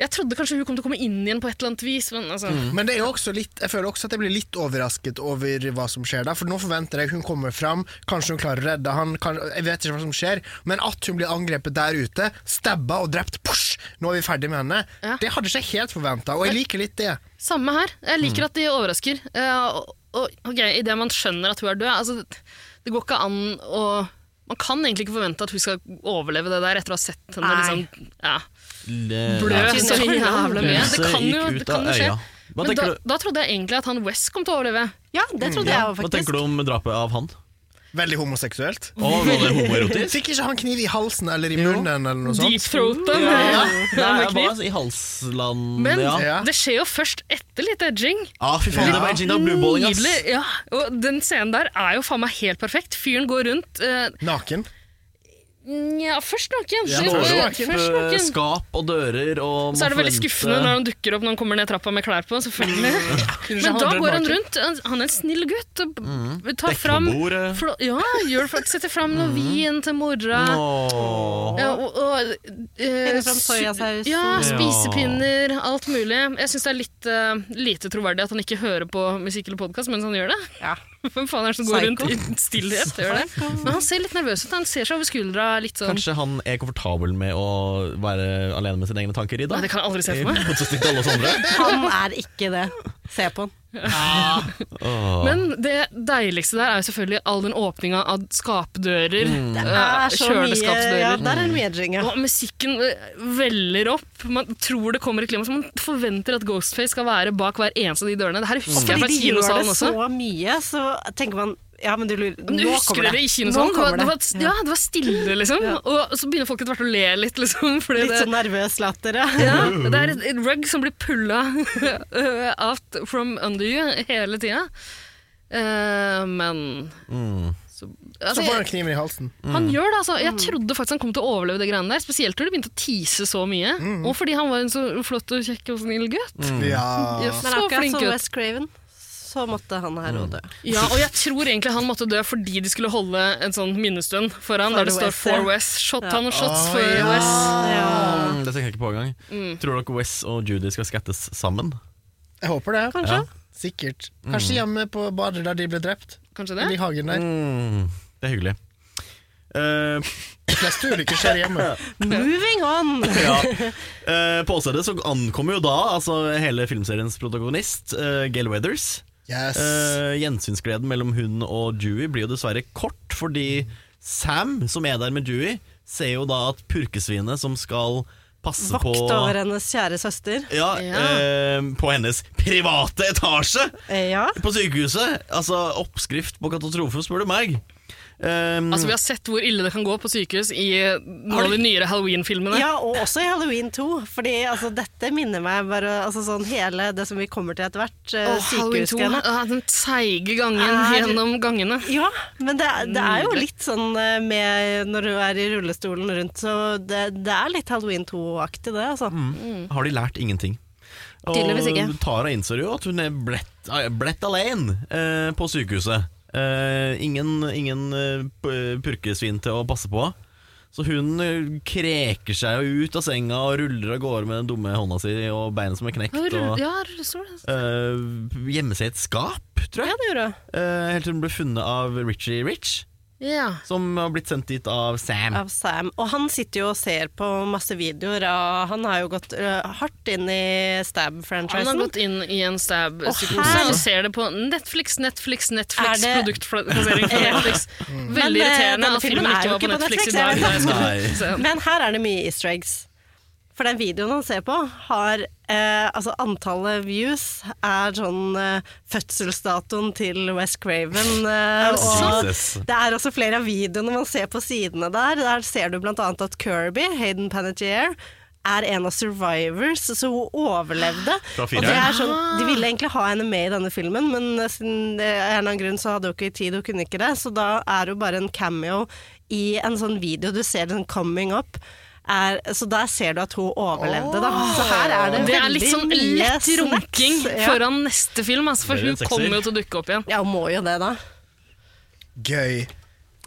S2: Jeg trodde kanskje hun kom til å komme inn igjen på et eller annet vis, men altså
S3: Mm.
S1: Men det er jo også litt, jeg føler også at jeg blir litt overrasket over hva som skjer der. For nå forventer jeg hun kommer fram, kanskje hun klarer å redde han, kan, jeg vet ikke hva som skjer. Men at hun blir angrepet der ute, stabba og drept, push, nå er vi ferdig med henne,
S2: Ja.
S1: det hadde ikke jeg helt forventa. Og jeg liker litt det.
S2: Samme her. Jeg
S3: Mm.
S2: liker at de overrasker. Eh, og, og, ok, Idet man skjønner at hun er død altså, det- Det går ikke an å Man kan egentlig ikke forvente at hun skal overleve det der etter å ha sett henne
S4: Nei.
S2: liksom ja.
S3: Blø.
S2: blød så jævla mye.
S3: Lyset
S2: Det kan jo,
S3: gikk ut
S2: det kan
S3: av
S2: jo skje.
S3: øya. Hva
S2: Men da,
S3: tenker,
S2: da trodde jeg egentlig at han West kom til å overleve.
S4: Ja,
S2: Mm.
S4: det trodde jeg òg,
S3: du, hva tenker
S4: faktisk.
S3: du om drapet av han?
S1: Veldig homoseksuelt.
S3: Å, var
S2: *laughs*
S3: det homoerotisk?
S1: Fikk ikke han kniv i halsen eller i munnen eller noe sånt?
S2: Deep throata med,
S3: Nei,
S2: med
S3: jeg
S2: kniv.
S3: var i Halsland,
S2: Men
S3: Mm, ja.
S1: Ja.
S2: det skjer jo først etter litt edging.
S3: Ah, fy faen, det var Gina Blueballing, ass.
S2: Nydelig. Ja. Og den scenen der er jo faen meg helt perfekt. Fyren går rundt eh,
S1: Naken.
S2: Nja, først naken.
S3: Ja,
S2: så-
S3: Skap,
S2: først naken.
S3: eh, skap og dører og
S2: Så er det
S3: man
S2: veldig
S3: forventer-
S2: skuffende når han dukker opp når han kommer ned trappa med klær på. *laughs* selvfølgelig.
S1: han
S2: Men da
S1: drev
S2: går han
S1: naken.
S2: rundt. Han- Han er en snill gutt. og b- Tar
S3: Dekker
S2: fram
S3: Mm. på bordet. Mm.
S2: flo- Ja, gjør, det, setter fram noe vin til mora.
S3: Åh.
S2: Ja, og, og, eh,
S4: Finner fram soyasaus.
S2: sy- Ja,
S4: Ja.
S2: spisepinner, alt mulig. Jeg syns det er litt eh, lite troverdig at han ikke hører på musikk eller podkast mens han gjør det.
S4: Ja.
S2: *laughs* Hvem faen er det som går
S4: Psycho.
S2: rundt i stillhet og gjør det? Men han ser litt nervøs ut. Han ser seg over skuldra litt sånn.
S3: Kanskje han er komfortabel med å være alene med sine egne tanker i dag?
S2: Nei, det kan jeg aldri se for meg.
S3: *laughs* I motsetning til alle oss
S2: *laughs*
S3: andre.
S4: Han er ikke det. Se på han.
S2: Men det deiligste der er jo selvfølgelig all den åpninga av skapdører.
S4: Det
S2: eh,
S4: er så mye
S2: kjøleskapsdører.
S4: Ja, der er det mye edging, ja.
S2: Og musikken eh, veller opp. Man tror det kommer et klima, så man forventer at Ghostface skal være bak hver eneste av de dørene. Det her
S4: Og
S2: husker jeg fra
S4: fordi de gjør
S2: kinosalen
S4: det
S2: også.
S4: så mye, så tenker man Ja, men du lurer
S2: Men du
S4: Nå
S2: husker
S4: kommer
S2: dere
S4: det.
S2: i
S4: Nå
S2: kinosalen? Det var,
S4: kommer
S2: det var,
S4: det.
S2: ja, det var stille, liksom. Og så begynner folk etter hvert å le litt, liksom. Fordi
S4: Litt
S2: det,
S4: sånn nervøs latter, ja.
S2: ja, det er et, et rug som blir pulla *laughs* uh, out from under you hele tida. Eh, men så,
S1: Så
S2: altså,
S1: får han
S2: jeg,
S1: kniven i halsen.
S2: Han gjør det, altså. Jeg trodde faktisk han kom til å overleve det greiene der. Spesielt når de begynte å tease så mye.
S4: Mm.
S2: Og fordi han var en så flott og kjekk og snill gutt.
S1: Ja.
S2: Så
S4: Men akkurat
S2: flink
S4: som
S2: gutt.
S4: Wes Craven, så måtte han her òg dø.
S2: Ja, og jeg tror egentlig han måtte dø fordi de skulle holde en sånn minnestund for han,
S4: For
S2: der det står
S4: Wes, ja.
S2: For Wes. Shot han og shots
S1: Å,
S2: for
S1: ja.
S2: Wes.
S4: Ja.
S3: Mm, Det tenker jeg ikke på engang.
S2: Mm.
S3: Tror dere Wes og Judy skal skattes sammen?
S1: Jeg håper det.
S4: Kanskje?
S1: Sikkert.
S3: Mm.
S1: Kanskje hjemme på badet der de ble drept.
S2: Kanskje det?
S1: Eller i hagen der.
S3: Mm, det er hyggelig. Eh,
S1: de fleste ulykker skjer
S3: *laughs*
S1: hjemme.
S4: Moving
S2: *laughs*
S4: on!
S3: Ja. Eh, på åstedet så ankommer jo da altså, hele filmseriens protagonist, eh, Gail Weathers.
S1: Yes.
S3: Eh, gjensynsgleden mellom hun og Dewey blir jo dessverre kort, fordi Sam, som er der med Dewey, ser jo da at purkesvinet som skal passe på
S4: Vakt over hennes kjære søster.
S3: ja,
S2: Ja.
S3: eh, på hennes private etasje
S4: Eh, Ja.
S3: på sykehuset. Altså oppskrift på katastrofe, spør du meg. Eh,
S2: Altså, vi har sett hvor ille det kan gå på sykehus i noen av de nyere Halloween-filmene.
S4: Ja, og også i Halloween 2. Fordi altså, dette minner meg bare altså, sånn hele det som vi kommer til etter hvert. eh,
S2: Åh, Halloween 2.
S4: sykehusgreiene.
S2: Ah, den seige gangen
S4: Er-
S2: gjennom gangene.
S4: Ja, men det, er- det
S2: Mm,
S4: er jo litt sånn eh, med når du er i rullestolen rundt, så det, det er litt Halloween 2-aktig det, altså.
S2: Mm.
S3: har de lært ingenting. Og
S4: Tydeligvis ikke.
S3: Tara innser jo at hun er blett, blett alene eh, på sykehuset. Eh, ingen ingen eh, p- purkesvin til å passe på. Så hun eh, kreker seg jo ut av senga og ruller av gårde med den dumme hånda si og beinet som er knekt.
S2: Ja, rull-
S3: Og,
S2: Ja, rullestol.
S3: eh, gjemmer seg i et skap, tror
S4: Ja,
S3: jeg.
S4: det gjorde hun.
S3: Eh, helt til hun ble funnet av Richie Rich,
S2: Ja.
S3: som har blitt sendt dit av Sam.
S4: Av Sam. Og han sitter jo og ser på masse videoer, og han har jo gått eh, hardt inn i
S2: Han har
S4: Stab-franchisen.
S2: gått inn i en
S4: her-
S2: stab-psykose og ser det på Netflix, Netflix, Netflix.
S4: Er det-
S2: Produktplassering fra Netflix.
S4: Men,
S2: Veldig
S4: eh,
S2: irriterende
S4: denne
S2: at filmen
S4: filmen er
S2: ikke
S4: jo
S2: var på
S4: ikke på
S2: Netflix i
S4: Netflix,
S2: dag.
S4: jeg vet
S3: Nei.
S2: Så-
S4: Men her er det mye easter eggs. For den videoen han ser på, har eh, altså antallet views er sånn eh, fødselsdatoen til Wes Craven. Eh, og
S3: Jesus.
S4: det er også flere av videoene man ser på sidene der. Der ser du bl.a. at Kirby, Hayden Panettiere, er en av survivors, så hun overlevde.
S3: *gasps* Fra
S4: Og det
S3: fireren?
S4: er sånn, de ville
S2: Ah.
S4: egentlig ha henne med i denne filmen, men eh, siden det er en eller annen grunn så hadde hun ikke tid, hun kunne ikke det. Så da er hun bare en cameo i en sånn video. Du ser den coming up. Er, så der ser du at hun overlevde, da. Så her er det,
S2: Det er
S4: veldig
S2: litt sånn
S4: mye
S2: lett
S4: snacks.
S2: runking
S4: Ja.
S2: foran neste film, altså, for
S3: Blir
S2: hun
S3: det en sekser?
S2: kommer jo til å dukke opp igjen.
S4: Ja, hun må jo det, da.
S1: Gøy.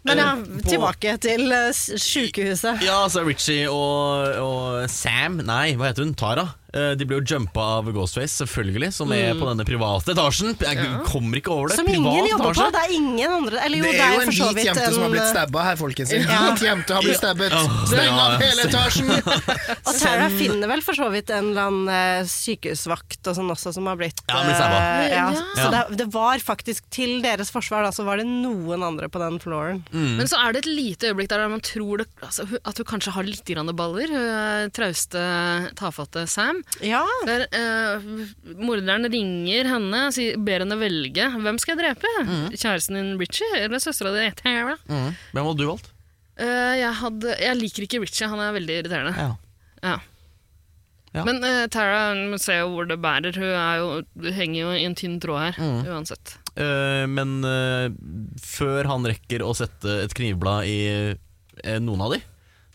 S4: Men ja,
S3: Eh, på-
S4: tilbake til eh, s- sjukehuset.
S3: Ja, altså Richie og, og Sam Nei, hva heter hun? Tara. Eh, De ble jo jumpa av Ghostface, selvfølgelig, som er på denne private etasjen. Jeg kommer ikke over det.
S4: Mm. Som ingen
S3: privat
S4: jobber på.
S3: etasje.
S4: Det er ingen andre Eller jo,
S1: Det er jo en
S4: for så
S1: hvit
S4: vidt
S1: jente som har blitt
S4: en- eh,
S1: stabba her, folkens. En hvit jente har blitt stabbet.
S3: Åh,
S1: Steng
S3: ja,
S1: av
S3: ja.
S1: hele etasjen!
S3: *laughs*
S4: Og Tara finner vel for så vidt en eller annen eh, sykehusvakt og sånn også som har blitt
S3: Ja, men
S4: eh,
S3: samme.
S4: ja.
S2: Ja.
S4: Så det, det var faktisk til deres forsvar, da, så var det noen andre på den flooren.
S3: Mm.
S2: Men så er det et lite øyeblikk der man tror det, altså, hun- at hun kanskje har litt grann baller, hun eh, trauste, tafatte Sam.
S4: Ja.
S2: Der eh, morderen ringer henne og sier- ber henne velge. Hvem skal jeg drepe?
S4: Mm.
S2: Kjæresten din Richie eller søstera di Tara?
S3: Hvem hadde du valgt?
S2: Eh, jeg, hadde, jeg liker ikke Richie, han er veldig irriterende.
S3: Ja.
S2: Ja.
S3: Ja.
S2: Men eh, Tara hun ser jo hvor det bærer. Hun, er jo, hun henger jo i en tynn tråd her,
S4: Mm.
S2: uansett.
S3: Eh, men eh, før han rekker å sette et knivblad i eh, noen av de,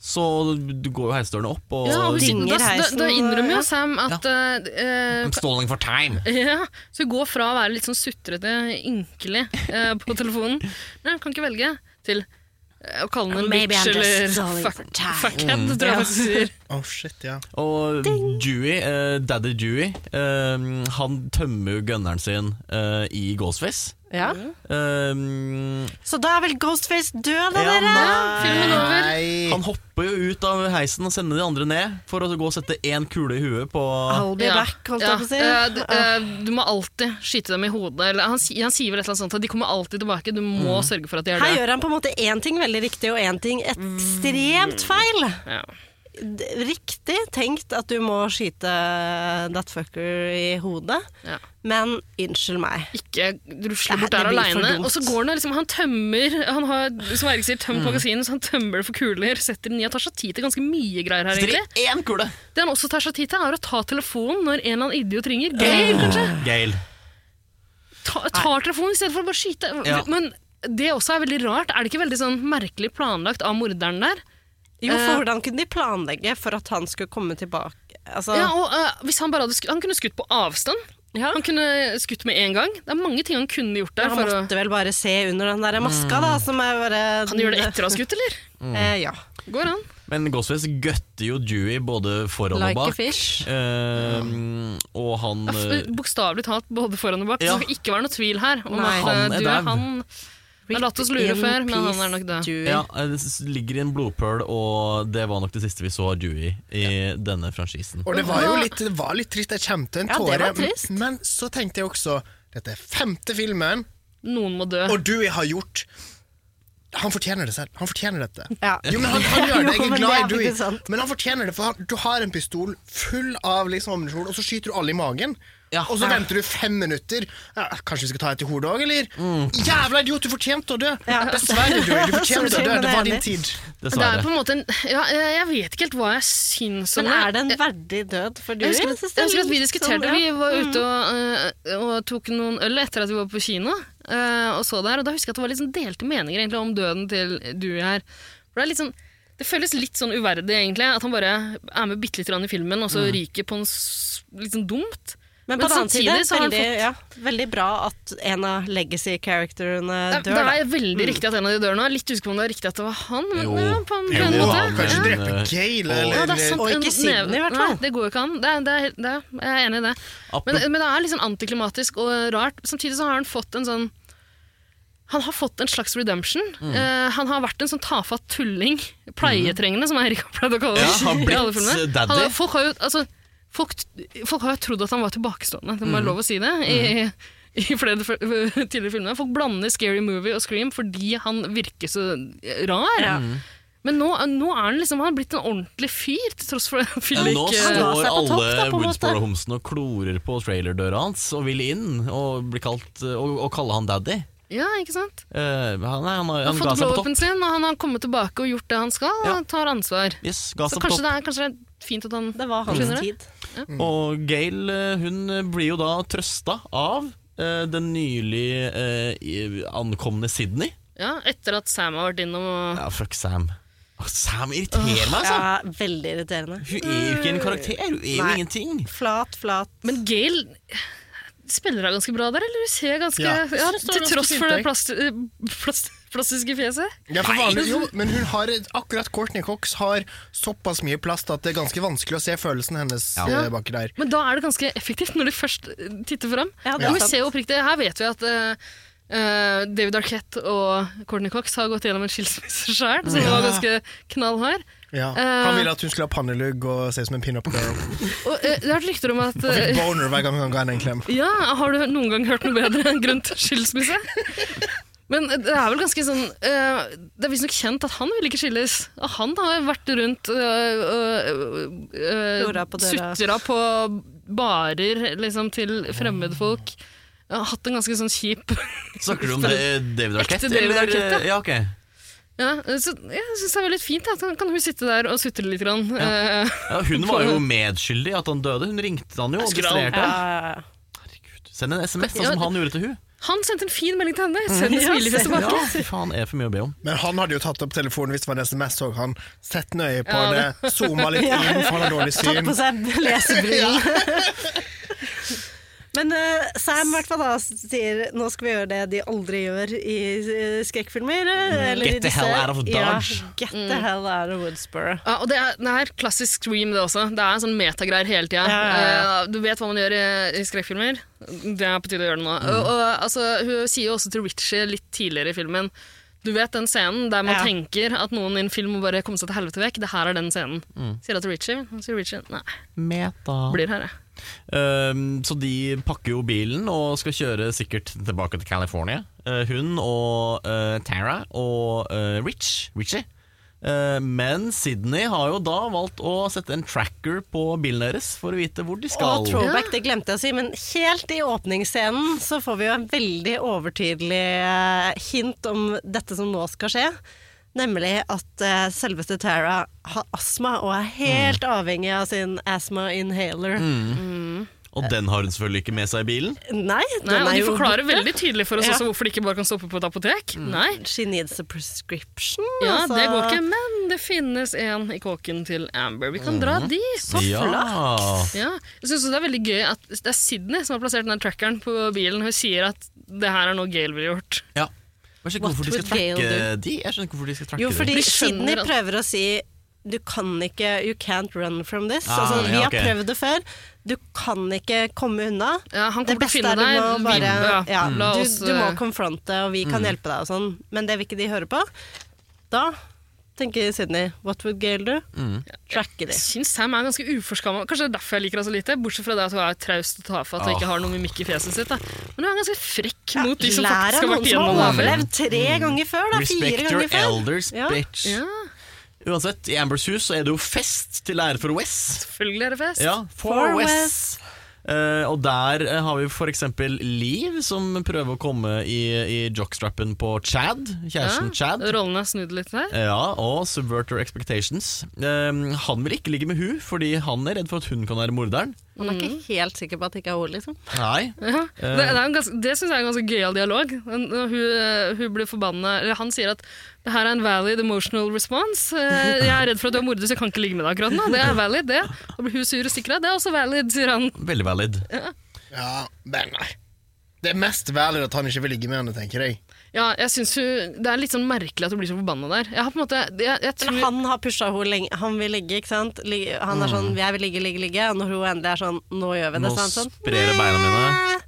S3: så du går jo heisdørene opp og
S2: Ja, og hun, da,
S4: dinger
S2: da, da
S4: heisen,
S2: innrømmer
S4: ja.
S2: jo Sam at eh, eh, *laughs*
S3: I'm stalling for time.
S2: Ja, så hun går fra å være litt sånn sutrete, ynkelig eh, på telefonen Nei, kan ikke velge Til eh, å kalle henne en
S4: Maybe
S2: bitch
S4: I'm just Mm.
S2: eller
S4: sorry
S2: fuck,
S4: for time.
S2: fuckhead, tror jeg faktisk sier.
S1: Åh, Oh, shit, ja.
S3: Og Dewey, eh, daddy Dewey, eh, han tømmer jo gunneren sin eh, i Ghostface.
S4: ja.
S3: Eh,
S4: Så da er vel Ghostface død, da,
S3: Ja,
S4: dere?
S2: Filmen over.
S1: Nei.
S3: Han hopper jo ut av heisen og sender de andre ned for å gå og sette én kule i huet på
S4: I'll be
S2: Ja,
S4: back, holdt jeg
S2: ja,
S4: på å si.
S2: eh, d- eh, Du må alltid skyte dem i hodet eller, han, si- han sier vel et eller annet sånt at De kommer alltid tilbake, du må sørge for at de gjør
S4: Mm. Her
S2: det
S4: gjør han på en måte én ting veldig riktig og én ting
S3: Mm.
S4: ekstremt feil.
S2: ja.
S4: D- Riktig tenkt at du må skyte that fucker i hodet,
S2: Ja.
S4: men unnskyld meg.
S2: Ikke rusle
S4: Det-
S2: bort
S4: det
S2: der
S4: blir for
S2: alene
S4: dumt.
S2: Og så går han og liksom, han tømmer Han har, som Erik sier,
S4: Mm.
S2: tømt magasinet Så han tømmer det for kuler, setter den i og tar seg tid til ganske mye greier her egentlig
S3: Strikk én kule!
S2: Det han også tar seg tid til, er å ta telefonen når en eller annen idiot ringer. Gail, kanskje?
S3: Gail.
S2: Ta, tar telefonen i stedet for å bare skyte.
S3: Ja.
S2: Men det også er veldig rart. Er det ikke veldig sånn merkelig planlagt av morderen der?
S4: Jo,
S2: Eh,
S4: for hvordan kunne de planlegge for at han skulle komme tilbake? Altså,
S2: Ja, og eh, hvis Han bare hadde skutt, han kunne skutt på avstand. Han kunne skutt med en gang. Det er mange ting han kunne gjort der.
S4: han
S2: for å, Mm.
S4: måtte vel bare se under den der maska, da, som er bare
S2: han gjør det etter å ha skutt, eller?
S4: Eh, ja.
S2: Går an.
S3: Men Ghostface gøtter jo Dewey både foran
S4: Like
S3: og
S4: a
S3: bak.
S4: fish.
S3: Eh, og han eh,
S2: Bokstavelig talt både foran og bak.
S3: Ja.
S2: Det skal ikke være noe tvil her om
S4: Nei.
S2: at
S3: Han
S2: eh,
S3: er
S2: du
S3: dau.
S2: han har latt oss lure
S4: In
S2: før, men han er
S4: peace,
S2: nok død.
S4: Dewey.
S3: Ja, eh, det s- ligger i en blodpøl, og det var nok det siste vi så av Dewey i denne franchisen.
S1: Og det var jo litt, det var litt trist. Jeg kjente en
S4: Ja, det
S1: tåre.
S4: var trist.
S1: Men så tenkte jeg også Dette er femte filmen,
S2: Noen må dø.
S1: og Dewey har gjort Han fortjener det selv. Han fortjener dette.
S4: Ja.
S1: Jo, men han, han gjør det.
S4: *laughs* Jo,
S1: Jeg er
S4: men
S1: glad i
S4: det er
S1: Dewey.
S4: faktisk sant.
S1: Men han fortjener det, for han, du har en pistol full av liksom ammunisjon, og så skyter du alle i magen. Og så venter du fem minutter. Ja, kanskje vi skal ta et i hodet òg, eller?
S4: Mm.
S1: Jævla idiot, du fortjente å dø! Dessverre, Dewey. Du fortjente å dø.
S4: *laughs* Sorry,
S1: Det
S4: men jeg er
S1: var din
S4: enig.
S1: tid.
S2: det er
S3: Dessverre.
S2: på en måte en, ja, jeg jeg vet ikke helt hva jeg syns om
S4: Men er det en verdig død for
S2: Jeg
S4: Dewey?
S2: husker,
S4: synes
S2: at,
S4: det er
S2: jeg husker at vi
S4: litt
S2: diskuterte
S4: sånn,
S2: det.
S4: ja.
S2: Vi var ute og, øh, og tok noen øl etter at vi var på kino. øh, og så der, og Da husker jeg at det var litt sånn delte meninger egentlig, om døden til Dewey her. For det, er litt sånn, det føles litt sånn uverdig, egentlig, at han bare er med bitte litt i filmen, og så ryker på en s- litt sånn dumt.
S4: Mm. Men på den annen side,
S2: samtidig så har han
S4: veldig, ja, veldig bra at en av legacy-characterene
S2: Det,
S4: dør.
S2: det
S4: da. Mm.
S2: er veldig riktig at en av de dør nå. Jeg er Litt usikker på om det er riktig at det var han. Men,
S3: Jo.
S2: ja, på en,
S3: Jo,
S2: på en måte.
S3: han-
S1: Kanskje
S3: Men,
S1: drepe
S3: eh,
S1: Gail,
S3: og-
S1: eller
S2: Ja, det er sant.
S4: Og ikke
S2: En
S4: Sydney,
S2: neve-
S4: i hvert fall.
S2: Nei, det går jo ikke an. Det er, det er, det er, jeg er enig i det.
S3: Appen-
S2: Men, men det er litt sånn antiklimatisk og rart. Samtidig så har han fått en sånn han har fått en slags redemption. Eh, han har vært en sånn tafatt tulling, pleietrengende, som Eirik har pleid å kalle det.
S3: Ja, har
S2: i
S3: blitt
S2: alle filmer.
S3: daddy.
S2: Han, folk, har jo, altså, folk, folk har jo trodd at han var tilbakestående, det må være lov å si det, i, i flere f- tidligere filmer. Folk blander Scary Movie og Scream fordi han virker så rar. Mm. Men nå, nå er han liksom, han har blitt en ordentlig fyr, til tross for *laughs* eh, det.
S3: Men nå
S4: la
S3: står
S4: seg på topp, da,
S3: alle
S4: på en måte.
S3: Woodsboro-homsene og klorer på trailerdøra hans og vil inn og, bli kalt, eh, og, og kalle han daddy.
S2: Ja, ikke sant?
S3: Eh, han, nei, han,
S2: Han har
S3: han ga
S2: fått
S3: seg på topp.
S2: blow-upen sin, og han har kommet tilbake og gjort det han skal, og
S3: Ja.
S2: han tar ansvar.
S3: Yes, ga
S2: Så
S3: seg på
S2: kanskje
S3: topp.
S2: det, er, kanskje det er fint at han
S4: Det var hans
S2: Skjønner du?
S4: tid.
S3: Og Gail eh, hun blir jo da trøsta av eh, den nylig eh, i- ankomne Sydney.
S2: Ja, etter at Sam har vært innom og
S3: Ja, fuck Sam. Å, Sam irriterer meg, altså!
S4: Ja, veldig irriterende.
S3: Hun er jo ikke en karakter, hun er jo
S4: Nei.
S3: ingenting.
S4: Flat, flat.
S2: Men Gail spiller hun ganske bra der, eller? Hun ser ganske Ja,
S1: Ja.
S2: til
S1: Det står ganske
S2: tross
S1: fint
S2: for det
S1: der.
S2: plast, eh, plast, plastiske fjeset.
S1: Ja, for vanlig, jo, men hun har, akkurat Courtney Cox har såpass mye plast at det er ganske vanskelig å se følelsen hennes
S2: Ja.
S1: eh, baki der.
S2: Men da er det ganske effektivt, når de først eh, titter fram.
S4: Ja, det er
S2: Og vi
S4: sant.
S2: ser jo oppriktig, her vet vi at eh, eh, David Arquette og Courtney Cox har gått gjennom en skilsmisse sjøl, som var ganske knallhard.
S1: Ja.
S2: Eh.
S1: Han ville at hun skulle ha pannelugg og se ut som en pinup
S4: *laughs*
S1: girl.
S2: Og eh, det har vært rykter om at
S1: Og
S2: eh,
S1: fikk boner hver gang han ga henne en klem.
S2: Ja, har du noen gang hørt noe bedre enn grunn til skilsmisse? Men det er vel ganske sånn eh, Det er visstnok kjent at han vil ikke skilles. Og han har vært rundt eh, og
S4: Flora på døra.
S2: sutra på barer liksom, til fremmedfolk. Jeg har hatt en ganske sånn kjip *laughs*
S3: Snakker du om det, David Arquette?
S2: Ekte David
S3: eller-
S2: Arquette,
S3: ja. ok.
S2: ja, Så jeg syns det er veldig fint. Da. Så kan hun sitte der og sutre litt. Grann. Eh,
S3: Ja, hun var jo medskyldig i at han døde. Hun ringte han jo og
S2: Skulle han-
S3: distraherte
S4: Ja,
S3: ham.
S4: ja, ja.
S3: Send en SMS, da,
S2: Ja,
S3: som han gjorde til hun.
S2: han sendte en fin melding til henne. Send
S4: Ja,
S2: smilefjes
S4: send-
S2: tilbake.
S3: Ja, fy faen, er for mye å be om.
S1: Men han hadde jo tatt opp telefonen hvis det var en SMS, så han sett nøye på
S2: Ja, det-
S1: henne, zooma litt inn, for han har dårlig
S4: Tatt
S1: syn.
S4: på seg lesebrillen. *laughs* Men eh, Sam i hvert fall da sier nå skal vi gjøre det de aldri gjør i eh, skrekkfilmer.
S2: Mm.
S4: eh, eller
S3: Get
S4: i
S3: the
S4: disse-
S3: hell out of Dodge.
S4: Ja, get the hell out of Woodsboro.
S2: Ja, og det er, det er klassisk Scream, det også. Det er en sånn metagreier hele tida.
S4: Ja, ja, ja.
S2: Eh, Du vet hva man gjør i, i skrekkfilmer. Det er på tide å gjøre det
S4: Mm.
S2: nå. Og, og, altså, hun sier jo også til Richie litt tidligere i filmen Du vet den scenen der man
S4: Ja.
S2: tenker at noen i en film må bare komme seg til helvete vekk? Det her er den scenen.
S4: Mm.
S2: Sier det til Richie. Han sier Richie nei,
S3: Meta.
S2: blir her, jeg.
S3: Um, så de pakker jo bilen og skal kjøre sikkert tilbake til California. Eh, hun og eh, Tara og eh, Rich. Richie. Eh, men Sydney har jo da valgt å sette en tracker på bilen deres for å vite hvor de skal.
S4: Og throwback, det glemte jeg å si, men helt i åpningsscenen så får vi jo en veldig overtydelig eh, hint om dette som nå skal skje. Nemlig at eh, selveste Tara har astma
S3: Mm.
S4: og er helt avhengig av sin asthma inhaler.
S3: Og den har hun selvfølgelig ikke med seg i bilen.
S4: Nei, den
S2: Nei, og
S4: er
S2: de
S4: jo
S2: forklarer
S4: borte.
S2: veldig tydelig for oss
S4: Ja.
S2: også hvorfor de ikke bare kan stoppe på et apotek. Nei.
S4: She needs a prescription.
S2: Ja,
S4: altså.
S2: det går ikke, men det finnes en i kåken til Amber. Vi kan
S4: Mhm.
S2: dra dit.
S3: Ja.
S2: Ja, jeg synes også det er veldig gøy at det er Sydney som har plassert den trackeren på bilen. Hun sier at det her er noe Gail ville gjort.
S3: Ja. Jeg skjønner ikke
S4: What
S3: hvorfor de skal
S4: would Gail
S3: tracke de. Jeg skjønner ikke hvorfor de skal tracke
S4: Jo, fordi
S2: De skjønner
S4: Sydney
S2: at-
S4: prøver å si du kan ikke You can't run from this.
S3: Ah,
S4: altså, vi
S3: ja,
S4: har
S3: ok.
S4: prøvd det før. Du kan ikke komme unna.
S2: Ja, han
S4: det
S2: kommer til å
S4: beste
S2: finne
S4: er du
S2: deg.
S4: må
S2: Vi-
S4: bare
S2: ja,
S4: ja,
S2: la
S4: du,
S2: oss,
S4: du må
S2: eh, mm.
S4: konfronte, og vi kan hjelpe deg og sånn. Men det vil ikke de høre på. Da tenker Sydney What would Gail do?
S3: Mm.
S4: Tracke de.
S2: Jeg syns Sam er ganske uforskamma. Kanskje det er derfor jeg liker henne så lite. Bortsett fra det at hun er traust og tafatt og ikke har noe mimikk i fjeset sitt. Da. Men hun er ganske frekk mot de som
S4: Lær
S2: faktisk har
S4: av noen
S2: vært
S4: som
S2: igjennom
S4: har
S2: det før.
S4: overlevd tre ganger før, da.
S3: Mm.
S4: Fire
S3: Respect your
S4: ganger før.
S3: elders,
S4: Ja.
S3: bitch.
S2: Ja,
S3: Uansett, i Ambers hus så er det jo fest til ære for West.
S2: selvfølgelig er det fest.
S3: Ja, for,
S4: For
S3: Wes.
S4: Wes.
S3: Eh, og der eh, har vi for eksempel Liv, som prøver å komme i, i jockstrappen på Chad. Kjæresten Chad.
S2: Rollene er snudd litt her.
S3: Ja, og Subvert Your Expectations. Eh, han vil ikke ligge med hun, fordi han er redd for at hun kan være morderen.
S4: Han er ikke helt sikker på at det ikke er henne, liksom.
S3: Nei.
S2: Ja. Det,
S1: Eh.
S2: det, er en ganske, det synes jeg er en ganske gøyal dialog. eh, Hun, hun, hun blir forbanna eller Han sier at det her er en valid emotional response. Eh, Jeg er redd for at du har mordet, så jeg kan ikke ligge med deg akkurat nå. Det er valid, det. Da blir hun sur og stikker av. Det er også valid, sier han.
S3: Veldig valid.
S1: Ja, men nei. Det er mest valid at han ikke vil ligge med henne, tenker jeg.
S2: Ja, jeg synes hun, Det er litt sånn merkelig at hun blir så forbanna der. Jeg har på en måte, jeg, jeg tror,
S4: Men han har pusha henne lenge. Han vil ligge, ikke sant. Ligge, han er sånn 'jeg vil ligge, ligge, ligge'. Og når hun endelig er sånn 'nå gjør vi
S3: Mm. Nå
S4: det', så er han sånn
S3: sprer det beina mine.
S4: «Nei».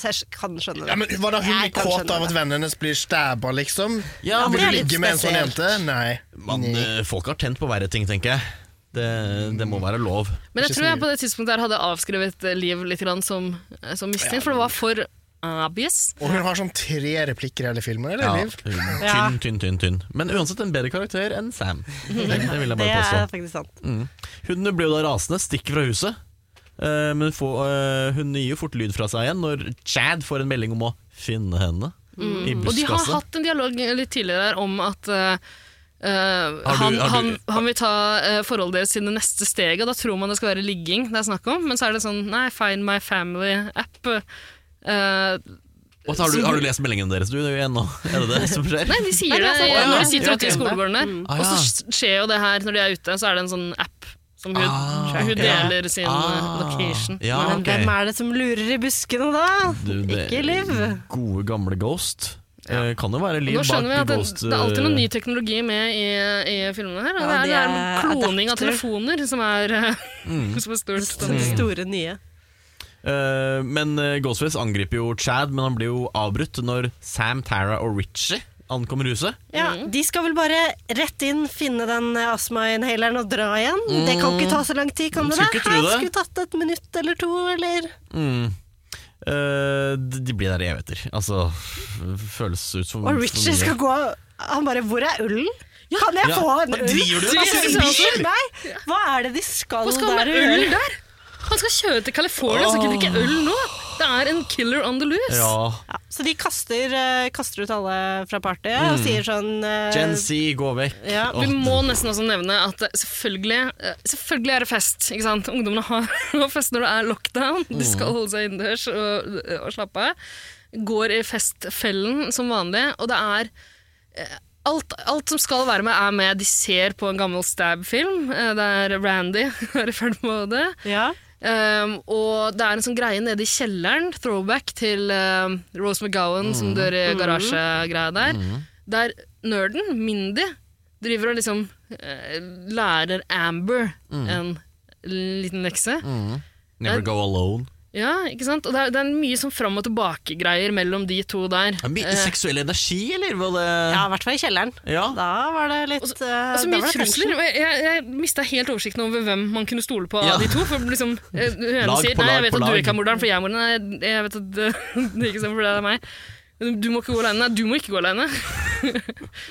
S4: Så jeg kan skjønne det.
S1: Ja, men Var det hun
S4: Jeg
S1: litt
S4: kan
S1: kåt
S4: skjønne
S1: av at
S4: det.
S1: vennen hennes blir stabba, liksom?
S3: Ja,
S1: vil
S3: det er
S1: du
S4: litt
S1: ligge med en sånn
S4: spesielt.
S1: jente? Nei.
S3: Man,
S1: Nei.
S3: eh, folk har tent på verre ting, tenker jeg. Det, det må være lov.
S2: men jeg
S1: ikke
S2: tror
S1: så
S2: jeg på det tidspunktet her hadde avskrevet eh, Liv litt grann som, eh, som mistenkt, for det var for obvious.
S1: Og hun har sånn tre replikker i hele filmen, eller,
S3: Ja,
S1: Liv?
S3: Tynn, tynn, tynn. tynn Men uansett en bedre karakter enn Sam. Det, det vil jeg
S4: Det
S3: bare
S4: er
S3: påstå.
S4: faktisk sant.
S3: Hun ble jo da rasende, stikker fra huset. Eh, men få, eh, hun gir jo fort lyd fra seg igjen når Chad får en melding om å finne henne. I
S2: Mm. Og de har
S3: buskaset.
S2: hatt en dialog litt tidligere der om at eh, eh,
S3: du-
S2: han,
S3: har du-
S2: han, han vil ta eh, forholdet deres til det neste steget, og da tror man det skal være ligging det er snakk om, men så er det sånn nei, find my family-app. eh,
S3: Og så har, du, har du lest meldingene deres, du? Det er jo ennå. Er det det som skjer?
S2: Nei, de sier
S4: Nei,
S2: det,
S4: det er sant.
S2: når de
S4: Ja,
S2: sitter ute
S4: ja,
S2: i
S4: ok. Mm.
S2: skolegården der.
S3: Ah,
S2: Og
S3: ja.
S2: så skjer jo det her når de er ute, så er det en sånn app som hun,
S3: Ah,
S2: hun
S3: ok.
S2: deler sin
S3: Ah,
S2: eh, location.
S3: Ja,
S4: Men
S3: ok.
S4: hvem er det som lurer i buskene da?
S3: Du, det- Mm.
S4: Ikke Liv.
S3: Gode, gamle Ghost. Eh, kan jo være Liv
S2: Nå
S3: bak
S2: skjønner vi at det,
S3: Ghost. eh,
S2: det er alltid noe ny teknologi med i, i filmene her. Og
S4: Ja,
S2: det, er, det er
S4: det er
S2: kloning av
S4: adapter.
S2: telefoner som er, eh, *laughs*
S3: Mm.
S2: som er stort.
S4: Det store nye.
S3: Eh, men eh, Ghostface angriper jo Chad, men han blir jo avbrutt når Sam, Tara og Richie ankommer huset.
S4: Ja, De skal vel bare rett inn, finne den eh, astmainhaleren og dra igjen? Det kan ikke ta så lang tid, kan det
S3: Mm. Skulle
S4: det?
S3: ikke tro
S4: Her
S3: det.
S4: skulle tatt et minutt eller to, eller
S3: Mm. Eh, de de blir der i evigheter. Altså, f- føles ut som
S4: Og Richie skal gå Han bare 'Hvor er ullen?' Kan jeg
S3: Ja,
S4: få en
S3: hva
S4: ull?
S3: driver du med?
S4: Altså,
S2: Det er
S4: unnskyld meg! Hva er det de skal,
S2: Hva skal han
S4: der
S2: med
S4: og
S2: øl
S4: gjøre?
S2: der? Han skal kjøre til California, så gidder ikke øl nå! Det er en killer on the loose.
S3: Ja.
S4: Ja, så de kaster, eh, kaster ut alle fra partyet
S1: Mm.
S4: og sier sånn eh,
S3: Gen Z, gå vekk.
S4: Ja,
S3: Åh,
S2: Vi må nesten også nevne at det- selvfølgelig, eh, selvfølgelig er det fest. ikke sant? Ungdommene har *laughs* har fest når det er lockdown. De skal holde seg innendørs og, og slappe av. Går i festfellen som vanlig, og det er eh, Alt, alt som skal være med, er med. De ser på en gammel Stab-film, eh, der Randy *laughs* er i ferd med å dø.
S4: Ja.
S2: Um, og det er en sånn greie nede i kjelleren, throwback til um, Rose McGowan
S3: Mhm.
S2: som dør i garasjegreia der, der nerden, Mindy, driver og liksom eh, lærer Amber
S3: Mhm.
S2: en liten lekse.
S3: Never go alone.
S2: Ja, ikke sant? Og det er, det er mye sånn fram og tilbake-greier mellom de to der.
S3: Ja, mye
S2: Eh,
S3: seksuell energi, eller? Var det
S4: ja, i hvert fall i kjelleren.
S3: Ja.
S4: Da var det litt
S2: Og så- og
S4: eh,
S2: så
S4: da
S2: Altså, mye
S4: var det
S2: trusler.
S4: tension.
S2: og Jeg, jeg, jeg mista helt oversikten over hvem man kunne stole på
S3: Ja.
S2: av de to. For liksom, eh, hun ene
S3: Lag
S2: sier
S3: på
S2: Nei,
S3: lag
S2: jeg vet
S3: på
S2: at du
S3: lag.
S2: ikke er morderen, for jeg er morderen. Nei, jeg vet at det, *laughs* det er ikke sånn, for det er meg. Du må ikke gå alene. Nei, du må ikke gå alene. *laughs*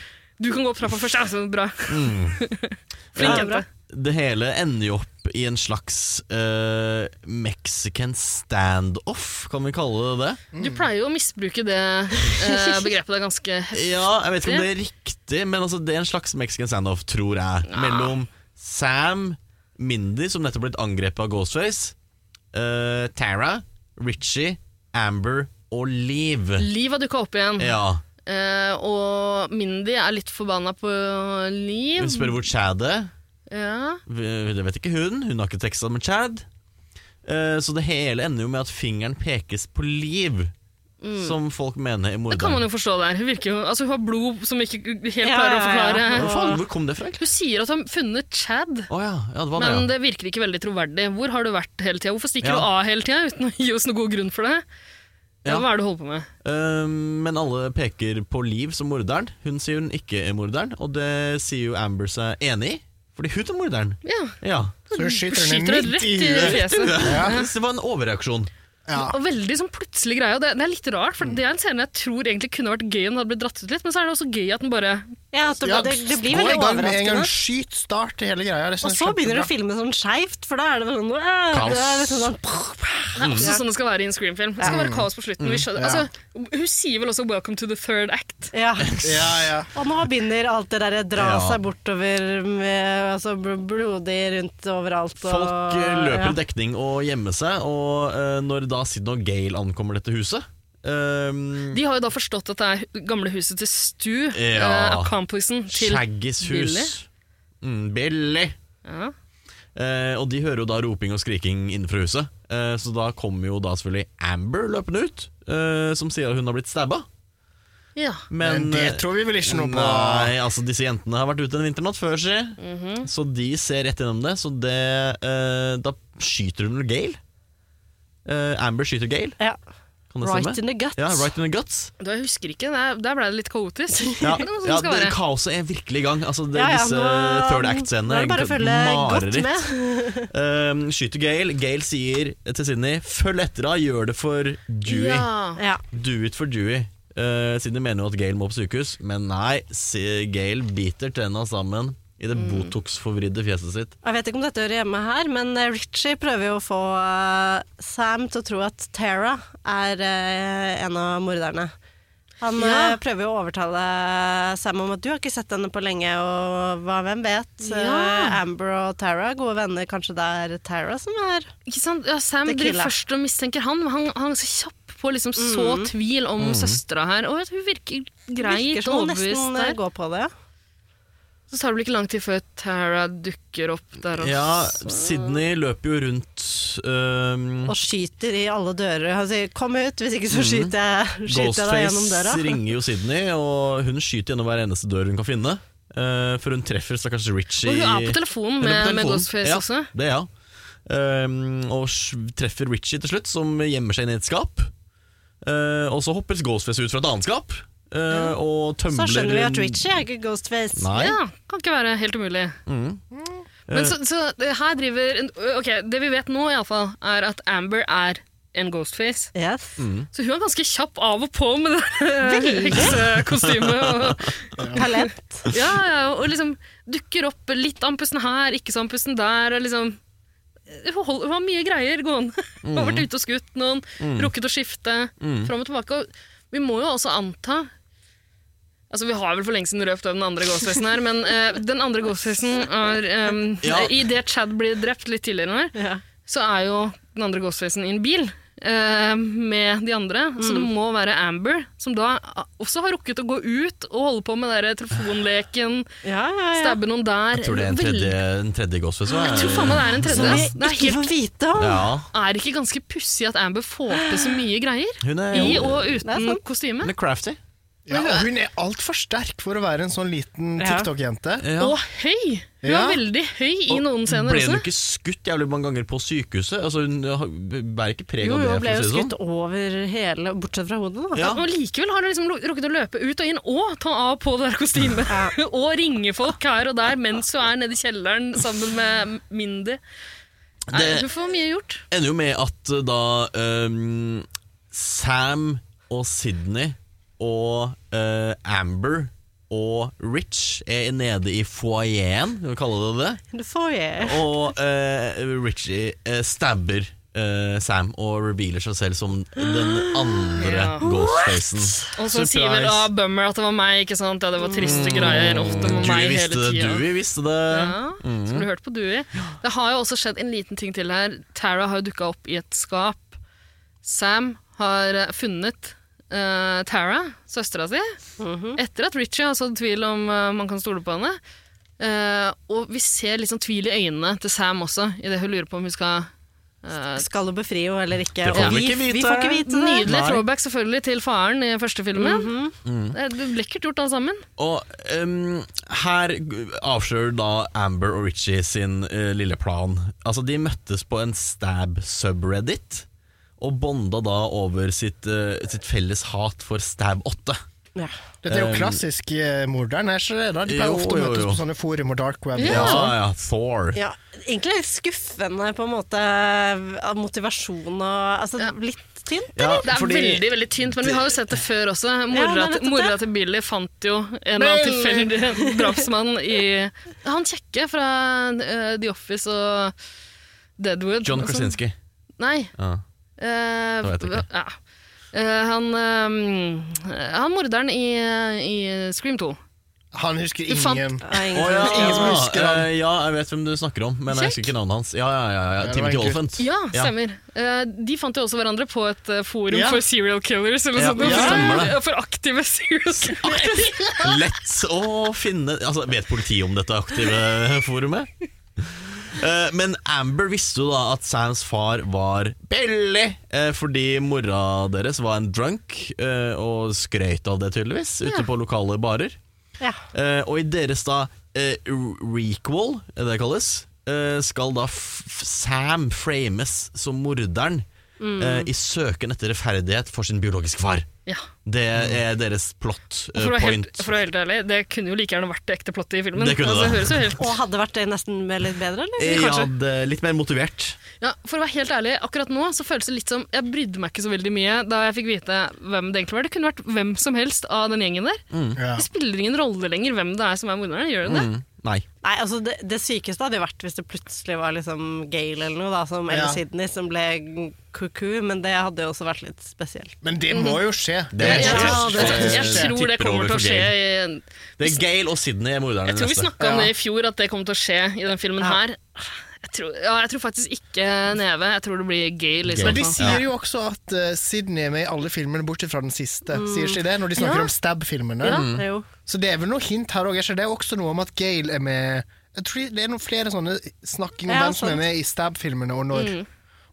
S2: Du kan gå opp trappa først. Ja, så bra.
S3: Mm.
S4: Ja,
S2: *laughs* Flink
S4: bra.
S2: jente.
S3: Eh, Det hele ender jo opp i en slags eh, Mexican standoff, kan vi kalle det det?
S4: Mm.
S2: Du pleier jo å misbruke det eh, begrepet der ganske heftig.
S3: Ja, jeg vet ikke om det er riktig, men altså, det er en slags Mexican standoff, tror jeg. Mellom Sam, Mindy, som nettopp blitt angrepet av Ghostface, eh, Tara, Richie, Amber og Liv.
S2: Liv har dukka opp igjen,
S3: Ja,
S2: eh, og Mindy er litt forbanna på Liv.
S3: hun spør hvor Chad er.
S2: Ja.
S3: V- Det vet ikke hun, hun har ikke teksta med Chad. Eh, Så det hele ender jo med at fingeren pekes på Liv. som folk mener er
S2: Mm. Det kan man
S3: morderen.
S2: jo forstå der. Hun, virker jo, altså, hun har blod som ikke helt
S4: Ja,
S2: klarer å
S4: ja,
S2: forklare.
S4: ja.
S3: Hvor faen, hvor kom det fra? egentlig?
S2: Hun sier at hun har funnet Chad,
S3: Å ja, ja, det var det.
S2: men
S3: ja.
S2: det virker ikke veldig troverdig. Hvor har du vært hele tida? Hvorfor stikker du
S3: Ja.
S2: av hele tida uten å gi oss noen god grunn for det? Ja.
S3: Ja.
S2: Hva er det du holder på med?
S3: Eh, men alle peker på Liv som morderen. Hun sier hun ikke er morderen, og det sier jo Amber seg enig i, fordi hun er morderen.
S2: Ja,
S3: Ja.
S1: Så hun skyter
S2: Skyter
S1: henne
S2: deg
S1: midt
S2: rett
S1: i
S2: i
S1: huet.
S2: fjeset.
S3: Så det var en overreaksjon.
S1: Ja.
S2: Og veldig sånn plutselig greie. Og det, det er litt rart, for det er en scene jeg tror egentlig kunne vært gøy om den hadde blitt dratt ut litt, men så er det også gøy at den bare
S4: Ja, at det,
S1: Ja,
S4: det, det blir
S1: gå
S4: veldig
S1: i gang med en gang.
S4: overraskende.
S1: Skyt, start hele greia.
S4: Og så begynner du å filme sånn skeivt, for da er det bare sånn, øh, det er liksom sånn
S2: Det er også sånn det skal være i en screenfilm. Det skal være kaos på slutten. Vi skjønner,
S1: Ja.
S2: altså, hun sier vel også 'Welcome to the third act'.
S4: Ja.
S1: Ja, ja.
S4: Og nå begynner alt det derre dra
S3: Ja.
S4: seg bortover med altså, bl- blodig rundt overalt. Og,
S3: Folk eh, løper i
S4: ja.
S3: dekning og gjemmer seg, og eh, når da Sidney og Gail ankommer dette huset eh,
S2: De har jo da forstått at det er hu- gamle huset til Stu,
S3: Ja.
S2: eh, accomplice-en til
S3: Shaggys hus.
S2: Billy.
S3: Mm, Billy.
S2: Ja.
S3: Eh, og de hører jo da roping og skriking innenfor huset. Eh, så da kommer jo da selvfølgelig Amber løpende ut, eh, som sier at hun har blitt eh, stabba.
S2: ja.
S1: Men det tror vi vel ikke noe på.
S3: Nei, altså disse jentene har vært ute en vinternatt før, si.
S1: Mhm.
S3: Så de ser rett gjennom det, så det eh, Da skyter hun vel Gail. Eh, Amber skyter Gail,
S4: Ja.
S3: kan det
S4: Right
S3: stemme?
S4: in the guts.
S3: Ja, right in the guts.
S2: Da, jeg husker ikke, der, der ble det litt kaotisk.
S3: Ja,
S2: *laughs* Det er noe som
S3: ja
S2: skal
S3: det,
S2: være.
S3: kaoset er virkelig i gang. Altså, det,
S4: Ja, ja,
S3: disse
S4: nå-
S3: third
S4: nå
S3: act-scenene
S4: er det bare å
S3: egentlig
S4: følge godt
S3: mareritt.
S4: med.
S3: *laughs*
S4: *laughs*
S3: Eh, skyter Gail. Gail sier til Sydney 'følg etter henne, gjør det for Dewey'.
S2: Ja.
S4: Ja.
S3: Do it for Dewey. Eh, Siden de mener jo at Gail må på sykehus, men nei, si- Gail biter tenna sammen i det Botox-forvridde fjeset sitt.
S4: Jeg vet ikke om dette hører hjemme her, men eh, Richie prøver jo å få eh, Sam til å tro at Tara er eh, en av morderne. Han
S2: Ja.
S4: eh, prøver jo å overtale Sam om at du har ikke sett henne på lenge, og hva, hvem vet? Eh, Amber og Tara, gode venner, kanskje det er Tara som er
S2: Ikke sant? Ja, Sam
S4: The
S2: driver
S4: killer.
S2: først og mistenker han, men han, han er så kjapp på å liksom så tvil om
S3: Mm.
S2: søstera her. Og hun virker greit
S4: Mm. Virker som
S2: og
S4: hun
S2: overbevist
S4: nesten eh,
S2: der.
S4: går på det. ja.
S2: Så tar det vel ikke lang tid før Tara dukker opp der også.
S3: Ja, Sydney løper jo rundt ehm,
S4: Og skyter i alle dører. Han sier 'kom ut, hvis ikke så skyter jeg, skyter jeg deg gjennom
S3: Mm.
S2: *laughs*
S3: Ghostface
S4: døra'.
S3: ringer jo Sydney, og hun skyter gjennom hver eneste dør hun kan finne. eh, for hun treffer stakkars Richie
S2: Og hun er på telefonen
S3: Hun er
S2: med,
S3: på telefonen.
S2: med Ghostface
S3: ja,
S2: også.
S3: Det er hun. Ehm, og sj- treffer Richie til slutt, som gjemmer seg inn i et skap. Eh, og så hopper Ghostface ut fra et annet skap eh, og tømler
S4: Så skjønner vi at
S3: en-
S4: Richie er ikke Ghostface.
S3: Nei.
S2: Ja, kan ikke være helt umulig.
S3: Mm.
S2: Men
S3: Eh.
S2: så, så det her driver en, Ok, det vi vet nå iallfall, er at Amber er en Ghostface.
S4: Yes.
S3: Mm.
S4: *laughs*
S2: Så hun er ganske kjapp av og på med det *laughs* heksekostymet. og-
S4: Talent.
S2: Ja, ja, og liksom dukker opp litt andpusten her, ikke så andpusten der. og liksom hun hold- hun har mye greier gående. *laughs* Hun har vært ute og skutt noen, rukket å skifte fram og tilbake. Og vi må jo også anta Altså, Vi har vel for lengst siden røpt av den andre ghostfesten her, men eh, den andre ghostfesten er um,
S3: Ja.
S2: Idet Chad blir drept litt tidligere, nå, så er jo den andre ghostfesten i en bil eh, med de andre. Så
S4: Mm.
S2: det må være Amber, som da også har rukket å gå ut og holde på med den der telefonleken.
S4: Ja, ja, ja.
S2: Stabbe noen der.
S3: Jeg tror det er en tredje, en tredje Ghostface. hva?
S2: Jeg tror faen meg det er en
S4: Som
S2: tredje.
S4: vi
S2: ass. Det er,
S4: ikke
S2: helt,
S4: får vite om.
S3: Ja,
S2: er det ikke ganske pussig at Amber får til så mye greier?
S3: hun er
S2: I
S3: jo
S2: og
S4: Det er
S2: uten
S4: sant.
S2: kostyme.
S3: hun er crafty.
S1: Ja, og hun er altfor sterk for å være en sånn liten
S4: Ja.
S1: TikTok-jente.
S3: Ja.
S2: Og høy! Hun
S1: Ja.
S2: er veldig høy i noen scener
S3: ble
S2: også.
S3: hun ikke skutt jævlig mange ganger på sykehuset? Altså, hun har- bærer ikke preg
S4: Jo,
S3: av det.
S4: jo,
S3: for å
S4: ble jo
S3: si det sånn.
S4: skutt over hele, bortsett fra hodet, da.
S3: Ja.
S2: Og likevel har hun liksom lo- rukket å løpe ut og inn og ta av på det der kostymet. *laughs* og ringe folk her og der mens hun er nede i kjelleren sammen med Mindy. Nei,
S3: Det-
S2: hun får mye gjort.
S3: ender jo med at uh, da um, Sam og Sydney og uh, Amber og Rich er nede i foajeen, kan vi kalle det det.
S4: Du får jeg.
S3: Og uh, Richie uh, stabber uh, Sam og revealer seg selv som den andre
S2: Ja.
S3: ghostfacen.
S2: Og så sier vel da Bummer at det var meg, ikke sant? Ja, det var triste greier. Ofte med meg hele
S3: Dewey Mm. visste det,
S2: tida.
S3: Dewey visste det.
S2: Ja, som du hørte på Dewey. Det har jo også skjedd en liten ting til her. Tara har jo dukka opp i et skap. Sam har eh, funnet eh, Tara, søstera si, etter at Richie har sådd tvil om eh, man kan stole på henne. Eh, og vi ser litt sånn tvil i øynene til Sam også, idet hun lurer på om hun skal
S4: Skal du befri henne eller ikke?
S3: Det får
S4: Og
S3: vi
S4: vi,
S3: ikke vite.
S4: vi får ikke vite det.
S2: Nydelig
S3: Nei.
S2: throwback selvfølgelig til faren i første filmen. Eh, Det er Lekkert gjort, alle sammen.
S3: Og ehm, her avslører da Amber og Richie sin eh, lille plan. Altså De møttes på en stab subreddit, og bonda da over sitt, eh, sitt felles hat for stab 8.
S4: Ja.
S1: Dette er jo klassisk eh, morderen, er ikke det? Da? De pleier
S3: Jo,
S1: ofte å
S3: jo,
S1: møtes
S3: jo.
S1: på sånne forum og dark web.
S3: Ja,
S1: og sånn.
S3: ja, Thor.
S4: Ja, egentlig litt skuffende på en måte av motivasjon og altså, litt tynt.
S3: Ja,
S2: Det er
S3: fordi-
S2: veldig veldig tynt, men vi har jo sett det før også.
S4: Ja,
S2: Mora,
S4: men vet du
S2: til- mora
S4: det?
S2: til Billy fant jo en eller annen tilfeldig drapsmann i Han kjekke fra eh, The Office og Deadwood.
S3: John
S2: og sånn.
S3: Krasinski.
S2: Nei.
S3: Ja.
S2: eh,
S3: Jeg vet ikke.
S2: Ja. Eh, han eh, Han morderen i, i Scream 2.
S1: Han husker
S2: Du fant-
S1: ingen.
S4: Ja, ingen-
S3: ja,
S1: Ingen som husker han.
S3: eh, ja, jeg vet hvem du snakker om, men jeg husker ikke navnet hans. Ja, ja, ja, ja,
S1: det var
S3: Timothy
S1: en gutt.
S3: Oliphant.
S2: Ja, stemmer. Eh, de fant jo også hverandre på et eh, forum
S1: Ja.
S2: for serial killers. Eller
S3: Ja,
S2: sånt, noe.
S3: stemmer det.
S2: For- For aktive serial killers.
S3: Lett å finne altså, Vet politiet om dette aktive forumet? Eh, Men Amber visste jo da at Sams far var Billy, eh, fordi mora deres var en drunk eh, og skrøt av det, tydeligvis, ute på lokale barer.
S4: Ja.
S3: Eh, Og i deres da eh, requel, er det det kalles, eh, skal da f f- Sam frames som morderen eh, i søken etter rettferdighet for sin biologiske far.
S2: Mm. ja.
S3: Det er deres plot eh,
S2: For å, være
S3: point.
S2: helt, for å være helt ærlig, det kunne jo like gjerne vært det ekte plottet i filmen. Altså,
S3: Det kunne det.
S2: høres jo
S4: *laughs*
S2: helt...
S4: Og hadde vært det nesten med litt bedre, eller?
S3: Jeg
S2: Kanskje.
S3: hadde eh, litt mer motivert.
S2: ja, for å være helt ærlig, akkurat nå så føles det litt som Jeg brydde meg ikke så veldig mye da jeg fikk vite hvem det egentlig var. Det kunne vært hvem som helst av den gjengen der.
S3: Mm.
S1: Ja.
S2: Det spiller ingen rolle lenger hvem det er som er morderen. Gjør det det?
S3: Nei.
S4: Nei, altså det, det sykeste hadde jo vært hvis det plutselig var liksom Gale eller noe, da, som,
S1: Ja.
S4: eller Sydney, som ble kuku, men det hadde jo også vært litt spesielt.
S1: Men det må jo skje.
S3: Det er
S2: Jeg,
S3: Ja,
S2: tror-
S3: det-
S2: jeg, jeg tror det
S3: tipper over
S2: kommer til
S3: for
S2: å skje i
S3: Det er Gail og Sydney er morderne.
S2: Jeg tror vi
S3: neste.
S2: snakka om
S1: Ja.
S2: det i fjor, at det kommer til å skje i den filmen her. Jeg tror, ja, jeg tror faktisk ikke Neve. Jeg tror det blir gay. Liksom.
S1: Men de sier jo også at eh, Sydney er med i alle filmene, bortsett fra den siste. Sier ikke det når de snakker
S2: Ja.
S1: om Stab-filmene?
S2: Ja.
S3: Mm.
S4: Det er jo
S1: Så det er vel noe hint her òg. Er ikke det også noe om at Gail er med Jeg tror Det er noen flere sånne snakking om
S4: Ja,
S1: hvem som er
S4: sant.
S1: med i Stab-filmene, og når.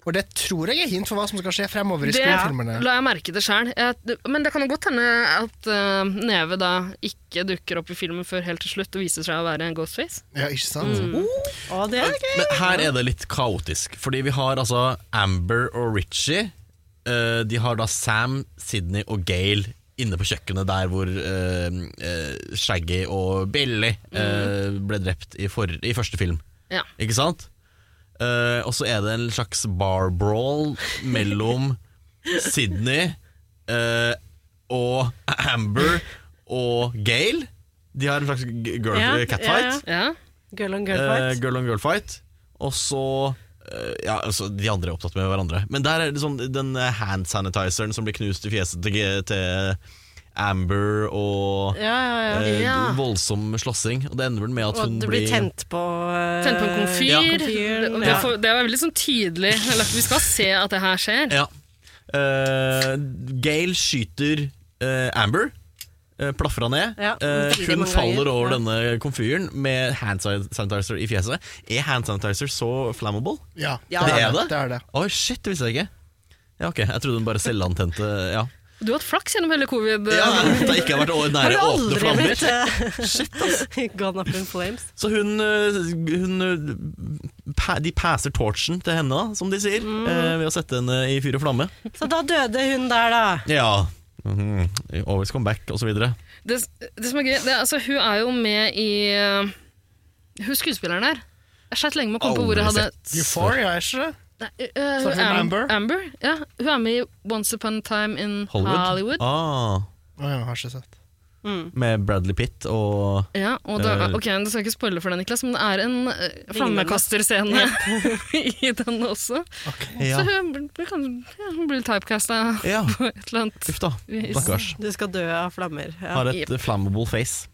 S1: Og det tror jeg er hint for hva som skal skje fremover i
S2: Det
S1: Scream-filmene.
S2: la jeg merke til sjøl. Men det kan jo godt hende at eh, Neve da ikke dukker opp i filmen før helt til slutt og viser seg å være en Ghostface.
S1: Ja, ikke sant?
S4: Mm. Å, det er gøy!
S3: Men her er det litt kaotisk, fordi vi har altså Amber og Richie. eh, de har da Sam, Sydney og Gail inne på kjøkkenet der hvor eh, eh, Shaggy og Billy eh,
S4: Mm.
S3: ble drept i, for, i første film.
S2: Ja.
S3: Ikke sant? Eh, og så er det en slags bar brawl mellom
S4: *laughs*
S3: Sydney eh, og Amber og Gail. De har en slags g- girl,
S4: Ja,
S3: catfight.
S4: ja, ja.
S2: Ja.
S4: Girl on girl
S3: Eh,
S4: fight.
S3: girl on girl fight. Og så eh, ja, altså, De andre er opptatt med hverandre. Men der er det sånn den eh, hand sanitizeren som blir knust i fjeset til, G- til Amber, og
S4: ja, ja, ja.
S3: eh,
S2: Ja.
S3: voldsom slåssing. Og det ender vel med at
S4: Og
S3: hun
S4: du blir
S3: blir
S4: tent på eh,
S2: Tenne på en komfyr.
S3: Ja.
S2: Det, og det,
S4: Ja.
S2: får- det er veldig sånn tydelig. Eller at vi skal se at det her skjer.
S3: Ja. Eh, Gail skyter eh, Amber. eh, Plaffer han ned.
S4: Ja,
S3: Eh,
S4: veldig
S3: hun
S4: mange
S3: faller
S4: ganger,
S3: over
S4: ja.
S3: denne komfyren med hand san- sanitizer i fjeset. Er hand sanitizer så flammable?
S1: Ja,
S4: Ja,
S3: det er det.
S1: det er det.
S3: Oi, shit, det visste jeg ikke. Ja, ok, Jeg trodde hun bare selvantente ja.
S2: Du har hatt flaks gjennom hele covid. eh,
S3: ja, At jeg ikke har vært å-
S4: Har
S3: nære
S4: du
S3: åpne
S4: aldri
S3: flammer.
S4: blitt eh, *laughs* Gone up in flames?
S3: Så hun, eh, hun eh, pa- De passer torchen til henne, da, som de sier, eh, ved å sette henne i fyr og flamme.
S4: Så da døde hun der, da.
S3: Ja. Mhm. Always come back, og så videre.
S2: Det, det som er gøy, det er, altså, hun er jo med i eh, Hun skuespilleren der. Jeg sleit lenge med å komme på hvor jeg
S3: Aldri
S2: hadde
S1: Euphoria, er ikke det?
S2: Nei, eh,
S1: Snakker
S2: hun,
S1: vi om
S2: Am-
S1: Amber?
S2: Amber? Ja, hun er med i Once Upon a Time in Hollywood.
S3: Hollywood. Ah,
S1: Å, ja, jeg har ikke sett.
S3: med Bradley Pitt og
S2: Ja, og da,
S3: Eh.
S2: ok, Du skal ikke spoile for den, Niklas, men det er en eh, flammekasterscene *laughs* i den også.
S3: Ja.
S2: Så hun, bl- kan, ja, hun blir typecasta
S3: ja.
S2: *laughs* på et eller annet
S3: Uff da.
S2: vis.
S3: Stakkars.
S4: Du skal dø av flammer. Ja.
S3: Har et flammable face.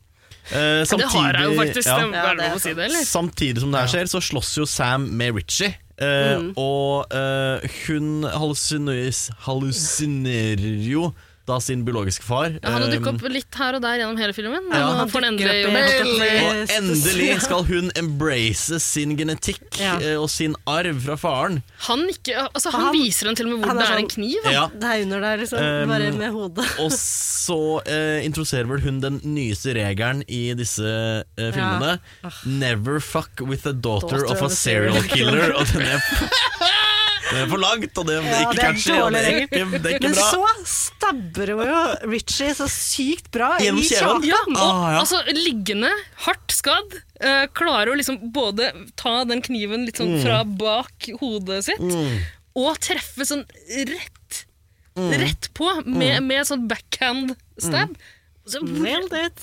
S3: Eh,
S2: Det har jeg jo faktisk,
S3: ja.
S2: det
S4: Ja,
S2: er
S4: det
S2: lov
S4: er
S2: å si det, eller?
S3: Samtidig som det her skjer, så slåss jo Sam med Richie. eh, Og eh, hun hallusiner- hallusinerer jo da sin biologiske far.
S2: Han har
S3: eh,
S2: dukket opp litt her og der gjennom hele filmen.
S3: Ja.
S2: og nå
S3: Han
S2: får han
S4: dukker
S2: endelig
S4: opp i
S2: gjort
S4: mail.
S2: det.
S3: Eh, Og
S4: *laughs*
S3: endelig skal hun embrace sin genetikk
S4: Ja.
S3: eh, og sin arv fra faren.
S2: Han, ikke, altså, han,
S4: Han-
S2: viser henne til og med hvor
S4: han er
S2: det er
S4: sånn-
S2: en kniv.
S3: Ja.
S4: Det er under der, liksom.
S3: Um,
S4: Bare med hodet.
S3: Og så eh, introduserer vel hun den nyeste regelen i disse eh, filmene. Never fuck with the daughter,
S4: Daughter
S3: of a serial killer. og den er, den er for langt, og det er ikke
S4: det er
S3: catchy. Og det, er
S4: dårlig
S3: ikke, det er ikke
S4: Men
S3: bra.
S4: så stabber hun jo Richie så sykt bra i
S3: Gjennom kjeven.
S4: kjaken.
S2: Ja, og
S3: Ah, ja.
S2: altså liggende, hardt skadd, eh, klarer å liksom både ta den kniven litt
S3: Mm.
S2: sånn fra bak hodet sitt, og treffe sånn rett,
S3: Mm.
S2: rett på, med, med sånn backhand stab. Så, hvor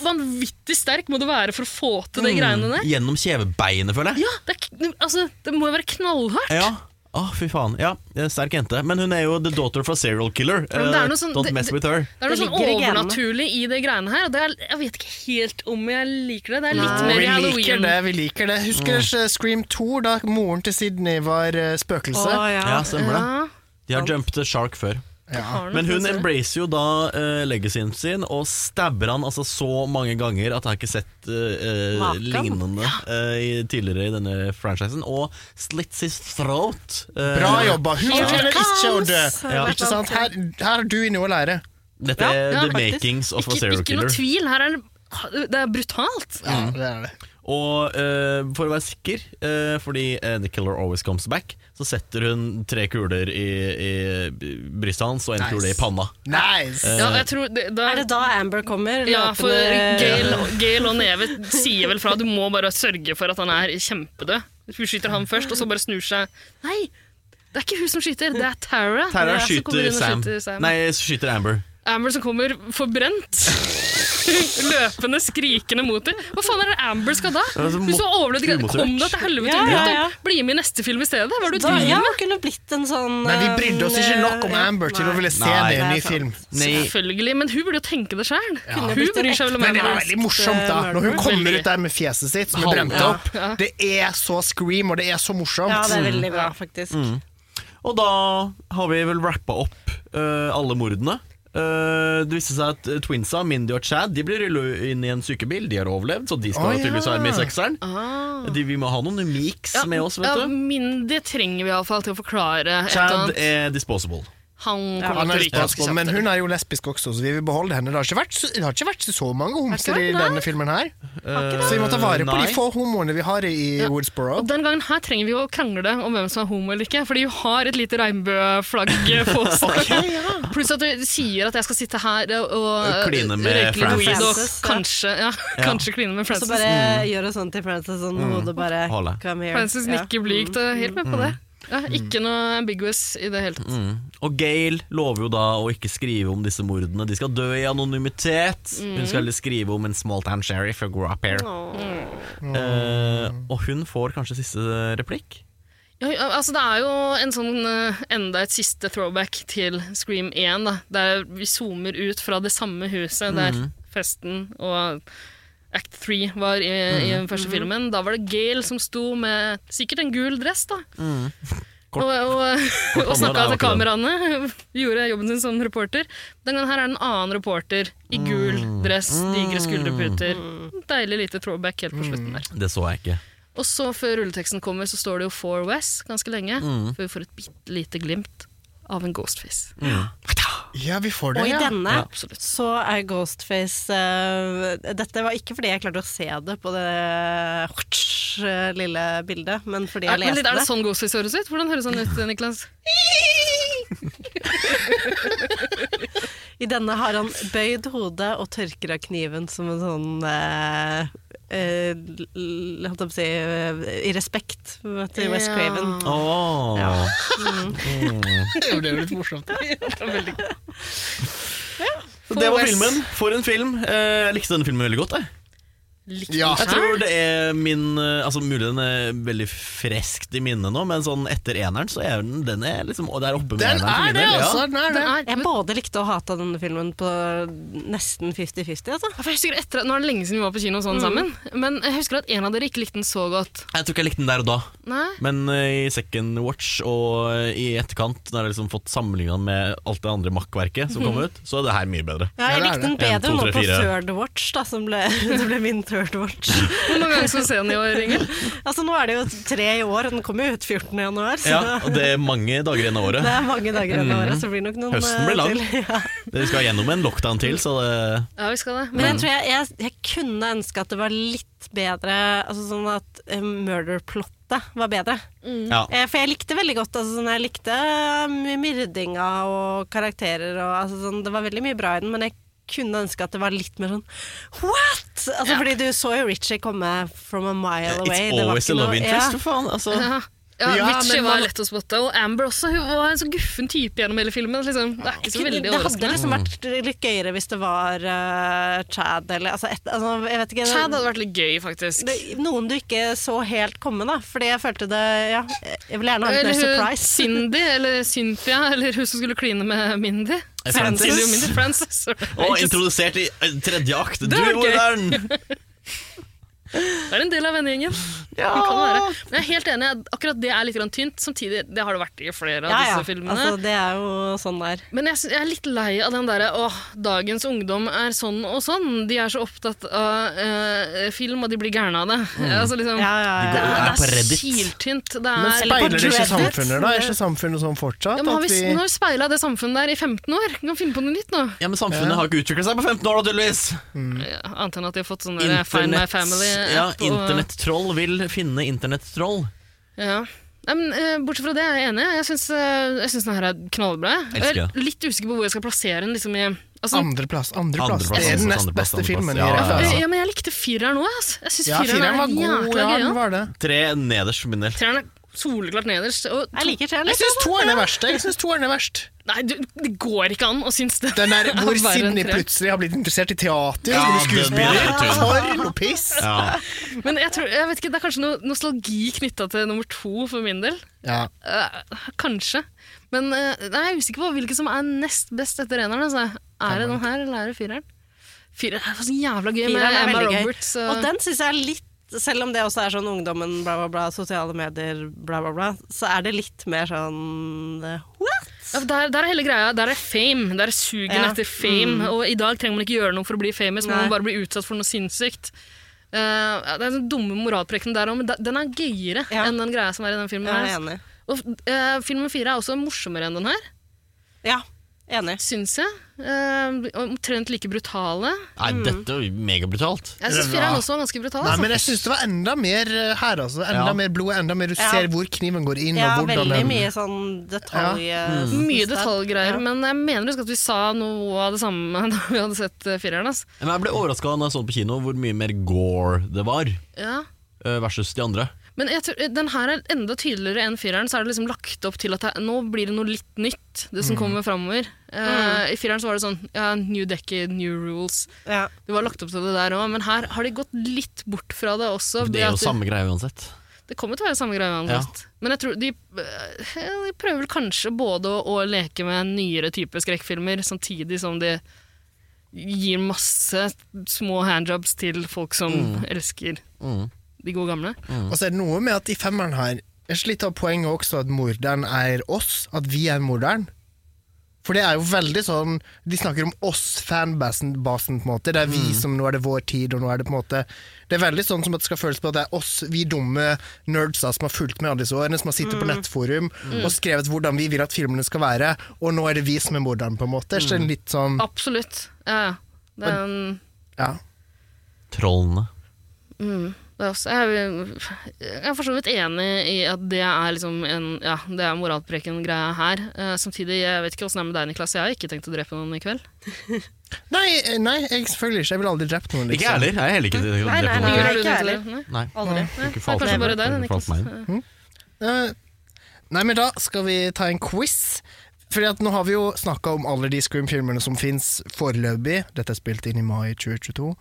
S2: vanvittig sterk må du være for å få til
S3: Mm.
S2: de greiene der?
S3: Gjennom kjevebeinet, føler jeg.
S2: Ja, det, er, k- altså, det må jo være knallhardt.
S3: Ja. Å, fy faen. Ja, det er en sterk jente. Men hun er jo the daughter of a serial killer.
S2: men det er
S3: Eh,
S2: noe sånn-
S3: Don't
S2: det-
S3: mess with her.
S2: Det er noe
S4: Det
S2: sånn
S4: ligger i genene.
S2: overnaturlig i de greiene her. Og det er, jeg vet ikke helt om jeg liker det. Det er litt
S1: Og
S2: mer
S1: vi
S2: i
S1: liker
S2: halloween.
S1: det. vi liker det Husker dere eh, Scream 2, da moren til Sydney var eh, spøkelse?
S4: Å, ja.
S3: Ja, stemmer det. De har jumped the shark før.
S2: Har
S3: Men
S2: nok det,
S3: hun
S2: ser du.
S3: embracer jo da uh, legacyen sin og stabber han altså så mange ganger at jeg har ikke sett eh, eh,
S4: Maken.
S3: lignende eh, i, tidligere i denne franchisen. Og slits his throat. eh,
S1: Bra jobba! Hun
S2: Here
S1: fortjener
S2: it
S1: ikke å dø!
S3: Ja.
S1: Ikke sant? Her, her har du noe å lære.
S3: Dette er
S2: Ja, ja,
S3: the
S2: faktisk.
S3: makings of a
S2: Ikke,
S3: serial
S2: ikke noe
S3: killer.
S2: tvil. Her er det, det er brutalt.
S1: Ja,
S4: Mm.
S1: det er det.
S3: Og eh, for å være sikker, eh, fordi eh, the killer always comes back, så setter hun tre kuler i, i brystet hans og en
S1: Nice.
S3: kule i panna.
S1: Nice!
S2: Ja, jeg tror det, da,
S4: Er det da Amber kommer?
S2: ja, for
S4: løpende-
S2: Gail, Gail og Neve sier vel fra du må bare sørge for at han er kjempedød. Hun skyter ham først, og så bare snur seg. Nei, det er ikke hun som skyter, det er Tara.
S3: Tara
S2: Ja, som kommer
S3: skyter
S2: inn og
S3: Sam.
S2: skyter Sam.
S3: Nei, skyter Amber.
S2: Amber som kommer forbrent. *laughs* Løpende, skrikende mot dem. Hva faen er det Amber skal da?
S3: Ja, så
S2: Hun så
S3: Altså, mot-
S2: overledig
S3: umotivert.
S2: Kom deg til helvete
S4: Ja, ja,
S2: ut
S4: ja.
S2: og bli med i neste film i stedet. Hva er det du
S4: Da,
S2: driver
S4: ja,
S2: med?
S4: hun kunne blitt en sånn
S1: Men vi brydde oss ikke nok om
S4: eh,
S1: Amber til å
S4: nei.
S1: ville se
S3: Nei.
S1: det i en ny
S4: Det er sant.
S1: film.
S2: Selvfølgelig, men hun burde jo tenke det sjøl. Hun
S4: blitt en
S2: bryr seg vel om
S1: Men det
S2: henne.
S1: var veldig morsomt, da. Når hun kommer ut der med fjeset sitt som er brent
S3: Ja.
S1: opp. Det er så scream, og det er så
S4: Ja,
S1: morsomt.
S4: det er veldig bra, faktisk.
S1: Mm.
S3: Og da har vi vel rappa opp eh, alle mordene. Eh, det viste seg at eh, twinsa, Mindy og Chad De blir rullet inn i en sykebil. De har overlevd, så de skal
S1: Å, ja.
S3: tydeligvis være med i sekseren. De, vi må ha noen mix med oss, vet
S2: Ah. ja,
S3: du.
S2: Mindy trenger vi iallfall til å forklare et eller
S3: Chad
S2: annet.
S3: er disposable.
S1: Han
S2: Han kommer
S1: er
S2: til å ryke ganske
S1: lesbisk,
S2: kjapt.
S1: men hun er jo lesbisk også, så vi vil beholde henne. Det har ikke vært så, det har ikke vært så mange homser i
S2: det? Nei.
S1: denne filmen her. Så vi må ta vare på
S3: Nei.
S1: de få homoene vi har i Woodsboro.
S2: Og den gangen her trenger vi jo å krangle om hvem som er homo eller ikke, fordi hun har et lite regnbueflagg på seg. Pluss at du sier at jeg skal sitte her og
S3: Kline med
S2: røyke litt weed og
S4: Frances, ja.
S2: kanskje, ja, kanskje kline med
S4: Så
S2: Frances.
S1: Mm.
S4: bare gjør hun sånn til Frances, sånn hodet bare
S3: Holde.
S4: Come here.
S2: Frances
S4: Ja.
S2: nikker blygt og er helt med på det. Ja, ikke noe ambiguous i det hele tatt.
S3: Og Gail lover jo da å ikke skrive om disse mordene. De skal dø i anonymitet. Hun skal heller skrive om en small town sheriff who grew up here. Eh, og hun får kanskje siste replikk.
S2: Ja, ja, altså det er jo en sånn eh, enda et siste throwback til Scream 1, da, der vi zoomer ut fra det samme huset der
S3: Mhm.
S2: festen og Act 3 var i, i
S3: Mhm.
S2: den første filmen. Da var det Gail som sto med sikkert en gul dress, da.
S3: Mhm.
S2: *laughs*
S3: Kort-
S2: og og, eh, og
S3: hånda, det
S2: snakka til
S3: er jo ikke den.
S2: kameraene. *laughs* Gjorde jobben sin som reporter. Den gangen her er det en annen reporter i gul
S3: Mhm.
S2: dress, digre skulderputer. Deilig lite throwback helt på slutten der.
S3: Det så jeg ikke.
S2: Og så før rulleteksten kommer, så står det jo For West ganske lenge. Før vi får et bitte lite glimt av en ghostface.
S1: Ja, vi får det,
S4: Og i
S1: ja.
S4: denne
S2: absolutt.
S4: så er Ghostface eh, Dette var ikke fordi jeg klarte å se det på det eh, lille bildet, men fordi
S2: Er,
S4: jeg
S2: men litt,
S4: leste
S2: er det
S4: det.
S2: sånn ghostface høres ut? Hvordan høres han ut, Niklas?
S4: I denne har han bøyd hodet og tørker av kniven som en sånn eh, eh, l- holdt jeg på å si eh, I respekt til West
S2: Ja.
S4: Craven.
S3: Oh.
S1: Det er jo litt morsomt.
S3: Det var
S2: Wes.
S3: filmen. For en film. Eh, Jeg likte denne filmen veldig godt. Jeg.
S2: likt
S1: Ja.
S2: den
S3: Jeg
S2: sjøl?
S3: tror det er min eh, Altså Mulig den er veldig freskt i minnet nå, men sånn etter eneren så er den, den er liksom og der oppe med
S1: Den
S3: eneren. for
S1: er
S3: min
S1: det,
S3: del, ja.
S1: altså! Den er det.
S2: Den er-
S4: Jeg både likte og hata denne filmen på nesten 50-50, altså.
S2: Ja, for jeg husker etter, at- Nå er det lenge siden vi var på kino sånn sammen, men jeg husker at en av dere ikke likte den så godt.
S3: Jeg tror ikke jeg likte den der og da,
S2: Nei?
S3: men eh, i second watch og eh, i etterkant, når jeg har liksom fått sammenligna med alt det andre makkverket som kom ut, så er det her mye bedre.
S1: Ja,
S4: Ja, jeg
S1: det er
S4: likte
S3: det.
S4: den
S3: En,
S4: bedre
S3: to,
S4: nå
S3: tre,
S4: på
S3: fire.
S4: third watch, da, som ble, *laughs* som ble min third
S3: *laughs*
S4: watch.
S2: Hvor mange ganger skal du se den i år,
S4: *laughs*
S2: Ingel?
S4: Altså, nå er det jo tre i år, og den kommer jo ut 14. januar, så
S3: Ja, og det er mange dager igjen av
S4: det
S3: året.
S4: er mange dager igjen av året, så det blir nok noen
S3: Høsten blir
S4: eh,
S3: lang.
S4: til. *laughs* Ja.
S3: Vi skal gjennom en lockdown til, så eh, det
S2: Ja, vi skal det.
S4: Men jeg tror jeg, jeg, jeg kunne ønske at det var litt bedre, altså sånn at eh, murder-plottet var bedre.
S3: Ja.
S4: Eh, For jeg likte veldig godt, altså sånn, jeg likte mye myrdinga og karakterer og altså sånn, det var veldig mye bra i den, men jeg kunne ønske at det var litt mer sånn what?! Altså fordi du så jo Richie komme from a mile
S3: It's
S4: away. det var
S3: always
S4: ikke
S3: a love
S4: noe-
S3: interest,
S4: ja.
S3: for faen. Altså.
S2: Ja, ja,
S1: Ja,
S2: Richie
S1: men
S2: var
S1: man-
S2: lett å spotte, og Amber også. Hun var en så guffen type gjennom hele filmen. Liksom. Det er Mm. ikke så
S4: Kunne-
S2: veldig
S4: Det hadde
S2: overraskende.
S4: liksom vært litt gøyere hvis det var eh, Chad eller altså, et, altså jeg vet ikke
S2: Chad hadde vært litt gøy, faktisk.
S4: det, noen du ikke så helt komme, da. Fordi jeg følte det Ja, jeg vil gjerne ha litt
S2: Eller
S4: mer
S2: hun
S4: surprise. *laughs*
S2: Cindy, eller Cynthia, eller hun som skulle kline med Mindy.
S1: Eh,
S3: Frances.
S2: Cindy og Mindy Frances.
S3: Og
S2: Ikke-
S3: introdusert i eh, tredje akt. Du,
S2: var gøy.
S3: Odern!
S2: Det er en del av vennegjengen. Ja. Kan være. Men jeg er helt enig, akkurat det er litt grann tynt. Samtidig, det har det vært i flere av
S4: Ja, ja.
S2: disse filmene.
S4: Altså, det er jo sånn der.
S2: Men jeg, sy- jeg er litt lei av den derre åh, dagens ungdom er sånn og sånn. De er så opptatt av eh, film, og de blir gærne av det. *laughs* Altså, liksom,
S4: Ja, ja, ja.
S3: De
S2: Det
S3: går- er
S2: er,
S3: på
S2: det er
S3: Reddit.
S2: syltynt. Det
S1: Mm. Men
S2: er
S1: speiler det ikke
S4: Reddit.
S1: samfunnet, da? Er ikke samfunnet sånn fortsatt?
S2: ja, men
S1: at
S2: har vi,
S1: vi-
S2: nå har vi speila det samfunnet der i 15 år. Vi kan finne på noe nytt nå.
S3: Ja, men samfunnet har ikke utviklet seg på 15 år, da, tydeligvis.
S2: Ja, Annet enn at de har fått sånn der Find my family-app.
S3: ja,
S2: og-
S3: internettroll vil finne internettroll.
S2: Ja. Nei, men, eh, bortsett fra det er jeg enig. Jeg syns, eh, jeg syns den her er knallbra. Jeg
S3: Elsker
S2: er
S3: det.
S2: litt usikker på hvor jeg skal plassere den. Liksom, i, altså, eh,
S1: Andreplass, andreplass.
S3: Andreplass,
S1: Det er den
S3: andreplass,
S1: nest beste
S3: andreplass,
S1: filmen i
S3: andreplass. Ja,
S1: rekka.
S3: ja,
S2: ja, men jeg likte fireren òg. Jeg syns
S1: Ja,
S2: fireren
S1: fireren
S2: er
S1: var god.
S2: jækla
S1: Ja,
S2: gøy.
S1: den
S2: ja.
S1: var det.
S3: Tre nederst for min del.
S2: Treeren er soleklart nederst. Og
S4: Jeg liker Chad
S1: Jeg
S4: litt.
S1: syns toeren er verst. Jeg synes toeren er verst.
S2: Nei, du, det går ikke an å synes det. *laughs*
S1: Den der hvor
S2: er verre enn
S1: Sidney
S2: treeren.
S1: plutselig har blitt interessert i teater.
S3: Ja,
S1: Ja,
S3: det blir helt tull.
S1: Torl og piss.
S3: Ja.
S2: Men jeg tror, jeg vet ikke, det er kanskje noe nostalgi knytta til nummer to for min del.
S1: Ja.
S2: Eh, kanskje. Men eh, nei, jeg er usikker på hvilken som er nest best etter eneren. Altså. Er det den her, eller er det fireren? Fireren er så jævla gøy
S4: Fireren
S2: med
S4: er
S2: Emma
S4: veldig gøy.
S2: Roberts. eh. og-
S4: Og den syns jeg er litt selv om det også er sånn ungdommen, bla, bla, bla, sosiale medier, bla, bla, bla, så er det litt mer sånn eh, What?!
S2: Ja, for der, der er hele greia. Der er fame. Der er sugen
S4: Ja. Mm.
S2: etter fame. Og i dag trenger man ikke gjøre noe for å bli famous, man
S4: Nei.
S2: må bare bli utsatt for noe sinnssykt. Eh, ja, det er sånne dumme moralprekene der òg, men da- den er gøyere
S4: Ja.
S2: enn den greia som er i den filmen.
S4: Jeg er
S2: her. altså.
S4: enig.
S2: Og eh, Filmen fire er også morsommere enn den her,
S4: Ja, enig.
S2: syns jeg. Eh, omtrent like brutale.
S3: Nei, dette var megabrutalt.
S2: Jeg syns fireren også var ganske brutal.
S1: Nei,
S2: altså.
S1: men jeg syns det var enda mer eh, her, altså. Enda
S3: Ja.
S1: mer blod, enda mer du
S4: Ja.
S1: ser hvor kniven går inn,
S4: Ja,
S1: og hvordan
S4: veldig
S1: den
S4: mye sånn detalj... eh, Mm.
S2: Mye detaljgreier,
S4: Ja.
S2: men jeg mener husk at vi sa noe av det samme *laughs* da vi hadde sett eh, fireren. Altså.
S3: Men jeg ble overraska når jeg så den på kino, hvor mye mer gore det var
S2: Ja.
S3: eh, versus de andre.
S2: Men jeg tror, eh, den her er enda tydeligere enn fireren. Så er det liksom lagt opp til at det, nå blir det noe litt nytt, det
S3: Mm.
S2: som kommer framover. I fireren så var det sånn ja, New decade, new rules.
S4: Ja.
S2: Det var lagt opp til det der òg, men her har de gått litt bort fra det også.
S3: Det
S2: ved
S3: er
S2: at
S3: jo
S2: de-
S3: samme greie uansett.
S2: det kommer til å være samme greie uansett. Men jeg tror de, eh, de prøver vel kanskje både å, å leke med nyere type skrekkfilmer, samtidig som de gir masse små handjobs til folk som elsker de gode gamle.
S1: Og så er det noe med at i femmeren her Jeg synes litt av poenget også at morderen er oss, at vi er morderen. For det er jo veldig sånn De snakker om oss, fanbasen, basen, på en måte. Det er vi som nå er det vår tid, og nå er det på en måte Det er veldig sånn som at det skal føles på at det er oss, vi dumme nerdsa som har fulgt med alle disse årene, som har sittet
S4: Mm.
S1: på nettforum og skrevet hvordan vi vil at filmene skal være, og nå er det vi som er morderen, på en måte. Så det er litt sånn
S2: Absolutt. Ja, ja. Det er en
S1: Ja.
S3: Trollene.
S2: det er også, jeg, er- jeg er for så vidt enig i at det er, liksom en, ja, det er moralpreken-greia her. Eh, samtidig, jeg vet ikke åssen det er med deg, Niklas. Jeg har ikke tenkt å drepe noen i kveld.
S1: Nei, eh, nei, jeg selvfølgelig ikke. Jeg ville aldri drept noen, liksom.
S3: Ikke jeg heller. Jeg er heller ikke til
S4: Nei, nei,
S2: Ingen har du
S4: nei. ikke
S2: tenkt å
S4: heller.
S2: drepe? Nei.
S3: nei.
S4: Aldri.
S3: Ikke
S2: Nei,
S3: falt
S2: kanskje
S3: meg.
S2: bare deg,
S3: Ikke falt
S2: Niklas.
S3: meg.
S1: Eh, Nei, men da skal vi ta en quiz. Fordi at nå har vi jo snakka om alle de Scream-filmene som fins foreløpig. Dette er spilt inn i mai 2022.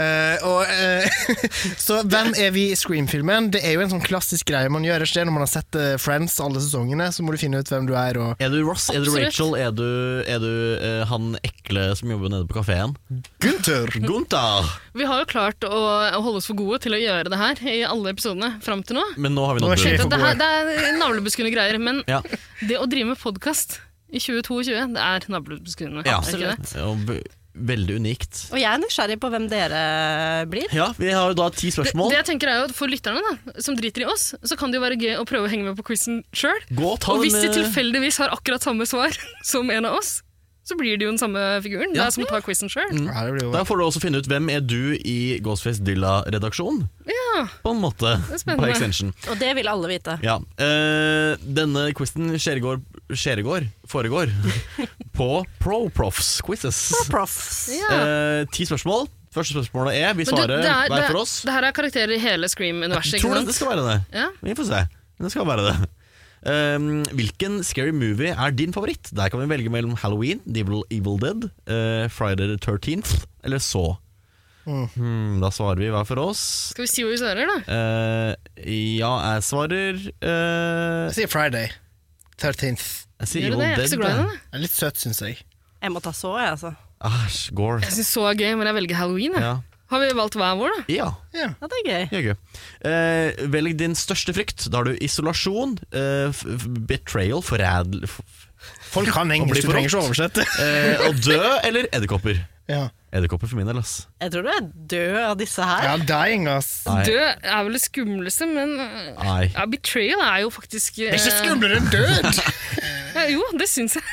S1: Eh, og, eh, *laughs* så hvem er vi i Scream-filmen? Det er jo en sånn klassisk greie man gjør et sted når man har sett eh, Friends alle sesongene. Så må du finne ut hvem du er. Og
S3: Er du Ross? Er du
S2: Absolutt.
S3: Rachel? Er du, er du eh, han ekle som jobber nede på kafeen?
S1: Gunther!
S3: Gunther!
S2: Vi har jo klart å, å holde oss for gode til å gjøre det her i alle episodene fram til nå.
S3: Men nå har vi
S1: Nå er
S3: nådd
S1: sjef.
S3: bunnen.
S1: for
S2: Det, det,
S1: gode.
S2: her, det er navlebeskuende greier, men
S3: Ja.
S2: det å drive med podkast i 2022, det er navlebeskuende.
S3: Ja.
S2: er det ikke det?
S3: Og ve- veldig unikt.
S4: Og jeg er nysgjerrig på hvem dere blir.
S3: Ja, vi har jo da ti
S2: Det,
S3: spørsmål.
S2: det jeg tenker er jo at For lytterne da, som driter i oss, så kan det jo være gøy å prøve å henge med på quizen sjøl.
S3: Gå og ta
S2: Og hvis de
S3: den, eh,
S2: tilfeldigvis har akkurat samme svar *laughs* som en av oss, så blir det jo den samme figuren. Det
S3: Ja. Mm.
S2: er som å ta quizen sjøl.
S1: Ja, det blir jo
S3: Da får du også finne ut hvem er du i Ghostface Dilla-redaksjonen.
S2: Ja.
S3: På en måte.
S2: er spennende.
S3: På extension.
S4: Og det vil alle vite.
S3: Ja. eh, denne quizen skjæregård skjæregård- foregår *laughs* på ProProfs quizzes.
S4: Profs.
S2: Ja.
S3: Eh, ti spørsmål. Første spørsmålet er Vi
S2: Men du,
S3: svarer
S2: det er-
S3: hver
S2: det er-
S3: for oss.
S2: Det her er karakterer i hele Scream-universet.
S3: Tror du
S2: ikke
S3: det
S2: sant?
S3: skal være det?
S2: Ja.
S3: Vi får se. Men Det skal være det. Um, hvilken scary movie er din favoritt? Der kan vi velge mellom Halloween, The Evil, Evil Dead, eh, Friday the 13th eller så. Hmm, da svarer vi hver for oss.
S2: Skal vi si hvor vi svarer, da?
S3: Eh, ja, jeg svarer eh,
S1: Jeg sier Friday. 13th.
S3: Jeg sier
S2: Gjør du
S3: Evil
S2: det? Jeg er
S3: Dead. eh.
S2: ikke så glad i den.
S3: jeg.
S2: jeg.
S1: Det er litt søt, syns jeg.
S4: Jeg må ta så, jeg, altså.
S3: Æsj, gore.
S2: Jeg syns så er gøy, men jeg velger halloween. Jeg.
S3: Ja.
S2: Har vi valgt hver vår, da?
S3: ja.
S1: Ja.
S4: Ja, det er gøy.
S3: Jøgge. Eh, velg din største frykt. Da har du isolasjon, eh, f f- betrayal, forrædel... f-
S1: Folk kan
S3: Og bli
S1: engelsk, du trenger ikke å oversette.
S3: *laughs* Eh, Å dø eller edderkopper?
S1: Ja,
S3: Edderkopper for min del, ass.
S4: Jeg tror du er død av disse her.
S1: ja dying, ass.
S3: Nei.
S2: Død er vel det skumleste, men øh,
S3: Nei.
S2: ja, Betrayal er jo faktisk øh,
S1: Det er ikke skumlere enn død!
S2: *laughs* Jo, det syns jeg.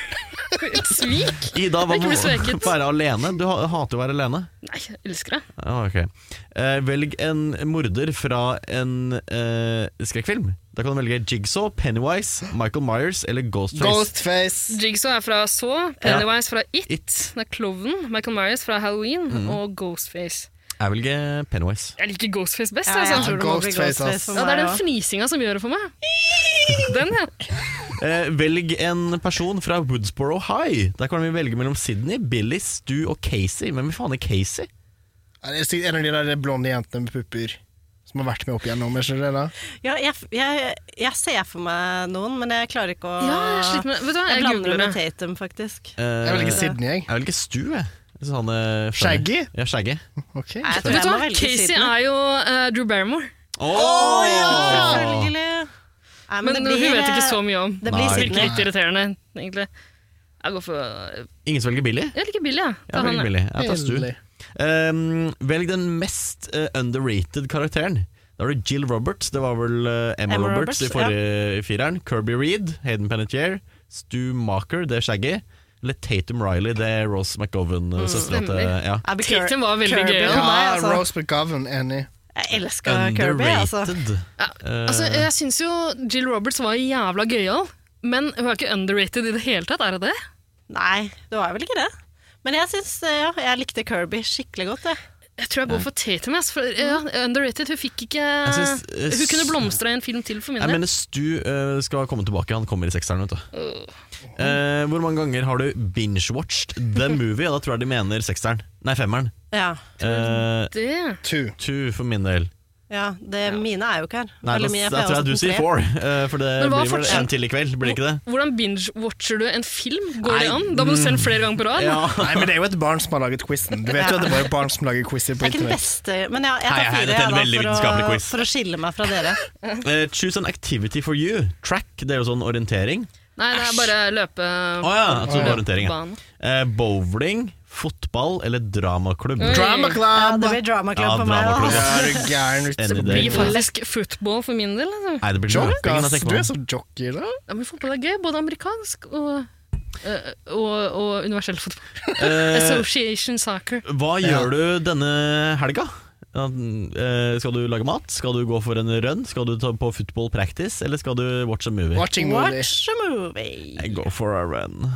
S2: Et svik.
S3: Ida, hva
S2: Jeg
S3: med
S2: blir
S3: å
S2: sveket.
S3: *laughs* være alene? Du ha- hater jo å være alene.
S2: Nei, jeg elsker det.
S3: Ja, ok. Eh, velg en morder fra en eh, skrekkfilm. Da kan du velge Jigsaw, Pennywise, Michael Myers eller Ghostface.
S1: Ghostface.
S2: Jigsaw er fra Saw, Pennywise fra It,
S3: It. Mm.
S2: det er Klovnen, Michael Myers fra Halloween og Ghostface.
S3: Jeg velger Pennywise.
S2: Jeg liker Ghostface best.
S4: Ja,
S2: altså.
S4: ja.
S2: jeg tror det må-
S1: Ghostface, ass.
S4: for
S2: Ja, det
S4: meg
S2: er den
S4: også.
S2: fnisinga som gjør det for meg. Den,
S4: *laughs*
S2: ja.
S3: Eh, velg en person fra Woodsboro High. Der kan vi velge mellom Sydney, Billy, Stu og Casey. Men hvem faen er Casey?
S1: Ja, det er sikkert en av de der blonde jentene med pupper som har vært med opp igjennom. er ikke det da?
S4: Ja, jeg, jeg, jeg ser for meg noen, men jeg klarer ikke å
S2: ja jeg sliter med det. Vet du hva,
S4: Jeg
S2: jeg
S4: blander
S2: googler
S4: med
S2: det.
S4: Tatum, faktisk.
S3: Eh,
S1: Jeg velger Sydney, jeg.
S3: jeg velger Stu, jeg. Jeg synes han er funny.
S1: Shaggy?
S3: Ja, Shaggy.
S1: Ok.
S4: Nei, jeg tror
S2: Vet
S4: jeg
S2: du
S4: må
S2: hva,
S4: velge
S2: Casey
S4: siden.
S2: er jo eh, Drew Barrymore,
S3: Åh,
S4: Selvfølgelig. Nei,
S2: men, hun vet ikke så mye om.
S4: øh, Det
S3: Nei.
S4: blir
S2: Virker
S4: Sydney.
S2: litt irriterende, egentlig. Jeg går for
S3: Ingen som velger Billy?
S2: Jeg liker Billy, ja.
S3: Jeg
S2: Ta han,
S3: velger
S2: ja.
S3: Billy. Jeg tar Stu.
S1: Billy.
S3: Um, velg den mest eh, underrated karakteren. Da har du Jill Roberts, det var vel eh, Emma,
S4: Emma
S3: Roberts, i
S4: Roberts,
S3: forrige i fireren. Kirby Reed, Hayden Panettiere. Stu Marker, det er Shaggy. Eller Tatum Riley, det er Rose McGovern, mm, søstera til
S2: stemmer.
S3: ja.
S4: Abby Cur-
S2: Tatum var veldig
S4: Kirby
S2: gøy, ja.
S4: for meg,
S1: Ja,
S4: altså.
S1: Rose McGovern, enig.
S4: Jeg elsker Kirby, altså.
S3: Underrated. Eh,
S2: ja. Altså, jeg syns jo Jill Roberts var jævla gøyal, men hun er ikke underrated i det hele tatt, er hun det?
S4: Nei, det var vel ikke det. Men jeg syns ja, jeg likte Kirby skikkelig godt, jeg.
S2: Jeg tror jeg går for Tatum. ass, For, ja, underrated. Hun fikk ikke
S3: Mm. synes, eh,
S2: Hun kunne blomstra i en film til, for min
S3: Jeg
S2: del.
S3: mener Stu eh, skal komme tilbake, han kommer i sekseren, vet du. Eh, hvor mange ganger har du binge-watched the movie? Ja, da tror jeg de mener sekseren. Nei, femmeren.
S4: Ja.
S3: Uh,
S2: Det.
S1: Two.
S3: two for min del.
S4: ja det, Mine er jo ikke her.
S3: Nei,
S4: Eller
S3: da, da
S4: mine, for jeg
S3: tror
S4: har
S3: jeg du
S4: også
S3: sier
S4: tre.
S3: four, eh, for det
S2: Men hva
S3: blir vel
S2: fortsatt-
S3: en til i kveld, blir det ikke det?
S2: Hvordan binge-watcher du en film? Går det
S3: Nei,
S2: an? Da må du se den flere ganger på rad.
S3: Ja.
S1: Nei, men det er jo et barn som har laget quizen. Du vet jo at det er bare barn som lager quizer
S4: Det
S1: på
S4: er ikke den
S1: internett.
S4: beste Men ja,
S3: Hei,
S4: jeg tar
S3: hei,
S4: fire,
S3: dette er en veldig
S4: jeg, da,
S3: vitenskapelig
S4: for å,
S3: quiz.
S4: for å skille meg fra dere.
S3: Eh, choose an activity for you. Track, det er jo sånn orientering.
S2: Nei, det er bare løpe...
S3: Å ja, jeg trodde det var orientering. ja.
S2: Bane.
S3: Eh, bowling, fotball eller dramaklubb?
S2: Oi.
S1: Drama
S4: Ja,
S1: club!
S4: det blir drama club
S3: Ja,
S4: for meg. altså.
S3: drama club.
S1: Ja,
S4: Da.
S1: er du gæren ute
S3: Enig
S1: på
S3: i det.
S2: Blir
S1: byen?
S2: faktisk football for min del. Altså.
S3: Nei, det blir
S1: Jokk,
S3: løping. da
S1: ass.
S3: tenker
S1: Du er
S3: man.
S1: så jockey, da.
S2: Ja, men fotball er gøy, både amerikansk og, eh, og, og universell fotball.
S3: Eh,
S2: Association soccer.
S3: hva gjør du denne helga? Ja, eh, skal du lage mat? Skal du gå for en run? Skal du ta på football practice, eller skal du watch a movie?
S1: Watching movie.
S4: Watch a movie.
S3: I go for a run.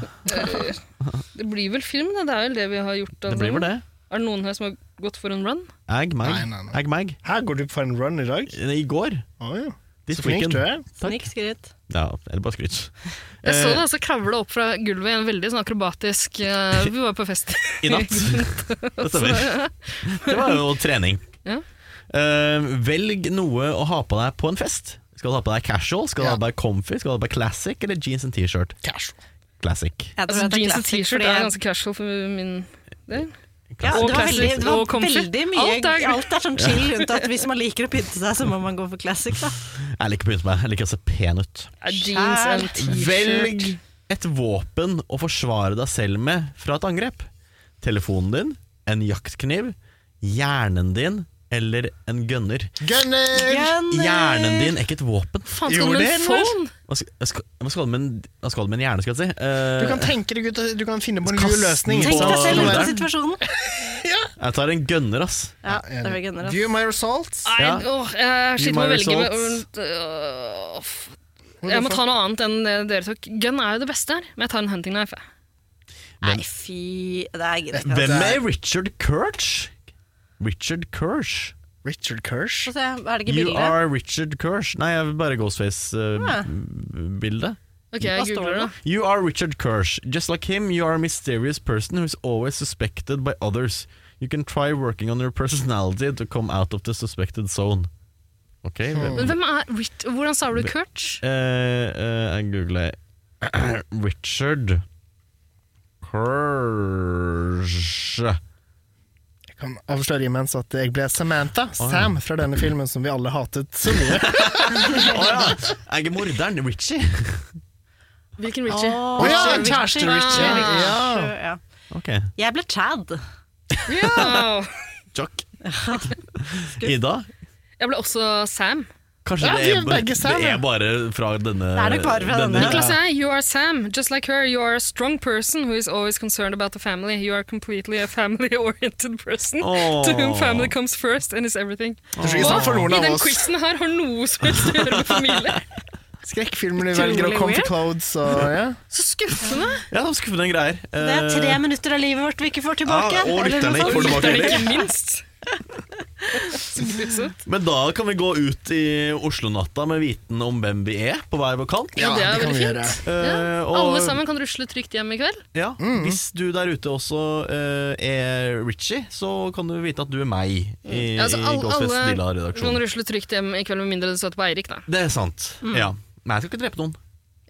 S2: Det blir vel film, da. Det er vel det vi har gjort.
S3: Det
S2: altså.
S3: blir vel det.
S2: Er det noen her som har gått for en run?
S3: Ag, mag.
S1: Nei, nei, nei.
S3: Ag, mag.
S1: Her går du på en run i dag.
S3: I går.
S1: Å, ja.
S3: Det
S1: Så flink du er.
S4: Snikk skryt.
S3: Ja, eller bare
S2: Jeg
S3: skryt.
S2: så
S3: Eh,
S2: det altså kravle opp fra gulvet i en veldig sånn akrobatisk
S3: *laughs*
S2: eh, Vi var på fest
S3: I
S2: *laughs*
S3: natt. *laughs* Det stemmer. Det var jo trening.
S2: Ja.
S3: Eh, velg noe å ha på deg på en fest. Skal du ha på deg casual, skal du
S1: Ja.
S3: ha på deg comfy, skal du ha på deg classic eller jeans and T-shirt?
S1: Cash.
S3: Classic.
S4: Jeg tror
S2: Altså,
S4: at det er
S2: jeans og
S4: classic,
S2: T-skjorte
S4: fordi
S2: er
S4: jeg-
S2: ganske casual for min del.
S4: ja,
S2: og
S4: det var
S2: classic
S4: veldig, det var
S2: og comfy.
S4: veldig mye
S2: Alt
S4: Alt
S2: er-
S4: er, sånn
S2: *laughs*
S4: chill rundt at hvis man liker å pynte seg, så må man gå for classic, da.
S3: Jeg liker å pynte meg, jeg liker å se pen ut.
S2: Ja, Jeans and t-shirt.
S3: Velg et våpen å forsvare deg selv med fra et angrep. Telefonen din, en jaktkniv, hjernen din eller en gønner.
S1: Gunner!
S4: eh,
S3: Hjernen din er ikke et våpen.
S2: Faen, skal du
S1: Gjorde
S2: med
S1: det,
S2: en
S1: eller?
S2: phone?
S3: Hva skal, hva skal, hva skal, du med, en- hva skal du med en hjerne, skal jeg si? Eh,
S1: Du kan tenke deg ut, du kan finne på en
S3: Kast
S1: lur løsning.
S3: den
S1: ikke
S4: Tenk
S3: på-
S1: sant?
S4: deg selv ut av
S1: Sånn
S4: situasjonen.
S3: jeg tar en gønner, ass.
S4: Ja, det var
S1: der.
S4: gønnere.
S1: View my results.
S2: Nei,
S3: Ja.
S2: åh, jeg
S3: You
S2: sliter med å
S3: my
S2: velge med,
S3: results.
S2: øh, f- Jeg må ta noe annet enn det dere tok. Gun er jo det beste her, men jeg tar en hunting knife. jeg.
S4: Nei, fy Det er greit.
S1: Hvem-
S3: Hvem er Richard Kirsch? Richard Kirsch.
S1: Richard Kirsch.
S4: Få se, er det ikke
S3: You
S4: bilder?
S3: are Richard Kirsch. Nei, jeg vil bare
S4: Ah.
S3: Ghostface-bildet.
S2: Ok, jeg
S4: Hva står
S2: googler
S4: det
S2: det.
S3: You are Richard Kirsch. Just like him, you are a mysterious person who is always suspected by others. You can try working on your personality to come out of the suspected zone. Ok, hvem-
S2: Men hvem er Rit Hvordan sa du Kurt?
S3: Eh, eh, Jeg googler *clears throat* Richard Kirsch.
S1: Jeg kan avsløre imens at jeg ble Samantha, Sam, fra denne filmen som vi alle hatet så mye.
S3: Å ja! Jeg er morderen Richie.
S2: Hvilken Richie?
S1: Å ja, kjæreste Richie! Ja.
S4: Sure, ja.
S3: Ok,
S4: Jeg ble Chad.
S2: *laughs* Wow.
S3: Chuck. Ida?
S2: Jeg ble også Sam.
S3: Kanskje
S1: Ja,
S3: det,
S1: vi
S3: er
S1: er
S3: bare,
S1: begge sammen.
S3: det er bare fra denne
S4: Det er nok bare fra denne.
S2: Niklas er eh, You are Sam. Just like her, you are a strong person who is always concerned about the family. You are completely a family-oriented person to whom
S3: Åh.
S2: family comes first and is everything.
S1: Det er sånn for noen
S2: I
S1: av
S2: den
S1: oss.
S2: quizen her har noe som helst å gjøre med familie.
S1: Skrekkfilmer du velger, og
S4: Utrolig
S1: comfy
S4: weird.
S1: clothes og ja.
S2: Så skuffende.
S3: Ja, skuffende greier.
S4: Det er tre
S3: Eh,
S4: minutter av livet vårt vi ikke får tilbake.
S3: Ja, og
S4: eller noe
S3: lytterne ikke
S4: sånt.
S3: får tilbake
S2: Lytterne,
S3: heller.
S2: ikke minst. Så grusomt.
S3: Men da kan vi gå ut i Oslo-natta med viten om hvem vi er, på hver vår kant.
S2: Ja, det
S1: det
S2: er
S1: kan vi
S2: veldig
S1: gjøre.
S2: fint.
S3: Eh, og-
S2: Alle sammen kan rusle trygt hjem i kveld.
S3: Ja, Hvis du der ute også eh, er Richie, så kan du vite at du er meg i,
S2: Altså,
S3: i
S2: alle,
S3: Ghostfest
S2: alle kan
S3: Dilla-redaksjonen.
S2: rusle trygt hjem i kveld, med mindre du støter på Eirik. da.
S3: Det er sant. Ja. Men jeg skal ikke drepe noen.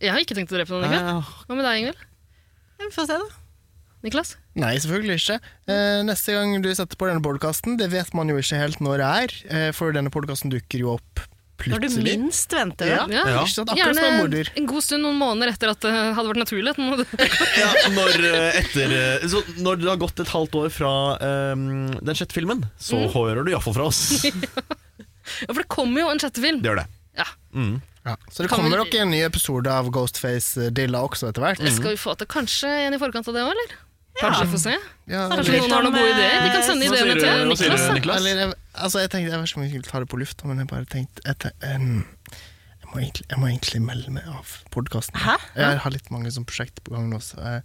S2: Jeg har ikke tenkt å drepe noen i kveld.
S3: Nei,
S2: Hva med deg, Ingvild?
S4: Ja, Vi får se, da.
S2: Niklas?
S1: Nei, selvfølgelig ikke. Eh, neste gang du setter på denne podkasten, det vet man jo ikke helt når det er, eh, for denne podkasten dukker jo opp
S4: Når du
S1: plutselig.
S4: minst venter.
S1: Ja,
S4: Ja.
S1: ja.
S3: Ja.
S1: Ikke sant? Akkurat som en
S2: Gjerne
S1: morder.
S2: en god stund, noen måneder etter at det hadde vært naturlig. at noen-
S1: *laughs*
S3: ja, når, eh, etter, eh, så når det har gått et halvt år fra eh, den sjette filmen, så hører du iallfall fra oss. Det
S2: Ja, For det kommer jo en sjette film.
S3: gjør det.
S2: Ja,
S1: Ja. Så det
S2: Kan
S1: kommer
S2: vi-
S1: nok en ny episode av Ghostface eh, Dilla også etter hvert.
S2: det skal vi få til. Kanskje en i forkant av det òg, eller? Kanskje, vi får se.
S1: Mhm. Ja,
S2: Kanskje noen har noen gode ideer. De kan sende
S3: Hva sier
S2: ideene
S3: du,
S2: til
S3: hva sier
S2: Niklas.
S3: du,
S2: da.
S3: Niklas?
S1: Eller, jeg, altså, jeg tenkte, jeg vet ikke om jeg skulle ta det på lufta, men jeg bare tenkte jeg, te- em, jeg, må egentlig, jeg må egentlig melde meg av podkasten.
S4: Hæ?
S1: Jeg har litt mange sånne prosjekter på gang nå. Så jeg,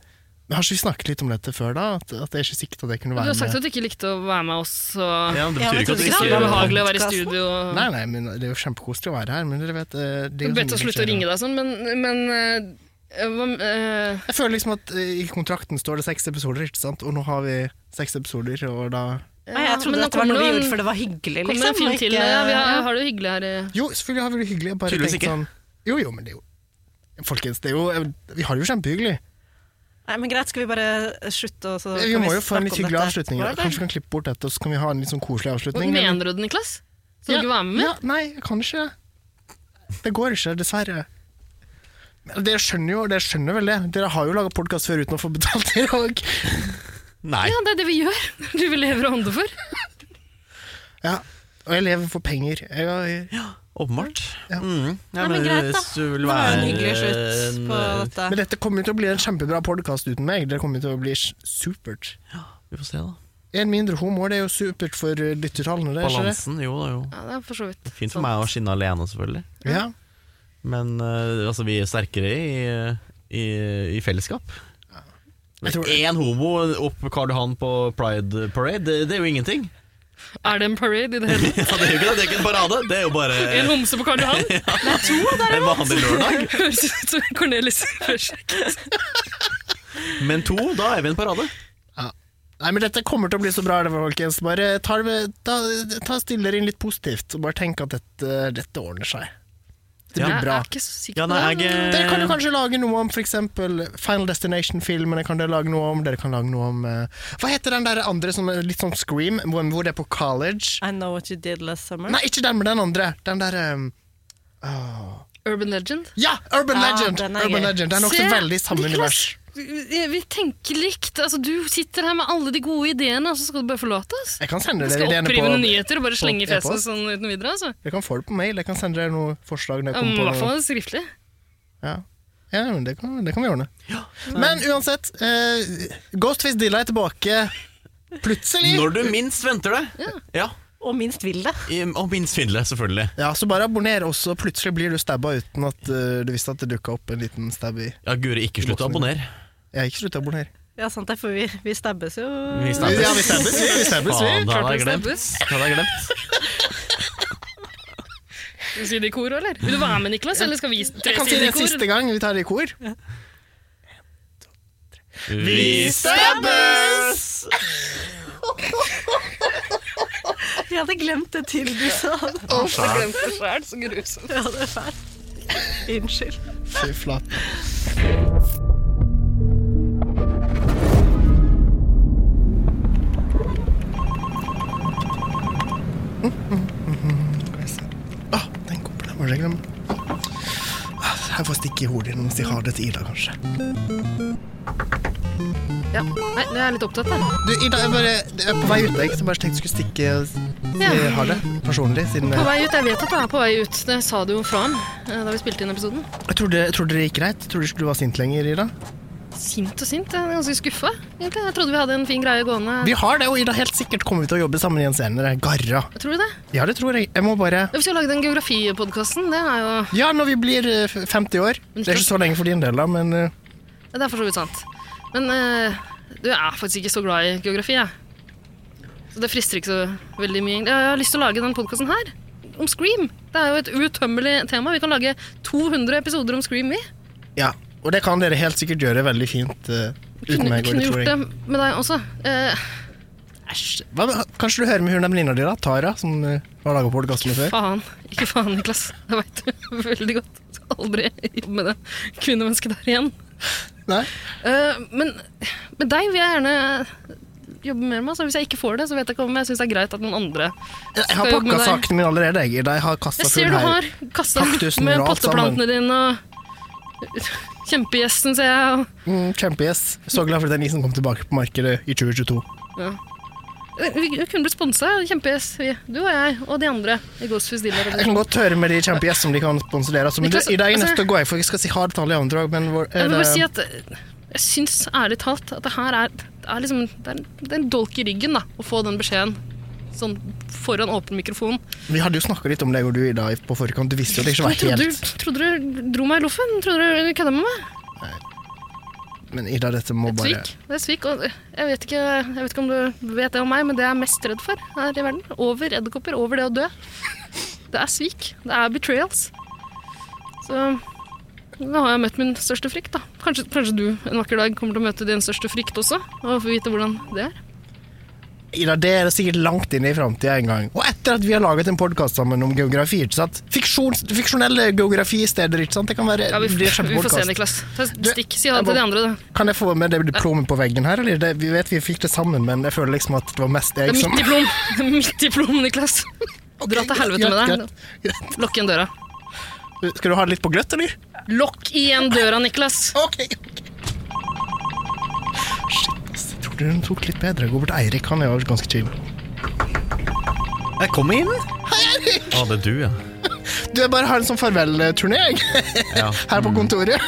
S1: men har ikke vi snakket litt om dette før, da? At, at jeg er ikke sikker på at jeg kunne
S2: Du
S1: være
S2: har sagt
S1: med.
S2: at du ikke likte å være med oss, og
S3: Ja, men det betyr ikke at
S4: Ja, men trodde du
S2: ikke så
S3: vi
S4: ikke det var
S3: ikke
S2: behagelig å være i
S4: podcasten?
S2: studio. og-
S1: Nei, nei, men det er jo kjempekoselig å være her, men dere vet eh, det er
S2: Jeg
S1: jo sånn
S2: bedt oss
S1: det
S2: slutte å
S1: skjer.
S2: ringe deg og sånn, men, men eh, hva- eh,
S1: Jeg føler liksom at eh, i kontrakten står det seks episoder, ikke sant? Og nå har vi seks episoder, og da
S4: Nei, jeg trodde
S2: men nå
S4: dette var noe
S2: kommer det
S4: vi
S2: en-
S4: gjorde for det var hyggelig.
S2: Kommer
S4: Liksom.
S2: en film
S4: og
S2: til?
S4: ikke-
S2: Ja, vi har, har det jo hyggelig her. eh.
S1: Jo, selvfølgelig har vi det hyggelig. Jeg bare
S3: Tydeligvis
S1: tenkte
S3: ikke.
S1: sånn Jo, jo, men det er jo Folkens, det er jo Vi har det jo kjempehyggelig.
S4: Nei, men greit, skal vi bare slutte? Og så
S1: Vi
S4: kan
S1: må jo få
S4: snakke
S1: en litt
S4: om
S1: hyggelig
S4: dette
S1: avslutning.
S4: etterpå,
S1: Kanskje vi kan klippe bort dette, og så kan vi ha en litt sånn koselig
S2: Hva
S1: avslutning.
S2: mener du det, Niklas? Skal du ikke være med?
S1: Ja, nei, jeg kan ikke det. Det går ikke, dessverre. Men Dere skjønner jo dere skjønner vel det. Dere har jo laga podkast før uten å få betalt dere òg.
S3: Nei.
S2: Ja, det er det vi gjør. *laughs* Det er det vi lever og ånder for.
S1: Ja. Og jeg lever for penger. Jeg, jeg,
S3: Åpenbart.
S1: Ja.
S3: Mm.
S4: Nei, men greit, da.
S3: Hvis du vil
S4: Det var jo
S3: være
S4: en hyggelig
S1: Eh,
S4: slutt på
S3: en, eh,
S4: dette.
S1: men dette kommer jo til å bli en kjempebra podkast uten meg. Det kommer jo til å bli s- supert.
S3: Vi får se, da.
S1: En mindre homo, det er jo supert for eh, lyttertallene. Det, er ikke det?
S3: Balansen, jo da, jo.
S2: Ja, det er for så vidt.
S3: Fint for meg å skinne alene, selvfølgelig.
S1: Ja.
S3: Men eh, altså, vi er sterkere i, eh, i, i fellesskap.
S1: Jeg tror-
S3: Én homo opp Karl Johan på Pride Parade, det, det er jo ingenting. *laughs*
S2: Er det en parade i det hele tatt?
S3: Ja, det er jo ikke det, det er ikke en parade, det er jo bare
S1: Eh.
S2: En homse på Karl
S1: *laughs*
S2: Johan?
S3: en vanlig lørdag.
S2: Høres ut som Cornelis Fresjek.
S3: Men to, da er vi en parade.
S1: Ja. Nei, men Dette kommer til å bli så bra, det, folkens. Bare ta, det- ta, ta stille dere inn litt positivt, og bare tenk at dette, dette ordner seg. Det blir
S3: Ja.
S1: bra.
S2: Jeg er ikke så sikker
S3: Ja,
S2: på
S3: nei,
S2: det.
S3: jeg, eh,
S1: Dere kan jo kanskje lage noe om f.eks. Final Destination-filmene. kan Dere lage noe om Dere kan lage noe om eh, Hva heter den der andre som er litt sånn Scream, hvor hvor det er på college?
S4: I know what you did last
S2: Eh.
S4: summer.
S1: Nei, ikke den, men den andre. Den der eh,
S2: Urban Legend.
S1: Ja! Urban
S4: Ja,
S1: Legend!
S4: den er
S1: Urban
S4: gøy.
S1: Legend. Den er også
S2: Se,
S1: veldig i samme univers.
S2: Niklas, Vi vi tenker likt. Altså, du sitter her med alle de gode ideene, og så skal du bare forlate oss?
S1: Jeg kan sende
S2: Du
S1: dere
S2: skal
S1: ideene på
S2: opprivende nyheter og bare slenge i fjeset
S1: e-post.
S2: sånn uten videre? altså.
S1: Dere kan få det på mail. Jeg kan sende dere noen forslag. Når
S2: Ja,
S1: jeg
S2: men I
S1: kommer på
S2: hvert
S1: noe.
S2: fall skriftlig.
S1: Ja. ja, men det kan, det kan vi ordne. Men uansett, eh, Ghostface Dilla er tilbake plutselig.
S3: eh, Når du minst venter det. Ja.
S4: Og minst vil det.
S3: I- Og minst svindle, selvfølgelig.
S1: Ja, Så bare abonner også. Plutselig blir du stabba uten at eh, du visste at det dukka opp en liten stab i
S3: Ja, Guri, ikke slutt å abonnere.
S1: Jeg har ikke sluttet å abonnere.
S4: Ja, sant det, for vi, vi stabbes jo.
S3: Vi snakkes.
S1: Ja, vi stabbes, vi. vi stabbes, vi.
S3: Faen, da hadde jeg
S2: Klart
S3: glemt.
S2: vi snakkes.
S3: Da hadde jeg glemt.
S2: Skal vi si det i kor, eller? Vil du være med, Niklas, eller skal vi tre
S1: Jeg kan si
S2: si det
S1: det en
S2: i
S1: siste
S2: kor?
S1: gang. Vi tar det i kor.
S3: Vi stabbes!
S4: Vi hadde glemt det til du sa det.
S2: Jeg glemte det selv, så grusomt.
S4: Ja, det er fælt. Unnskyld.
S1: Fy flate. Ah, den koppen her var det jeg glemte. Ah, Jeg får stikke i hodet ditt mens de har det til Ida, kanskje.
S2: Ja. Nei, nå er jeg litt opptatt, da.
S1: Du, Ida, jeg, bare, jeg er på vei ut, jeg, så bare tenkte jeg skulle stikke
S2: Ja.
S1: Jeg har det personlig, siden
S2: På
S1: jeg,
S2: vei ut, Jeg vet at du er på vei ut. Det sa du jo fra om eh, da vi spilte inn episoden.
S1: jeg trodde, jeg trodde det gikk greit. Jeg trodde ikke du var sint lenger, Ida.
S2: Sint og sint. Jeg er ganske skuffa. egentlig. Jeg trodde vi hadde en fin greie gående.
S1: Vi har det, og Ida, helt sikkert kommer vi til å jobbe sammen igjen senere. Garra.
S2: Tror du det?
S1: Ja, det tror jeg. Jeg må bare
S2: Ja, Vi skal lage den geografipodkasten. Det er jo
S1: Ja, når vi blir eh, f- 50 år. Det er ikke så lenge for din del, da, men eh,
S2: ja, Det er for så vidt sant. Men eh, du er faktisk ikke så glad i geografi, jeg. Så det frister ikke så veldig mye. egentlig. Jeg har lyst til å lage den podkasten her. Om Scream. Det er jo et uuttømmelig tema. Vi kan lage 200 episoder om Scream, vi.
S1: ja. Og det kan dere helt sikkert gjøre veldig fint eh, uten
S2: Kunne,
S1: meg. går
S2: kunne
S1: det, tror
S2: gjort det
S1: jeg.
S2: med deg også. Eh, Æsj.
S1: Hva, med- kanskje du hører med hun der venninna di, da? Tara, som eh, har laga podkast med før?
S2: Faen. Ikke faen, Niklas. Det veit du *laughs* veldig godt. Skal aldri jobbe med det kvinnemennesket der igjen.
S1: Nei?
S2: Eh, men med deg vil jeg gjerne jobbe mer med. Så hvis jeg ikke får det, så vet jeg ikke om jeg syns det er greit at noen andre
S1: Jeg
S2: Skal
S1: har
S2: jobbe med
S1: pakka
S2: deg.
S1: sakene mine allerede, jeg. Ida. Jeg har
S2: Jeg
S1: kasta
S2: ser
S1: full
S2: du
S1: her.
S2: har kasta
S1: Kaktusen
S2: med
S1: og alt sammen.
S2: potteplantene dine og *laughs* kjempegjesten, ser jeg. Og
S1: Mm, Kjempegjess. Så glad for at den isen kom tilbake på markedet i 2022.
S2: vi vi kunne blitt sponsa av Kjempegjest, vi. Du og jeg og de andre i Ghostfus Dealer.
S1: Jeg kan godt høre med de kjempegjess som de kan sponsorere. Altså, men det,
S2: Niklas,
S1: Ida, jeg er nødt
S2: altså-
S1: til å gå, jeg, for jeg skal si ha det til alle i andre òg, men hvor,
S2: Jeg
S1: er
S2: vil
S1: det,
S2: bare si at eh, jeg syns ærlig talt at det her er, det er liksom det er, det er en dolk i ryggen da, å få den beskjeden sånn foran åpen mikrofon.
S1: vi hadde jo snakka litt om deg og du, Ida, i- på forkant. Du visste jo at det ikke var helt
S2: Trodde du, trodde du dro meg i loffen? Trodde du kødda med meg?
S1: Men Ida, dette må
S2: Et
S1: bare
S2: svik. Det er svik. Og eh, jeg vet, ikke, jeg vet ikke om du vet det om meg, men det jeg er mest redd for her i verden, over edderkopper, over det å dø, det er svik. Det er betrayals. Så nå har jeg møtt min største frykt, da. Kanskje, kanskje du en vakker dag kommer til å møte din største frykt også, og få vite hvordan det er.
S1: Ida, det er sikkert langt inn i framtida en gang. Og etter at vi har laget en podkast sammen om geografi, ikke sant? Fiksjons, fiksjonelle geografisteder, ikke sant? Det kan være
S2: Ja, vi,
S1: blir
S2: vi får se,
S1: kjempepodkast.
S2: Niklas. Ta
S1: Du,
S2: stikk, si ha
S1: jeg
S2: det
S1: må-
S2: til de andre. da.
S1: Kan jeg få med det diplomet på veggen her, eller? Det, vi vet vi fikk det sammen, men jeg føler liksom at det var mest
S2: Det
S1: jeg
S2: er
S1: som
S2: mitt diplom, Det *laughs* er mitt diplom Niklas. Dra til helvete med
S1: greit,
S2: deg. Lokk igjen døra.
S1: greit. Skal du ha det litt på gløtt, eller?
S2: Lokk igjen døra, Niklas.
S1: OK. ok. Shit, ass. Jeg trodde hun tok litt bedre. Gå bort til Eirik, han er jo ganske chill.
S3: Jeg kom inn.
S1: Hei, Eirik!
S3: Å, det er du, ja.
S1: Du, jeg bare har en sånn farvel-turné, jeg.
S3: Ja.
S1: Her på kontoret.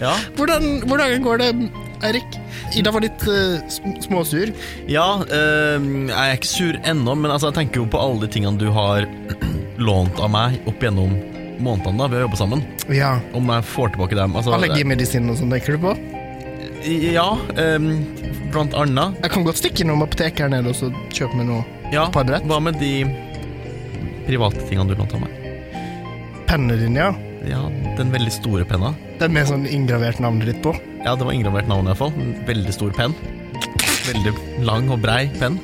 S3: Ja.
S1: Hvordan, hvordan går det, Eirik? Ida var litt eh, sm- småsur.
S3: Ja, øhm, jeg er ikke sur ennå, men altså, jeg tenker jo på alle de tingene du har *clears throat* lånt av meg opp gjennom månedene da vi har jobba sammen.
S1: Ja.
S3: Om jeg får tilbake dem. Altså, eh,
S1: Allergimedisin og sånn, tenker du på?
S3: Ja, ehm, blant annet.
S1: Jeg kan godt stikke innom apoteket her nede og så kjøpe meg noe
S3: Ja,
S1: Par brett.
S3: hva med de private tingene du lånte av meg?
S1: penner dine, ja.
S3: Ja, den veldig store penna.
S1: Det er med sånn inngravert navnet ditt på.
S3: Ja, det var inngravert navn i hvert fall. En Veldig stor penn. Veldig lang og brei penn.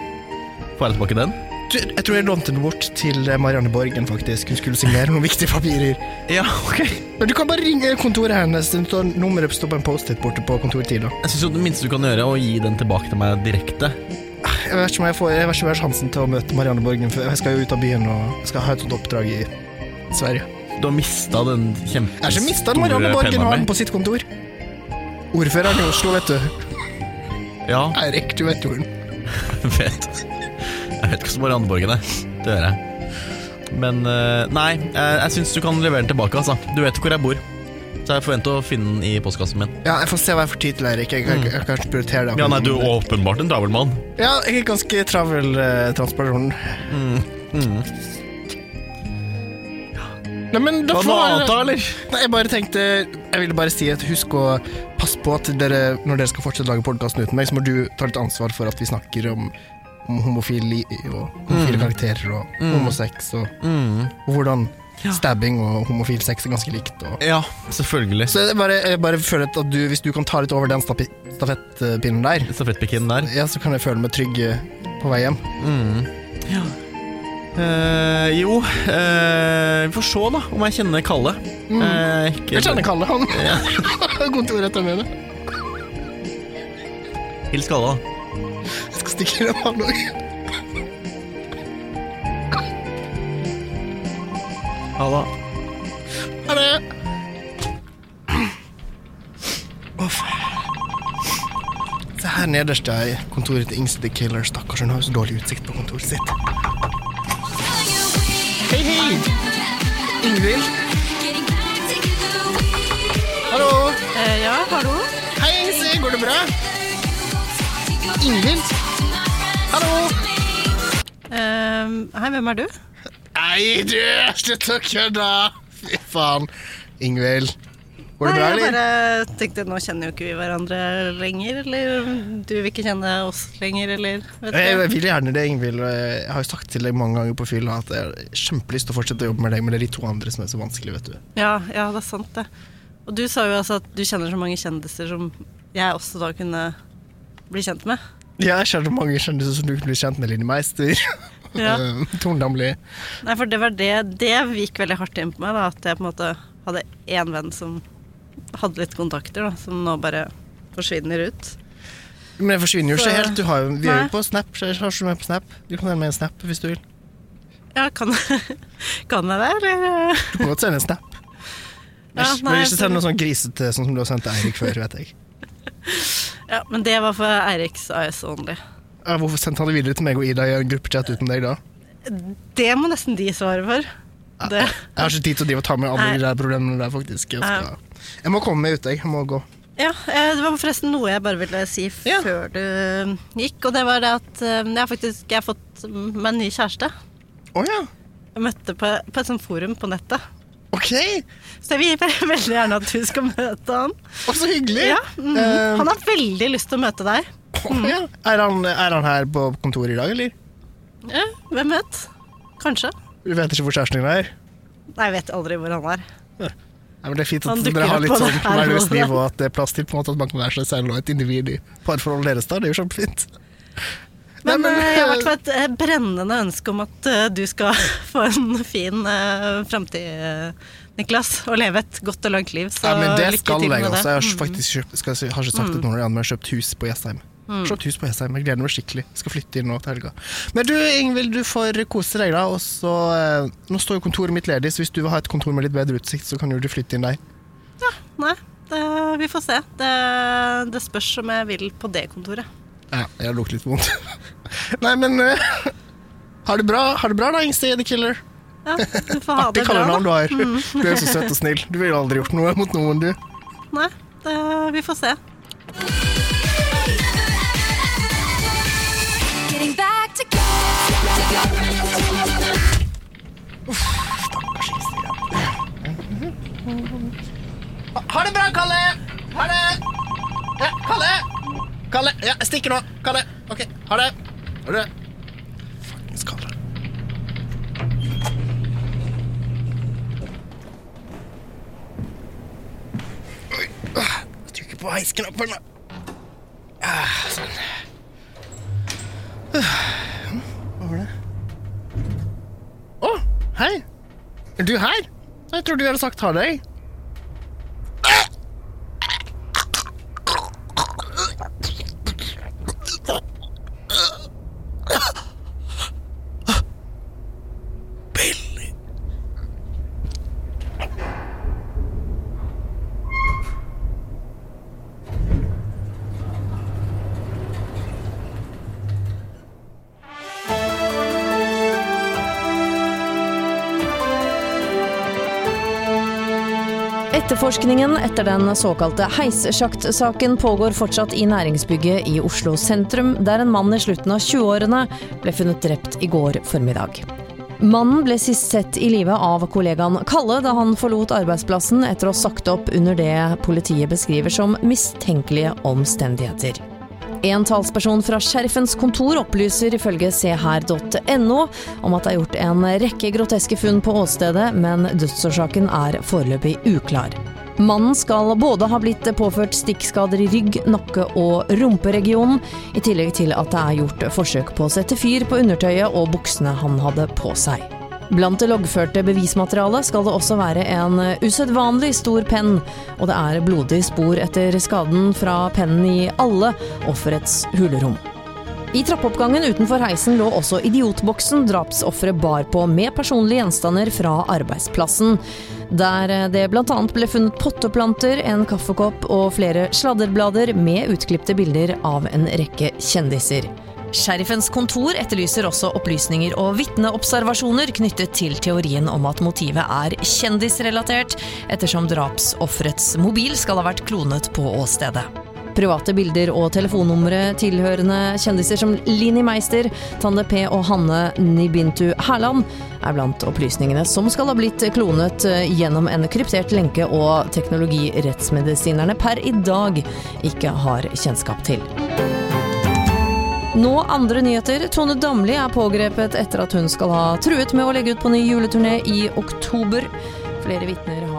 S3: Får jeg tilbake den?
S1: Du, jeg tror jeg lånte den bort til eh, Marianne Borgen, faktisk. Hun skulle signere noen viktige papirer.
S3: Ja, *laughs* ok.
S1: Men du kan bare ringe kontoret hennes. Det står nummeret står på en Post-It borte på kontortida.
S3: Jeg synes jo det minste du kan gjøre, er å gi den tilbake til meg direkte.
S1: Jeg vet ikke om jeg får jeg vet ikke om jeg har sjansen til å møte Marianne Borgen, for jeg skal jo ut av byen og jeg skal ha et sånt oppdrag i Sverige.
S3: Du har mista den
S1: Jeg har ikke mista
S3: kjempestore
S1: Marianne Borgen, har
S3: penna
S1: den
S3: mi.
S1: på sitt kontor. Ordføreren i Oslo, vet du.
S3: Ja,
S1: Eirik, du vet jo hun.
S3: jeg vet. Jeg vet ikke hvordan Marianne Borgen er. Det gjør jeg. Men eh, nei, jeg, jeg syns du kan levere den tilbake, altså. Du vet hvor jeg bor. Så jeg forventer å finne den i postkassen min.
S1: Ja, jeg får se hva jeg får tid til, Eirik. Jeg, jeg, jeg, kan ikke prioritere det.
S3: Mm. Ja, nei, du er åpenbart en travel mann.
S1: Ja, jeg er ganske travel eh, transperson.
S3: Mm,
S1: Nei, men da
S3: Hva
S1: får
S3: noe annet da, eller?
S1: Nei, jeg bare tenkte Jeg ville bare si at husk å passe på at dere, når dere skal fortsette å lage podkasten uten meg, så må du ta litt ansvar for at vi snakker om, om homofili og
S3: Mm.
S1: homofile karakterer og homosex og, og hvordan stabbing og homofil sex er ganske likt. Og.
S3: Ja, selvfølgelig.
S1: Så jeg bare, jeg bare føler at du, hvis du kan ta litt over den stapi- stafettpinnen der,
S3: Stafettpikken der.
S1: ja, så kan jeg føle meg trygg eh, på vei hjem.
S3: Eh, jo, eh, vi får se da om jeg kjenner Kalle. Eh, ikke-
S1: Mm. Jeg kjenner Kalle, han. *laughs* Kontoret etter meg.
S3: Hils Kalle. da.
S1: Jeg skal stikke innom han òg.
S3: Ha det.
S1: Ha det. Å, faen. Se her nederst er kontoret til Ingst the Killer. Stakkars, hun har jo så dårlig utsikt på kontoret sitt. Hei, hei! Ingvild? Hallo!
S4: Eh, ja, hallo?
S1: Hei, Ingsi, går det bra? Ingvild? Hallo!
S4: Eh, hei, hvem er du?
S1: Nei, du, slutt å kødde! Fy faen. Ingvild, går det bra,
S4: Nei, jeg
S1: eller?
S4: bare tenkte, nå kjenner jo ikke vi hverandre lenger, eller du vil ikke kjenne oss lenger, eller vet
S1: Jeg,
S4: ikke.
S1: jeg vil gjerne det, Ingvild. og Jeg har jo sagt til deg mange ganger på fylla at jeg har kjempelyst til å fortsette å jobbe med deg, men det er de to andre som er så vanskelig, vet du.
S4: Ja, ja, det er sant det. Og du sa jo altså at du kjenner så mange kjendiser som jeg også da kunne bli kjent med.
S1: Ja, jeg kjenner mange kjendiser som du blir kjent med. Line Meister, *laughs*
S4: Ja.
S1: eh, Tone Damli.
S4: Nei, for det var det, det gikk veldig hardt inn på meg, da, at jeg på en måte hadde én venn som hadde litt kontakter, da, som nå bare forsvinner ut.
S1: Men det forsvinner jo
S4: Så-
S1: ikke helt. Du har jo, vi er
S4: Nei.
S1: jo på Snap. så Jeg har ikke med på Snap. Du kan sende meg en Snap hvis du vil.
S4: Ja, kan, *laughs* kan jeg det, eller?
S1: Du kan godt sende en Snap. Men
S4: Ja,
S1: ikke-
S4: nei,
S1: men ikke send
S4: så-
S1: noe sånn grisete sånn som du har sendt til Eirik før, vet jeg.
S4: Ja, men det var for Eiriks AS only.
S1: Ja, Hvorfor sendte han det videre til meg og Ida i en gruppechat uten deg da?
S4: Det må nesten de svare for. Det.
S1: Jeg har ikke tid til å drive og ta med alle de der problemene der, faktisk. Jeg, skal, jeg må komme meg ut, jeg. Jeg må gå.
S4: Ja, eh, det var forresten noe jeg bare ville si f-
S1: Ja.
S4: før du gikk, og det var det at eh, jeg har faktisk jeg har fått mm, meg en ny kjæreste.
S1: Å ja.
S4: Jeg møtte på, på et sånt forum på nettet.
S1: Ok,
S4: Så jeg vil *laughs* bare veldig gjerne at du skal møte han.
S1: og så hyggelig!
S4: Ja, mhm.
S1: Eh,
S4: Han har veldig lyst til å møte deg.
S1: *laughs* ja. er, han, er han her på kontoret i dag, eller?
S4: Ja, hvem vet? Kanskje.
S1: Du vet ikke hvor kjæresten din er?
S4: Nei, jeg vet aldri hvor han er.
S1: Nei, men det er fint
S4: Han
S1: at
S4: dukker
S1: dere har
S4: opp
S1: litt
S4: på det
S1: sånn
S4: her
S1: nervøst
S4: nå.
S1: nivå, at det er plass til på en måte at man kan være seg selv og et individ i parforholdet deres. da, Det er jo kjempefint. Nei,
S4: Men,
S1: men,
S4: eh, jeg
S1: eh, *laughs*
S4: har i hvert fall et eh, brennende ønske om at eh, du skal *laughs* få en fin uh, framtid, eh, Niklas, og leve et godt og langt liv. Så
S1: Ja, men det
S4: lykke
S1: skal jeg
S4: til med
S1: også.
S4: det. Mm.
S1: Jeg har ikke faktisk kjøpt, skal, jeg si- har ikke sagt det til noen, andre, men jeg har kjøpt hus på Jessheim. Kjøpt hus på Jessheim. Jeg gleder meg skikkelig. Skal flytte inn nå til helga. Men du, Ingvild, du får kose deg, da. Og så, eh, nå står jo kontoret mitt ledig, så hvis du vil ha et kontor med litt bedre utsikt, så kan jo du flytte inn der.
S4: Nei, det, vi får se. Det, det spørs om jeg vil på det kontoret.
S1: Ja, jeg lukter litt vondt. *laughs* Nei, men eh, har det bra, har det bra da, Ingstad the Killer?
S4: Ja, du får ha
S1: Artig
S4: det bra.
S1: kallenavn du
S4: da. Mm.
S1: har. Du er jo så søt og snill. Du ville aldri gjort noe mot noen, du.
S4: Nei, det, vi får se.
S5: Getting back to go.
S1: Stakkars Ingstad. Ha det bra, Kalle! Ha det! Ja, Kalle! Kalle, ja, jeg stikker nå. Kalle. OK, ha det. Ha det. Fuckings Kalle. Oi, ah, Jeg trykker på heisknappen. da. Ah, sånn. Ah, Hva var det? Å, hei. Er du her? Jeg trodde vi hadde sagt ha det. jeg. Billy.
S10: Etterforskningen etter den såkalte heissjaktsaken pågår fortsatt i næringsbygget i Oslo sentrum, der en mann i slutten av 20-årene ble funnet drept i går formiddag. Mannen ble sist sett i live av kollegaen Kalle da han forlot arbeidsplassen etter å ha sagt opp under det politiet beskriver som mistenkelige omstendigheter. En talsperson fra Sheriffens kontor opplyser ifølge seher.no om at det er gjort en rekke groteske funn på åstedet, men dødsårsaken er foreløpig uklar. Mannen skal både ha blitt påført stikkskader i rygg, nakke og rumperegionen, i tillegg til at det er gjort forsøk på å sette fyr på undertøyet og buksene han hadde på seg. Blant det loggførte bevismaterialet skal det også være en usedvanlig stor penn, og det er blodige spor etter skaden fra pennen i alle offerets hulrom. I trappeoppgangen utenfor heisen lå også idiotboksen drapsofferet bar på med personlige gjenstander fra arbeidsplassen, der eh, det bl.a. ble funnet potteplanter, en kaffekopp og flere sladderblader med utklipte bilder av en rekke kjendiser. Sheriffens kontor etterlyser også opplysninger og vitneobservasjoner knyttet til teorien om at motivet er kjendisrelatert, ettersom drapsofferets mobil skal ha vært klonet på åstedet. Private bilder og telefonnumre tilhørende kjendiser som Linni Meister, Tande P og Hanne Nibintu Herland er blant opplysningene som skal ha blitt klonet gjennom en kryptert lenke og teknologi rettsmedisinerne per i dag ikke har kjennskap til. Nå andre nyheter. Tone Damli er pågrepet etter at hun skal ha truet med å legge ut på ny juleturné i oktober. Flere vitner har